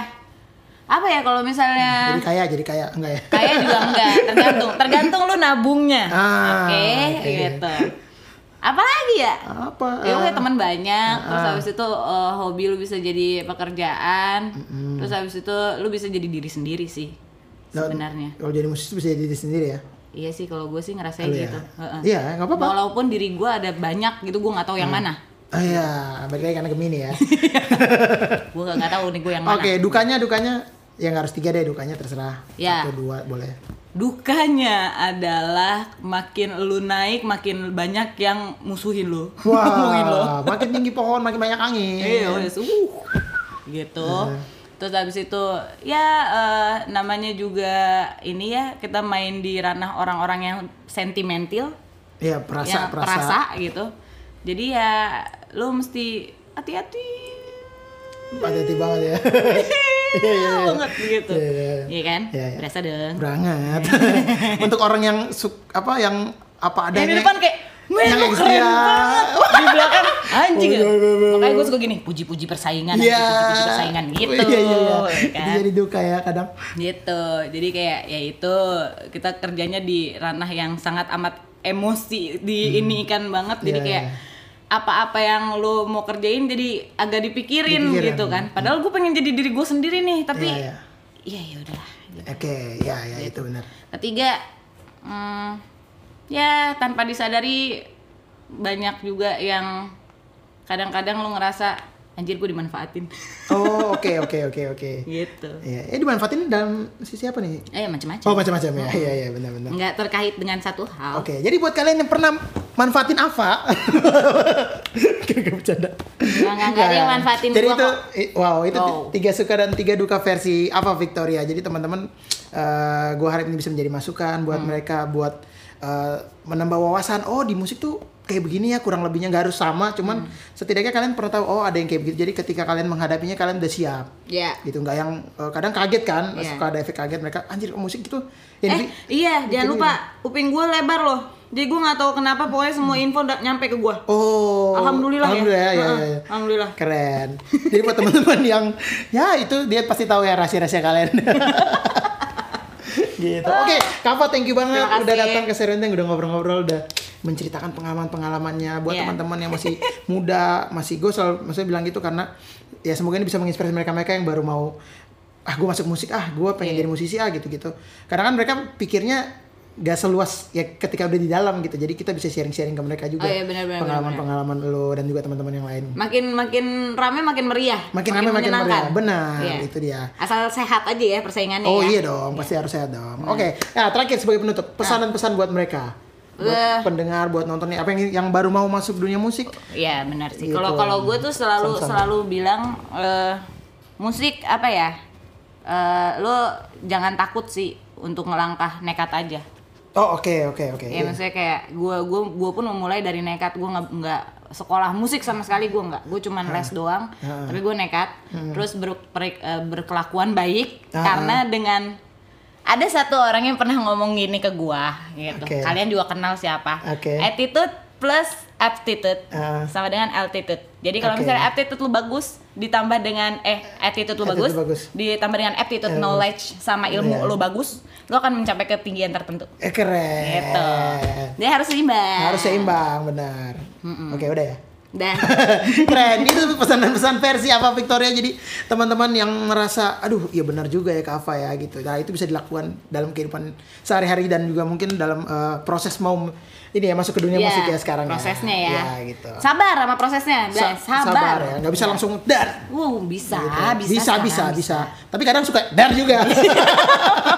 Speaker 2: Apa ya kalau misalnya
Speaker 1: jadi kaya jadi kaya enggak ya
Speaker 2: Kaya juga enggak, tergantung. Tergantung lu nabungnya.
Speaker 1: Ah,
Speaker 2: Oke,
Speaker 1: oke.
Speaker 2: gitu. Apalagi ya?
Speaker 1: apa
Speaker 2: Ya oke teman banyak, terus
Speaker 1: Ah.
Speaker 2: habis itu eh, hobi lu bisa jadi pekerjaan, terus habis itu lu bisa jadi diri sendiri sih.
Speaker 1: Nah,
Speaker 2: Sebenarnya.
Speaker 1: Kalau jadi musisi bisa jadi diri sendiri ya.
Speaker 2: Iya sih kalau gue sih ngerasain
Speaker 1: Kalau ya.
Speaker 2: gitu. Heeh.
Speaker 1: Iya, nggak apa-apa.
Speaker 2: Walaupun diri gue ada banyak gitu, gue nggak tahu yang mana.
Speaker 1: Ah iya, balik lagi karena Gemini ya.
Speaker 2: Gue nggak nggak tahu nih gue yang
Speaker 1: Oke,
Speaker 2: mana.
Speaker 1: dukanya dukanya ya nggak harus tiga deh dukanya terserah.
Speaker 2: Ya.
Speaker 1: Satu dua boleh.
Speaker 2: Dukanya adalah makin lu naik, makin banyak yang musuhin lu, ngomongin lu.
Speaker 1: Wah, makin tinggi pohon makin banyak angin.
Speaker 2: Iya, wes, uh, gitu.
Speaker 1: Iya.
Speaker 2: Terus habis itu ya eh, namanya juga ini ya kita main di ranah orang-orang yang sentimental,
Speaker 1: Iya, perasa
Speaker 2: yang
Speaker 1: perasa.
Speaker 2: perasa gitu. Jadi ya lu mesti hati-hati
Speaker 1: Hati-hati banget ya.
Speaker 2: banget gitu.
Speaker 1: Iya, iya, iya.
Speaker 2: Iya kan?
Speaker 1: Iya, iya.
Speaker 2: Berasa dong.
Speaker 1: Berangat. Untuk orang yang suk- apa yang apa
Speaker 2: Yang
Speaker 1: adanya.
Speaker 2: Eh, di depan kayak Wih,
Speaker 1: Yang
Speaker 2: lu keren
Speaker 1: ekstra."
Speaker 2: banget. Di belakang anjing. ya.
Speaker 1: Iya, iya, iya,
Speaker 2: Makanya gue suka gini, puji-puji persaingan,
Speaker 1: Iya.
Speaker 2: puji-puji persaingan gitu.
Speaker 1: Iya, iya, iya.
Speaker 2: ya
Speaker 1: Itu
Speaker 2: kan?
Speaker 1: Jadi duka ya kadang.
Speaker 2: gitu jadi kayak ya itu kita kerjanya di ranah yang sangat amat emosi di ini ikan banget jadi
Speaker 1: Hmm. Iya,
Speaker 2: kayak
Speaker 1: iya.
Speaker 2: apa-apa yang lo mau kerjain jadi agak dipikirin,
Speaker 1: Dipikirin.
Speaker 2: gitu kan padahal gue pengen jadi diri gue sendiri nih tapi
Speaker 1: Iya, iya.
Speaker 2: iya ya udahlah
Speaker 1: Oke, ya ya itu benar.
Speaker 2: ketiga hmm, ya tanpa disadari banyak juga yang kadang-kadang lo ngerasa anjir gue dimanfaatin
Speaker 1: Oh, oke oke oke oke.
Speaker 2: gitu
Speaker 1: Iya, eh dimanfaatin dalam sisi apa nih?
Speaker 2: eh macam-macam
Speaker 1: Oh, macam-macam ya. Iya, iya benar-benar.
Speaker 2: nggak terkait dengan satu hal
Speaker 1: Oke, jadi buat kalian yang pernah manfaatin Ava, kagak bercanda.
Speaker 2: Enggak, enggak, enggak ada yang manfaatin
Speaker 1: Jadi
Speaker 2: gua
Speaker 1: itu,
Speaker 2: kok. Oh.
Speaker 1: i- wow, itu
Speaker 2: Wow.
Speaker 1: tiga suka dan tiga duka versi Ava Victoria. Jadi teman-teman, eh gue harap ini bisa menjadi masukan buat
Speaker 2: Hmm.
Speaker 1: mereka buat eh, menambah wawasan. Oh, di musik tuh kayak begini ya, kurang lebihnya nggak harus sama, cuman
Speaker 2: Hmm.
Speaker 1: setidaknya kalian pernah tahu oh ada yang kayak begitu. Jadi ketika kalian menghadapinya kalian udah siap.
Speaker 2: ya
Speaker 1: gitu nggak yang eh, kadang kaget kan
Speaker 2: Iya.
Speaker 1: suka ada efek kaget mereka anjir oh, musik gitu ya,
Speaker 2: Eh,
Speaker 1: di-
Speaker 2: iya,
Speaker 1: Jadi-
Speaker 2: jangan lupa kuping gue lebar loh. Jadi gue nggak tahu kenapa pokoknya semua info udah nyampe ke gue.
Speaker 1: oh
Speaker 2: Alhamdulillah,
Speaker 1: alhamdulillah ya,
Speaker 2: ya.
Speaker 1: ya, ya.
Speaker 2: Alhamdulillah.
Speaker 1: keren jadi buat teman-teman yang ya itu dia pasti tahu ya rahasia-rahasia kalian gitu oke Kava thank you banget
Speaker 2: Ah. Terima kasih.
Speaker 1: udah datang ke Serenteng udah ngobrol-ngobrol udah menceritakan pengalaman-pengalamannya buat
Speaker 2: Iya.
Speaker 1: teman-teman yang masih muda masih gue selalu maksudnya bilang gitu karena ya semoga ini bisa menginspirasi mereka-mereka yang baru mau ah gue masuk musik ah gue pengen
Speaker 2: Iya.
Speaker 1: jadi musisi ah gitu-gitu karena kan mereka pikirnya gak seluas ya ketika udah di dalam gitu jadi kita bisa sharing-sharing ke mereka
Speaker 2: Oh,
Speaker 1: juga
Speaker 2: iya, benar-benar,
Speaker 1: pengalaman-pengalaman lo dan juga teman-teman yang lain
Speaker 2: Makin makin rame makin meriah.
Speaker 1: makin ramai makin
Speaker 2: menyenangkan.
Speaker 1: meriah benar
Speaker 2: Iya.
Speaker 1: itu dia
Speaker 2: Asal sehat aja ya persaingannya
Speaker 1: Oh
Speaker 2: ya. Iya. Ah.
Speaker 1: iya dong, pasti harus sehat dong. Oke, nah, terakhir sebagai penutup, pesanan-pesan buat mereka, buat
Speaker 2: Eh.
Speaker 1: pendengar, buat nontonnya, apa yang yang baru mau masuk dunia musik?
Speaker 2: Iya benar sih.
Speaker 1: Gitu.
Speaker 2: Kalau kalau gue tuh selalu
Speaker 1: Sama-sama.
Speaker 2: selalu bilang eh, musik apa ya? Eh, lo jangan takut sih untuk ngelangkah nekat aja
Speaker 1: Oh oke oke oke.
Speaker 2: ya maksudnya kayak gue gua gua pun memulai dari nekat gue nggak nggak sekolah musik sama sekali gue nggak gue cuman les doang tapi gue nekat
Speaker 1: Hmm.
Speaker 2: terus ber- per- eh, berkelakuan baik
Speaker 1: Ah.
Speaker 2: karena dengan ada satu orang yang pernah ngomong gini ke gue gitu
Speaker 1: Oke.
Speaker 2: kalian juga kenal siapa
Speaker 1: Oke.
Speaker 2: attitude plus aptitude
Speaker 1: Ah.
Speaker 2: sama dengan altitude jadi kalau
Speaker 1: Oke.
Speaker 2: misalnya aptitude lu bagus ditambah dengan eh attitude lu bagus,
Speaker 1: Attitude bagus.
Speaker 2: ditambah dengan aptitude
Speaker 1: Ilmu.
Speaker 2: knowledge sama ilmu
Speaker 1: Iya.
Speaker 2: lu bagus lu akan mencapai ketinggian tertentu
Speaker 1: Eh keren.
Speaker 2: gitu jadi harus seimbang
Speaker 1: Harus ya. seimbang benar. Oke udah ya.
Speaker 2: dah
Speaker 1: Keren, itu pesan-pesan versi apa Victoria Jadi teman-teman yang merasa Aduh, ya benar juga ya Kak Ava ya gitu Nah itu bisa dilakukan dalam kehidupan sehari-hari Dan juga mungkin dalam eh, proses mau m- Ini ya masuk ke dunia
Speaker 2: Iya,
Speaker 1: musik ya sekarang
Speaker 2: prosesnya ya,
Speaker 1: gitu
Speaker 2: sabar sama prosesnya
Speaker 1: Sa-
Speaker 2: Blas. sabar,
Speaker 1: ya, nggak bisa langsung dar
Speaker 2: wow bisa,
Speaker 1: gitu.
Speaker 2: bisa
Speaker 1: bisa,
Speaker 2: Sarah,
Speaker 1: bisa, bisa. Tapi kadang suka dar juga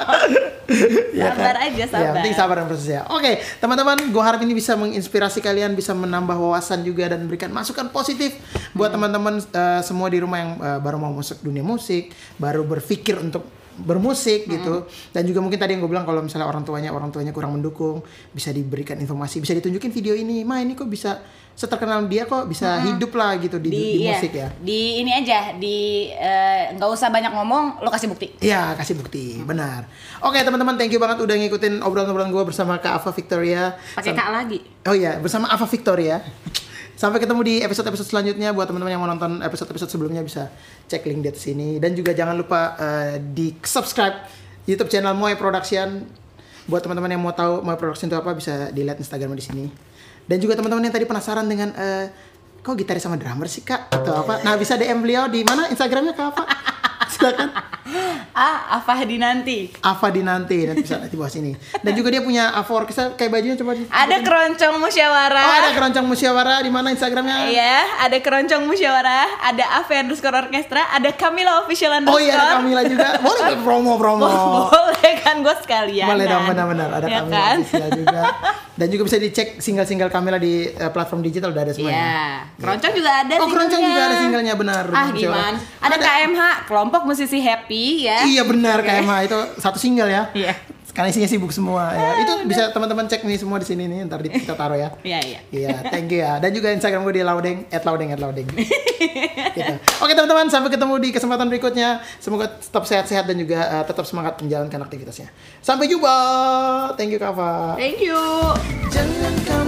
Speaker 1: Ya
Speaker 2: sabar
Speaker 1: kan?
Speaker 2: aja Iya,
Speaker 1: Ya,
Speaker 2: sabar
Speaker 1: penting sabar dan prosesnya. Oke, teman-teman, gue harap ini bisa menginspirasi kalian, bisa menambah wawasan juga dan berikan masukan positif buat
Speaker 2: Hmm.
Speaker 1: teman-teman eh, semua di rumah yang eh, baru mau masuk dunia musik, baru berpikir untuk bermusik gitu.
Speaker 2: Hmm.
Speaker 1: Dan juga mungkin tadi yang gue bilang kalau misalnya orang tuanya orang tuanya kurang mendukung, bisa diberikan informasi, bisa ditunjukin video ini, ma ini kok bisa seterkenal dia kok bisa hidup lah gitu di,
Speaker 2: Hmm. di,
Speaker 1: di
Speaker 2: iya,
Speaker 1: musik ya.
Speaker 2: di ini aja di eh, nggak usah banyak ngomong lo kasih bukti
Speaker 1: Ya, kasih bukti. Benar. Oke, teman-teman, thank you banget udah ngikutin obrolan-obrolan gue bersama Kak Ava Victoria.
Speaker 2: pakai kak lagi
Speaker 1: Oh iya, bersama Ava Victoria. Sampai ketemu di episode-episode selanjutnya buat teman-teman yang mau nonton episode-episode sebelumnya bisa cek link di atas sini dan juga jangan lupa eh, di subscribe YouTube channel Moe Production. Buat teman-teman yang mau tahu Moe Production itu apa bisa dilihat Instagram di sini. Dan juga teman-teman yang tadi penasaran dengan eh, kok gitaris sama drummer sih kak atau apa? Nah bisa DM beliau di mana Instagramnya kak apa? Silakan.
Speaker 2: ah apa di nanti
Speaker 1: Ava Dinanti nanti bisa lihat di bawah sini. Dan juga dia punya Avor kayak bajunya coba. di-
Speaker 2: ada keroncong
Speaker 1: Oh ada
Speaker 2: musyawarah
Speaker 1: keroncong musyawarah di mana Instagramnya?
Speaker 2: Iya, ada keroncong musyawarah, ada Ave underscore orkestra, ada Camila official
Speaker 1: Oh
Speaker 2: underscore.
Speaker 1: iya ada Kamila juga. Boleh boleh, promo promo.
Speaker 2: Oh, Boleh kan gue sekalian.
Speaker 1: Oh. Boleh dong benar-benar ada
Speaker 2: ya
Speaker 1: Kamila
Speaker 2: kan?
Speaker 1: Priscilla juga. Dan juga bisa dicek single-single Kamila di eh, platform digital udah ada
Speaker 2: Iya.
Speaker 1: semuanya.
Speaker 2: Keroncong juga ada
Speaker 1: Oh keroncong
Speaker 2: singlenya.
Speaker 1: juga ada singlenya benar.
Speaker 2: Ah
Speaker 1: Betul.
Speaker 2: gimana? Ada, KMH, kelompok musisi happy ya.
Speaker 1: Iya benar KMH itu satu single ya.
Speaker 2: Iya.
Speaker 1: Karena isinya sibuk
Speaker 2: Ah,
Speaker 1: semua ya. Itu bisa teman-teman cek nih semua di sini nih ntar di- kita taruh ya.
Speaker 2: Iya, iya.
Speaker 1: Iya, thank you ya. Dan juga Instagram gue di laudeng, at laudeng, at laudeng. gitu. Oke teman-teman, sampai ketemu di kesempatan berikutnya. Semoga tetap sehat-sehat dan juga eh, tetap semangat menjalankan aktivitasnya. Sampai jumpa. Thank you, Kava.
Speaker 2: Thank you.
Speaker 1: Jangan kamu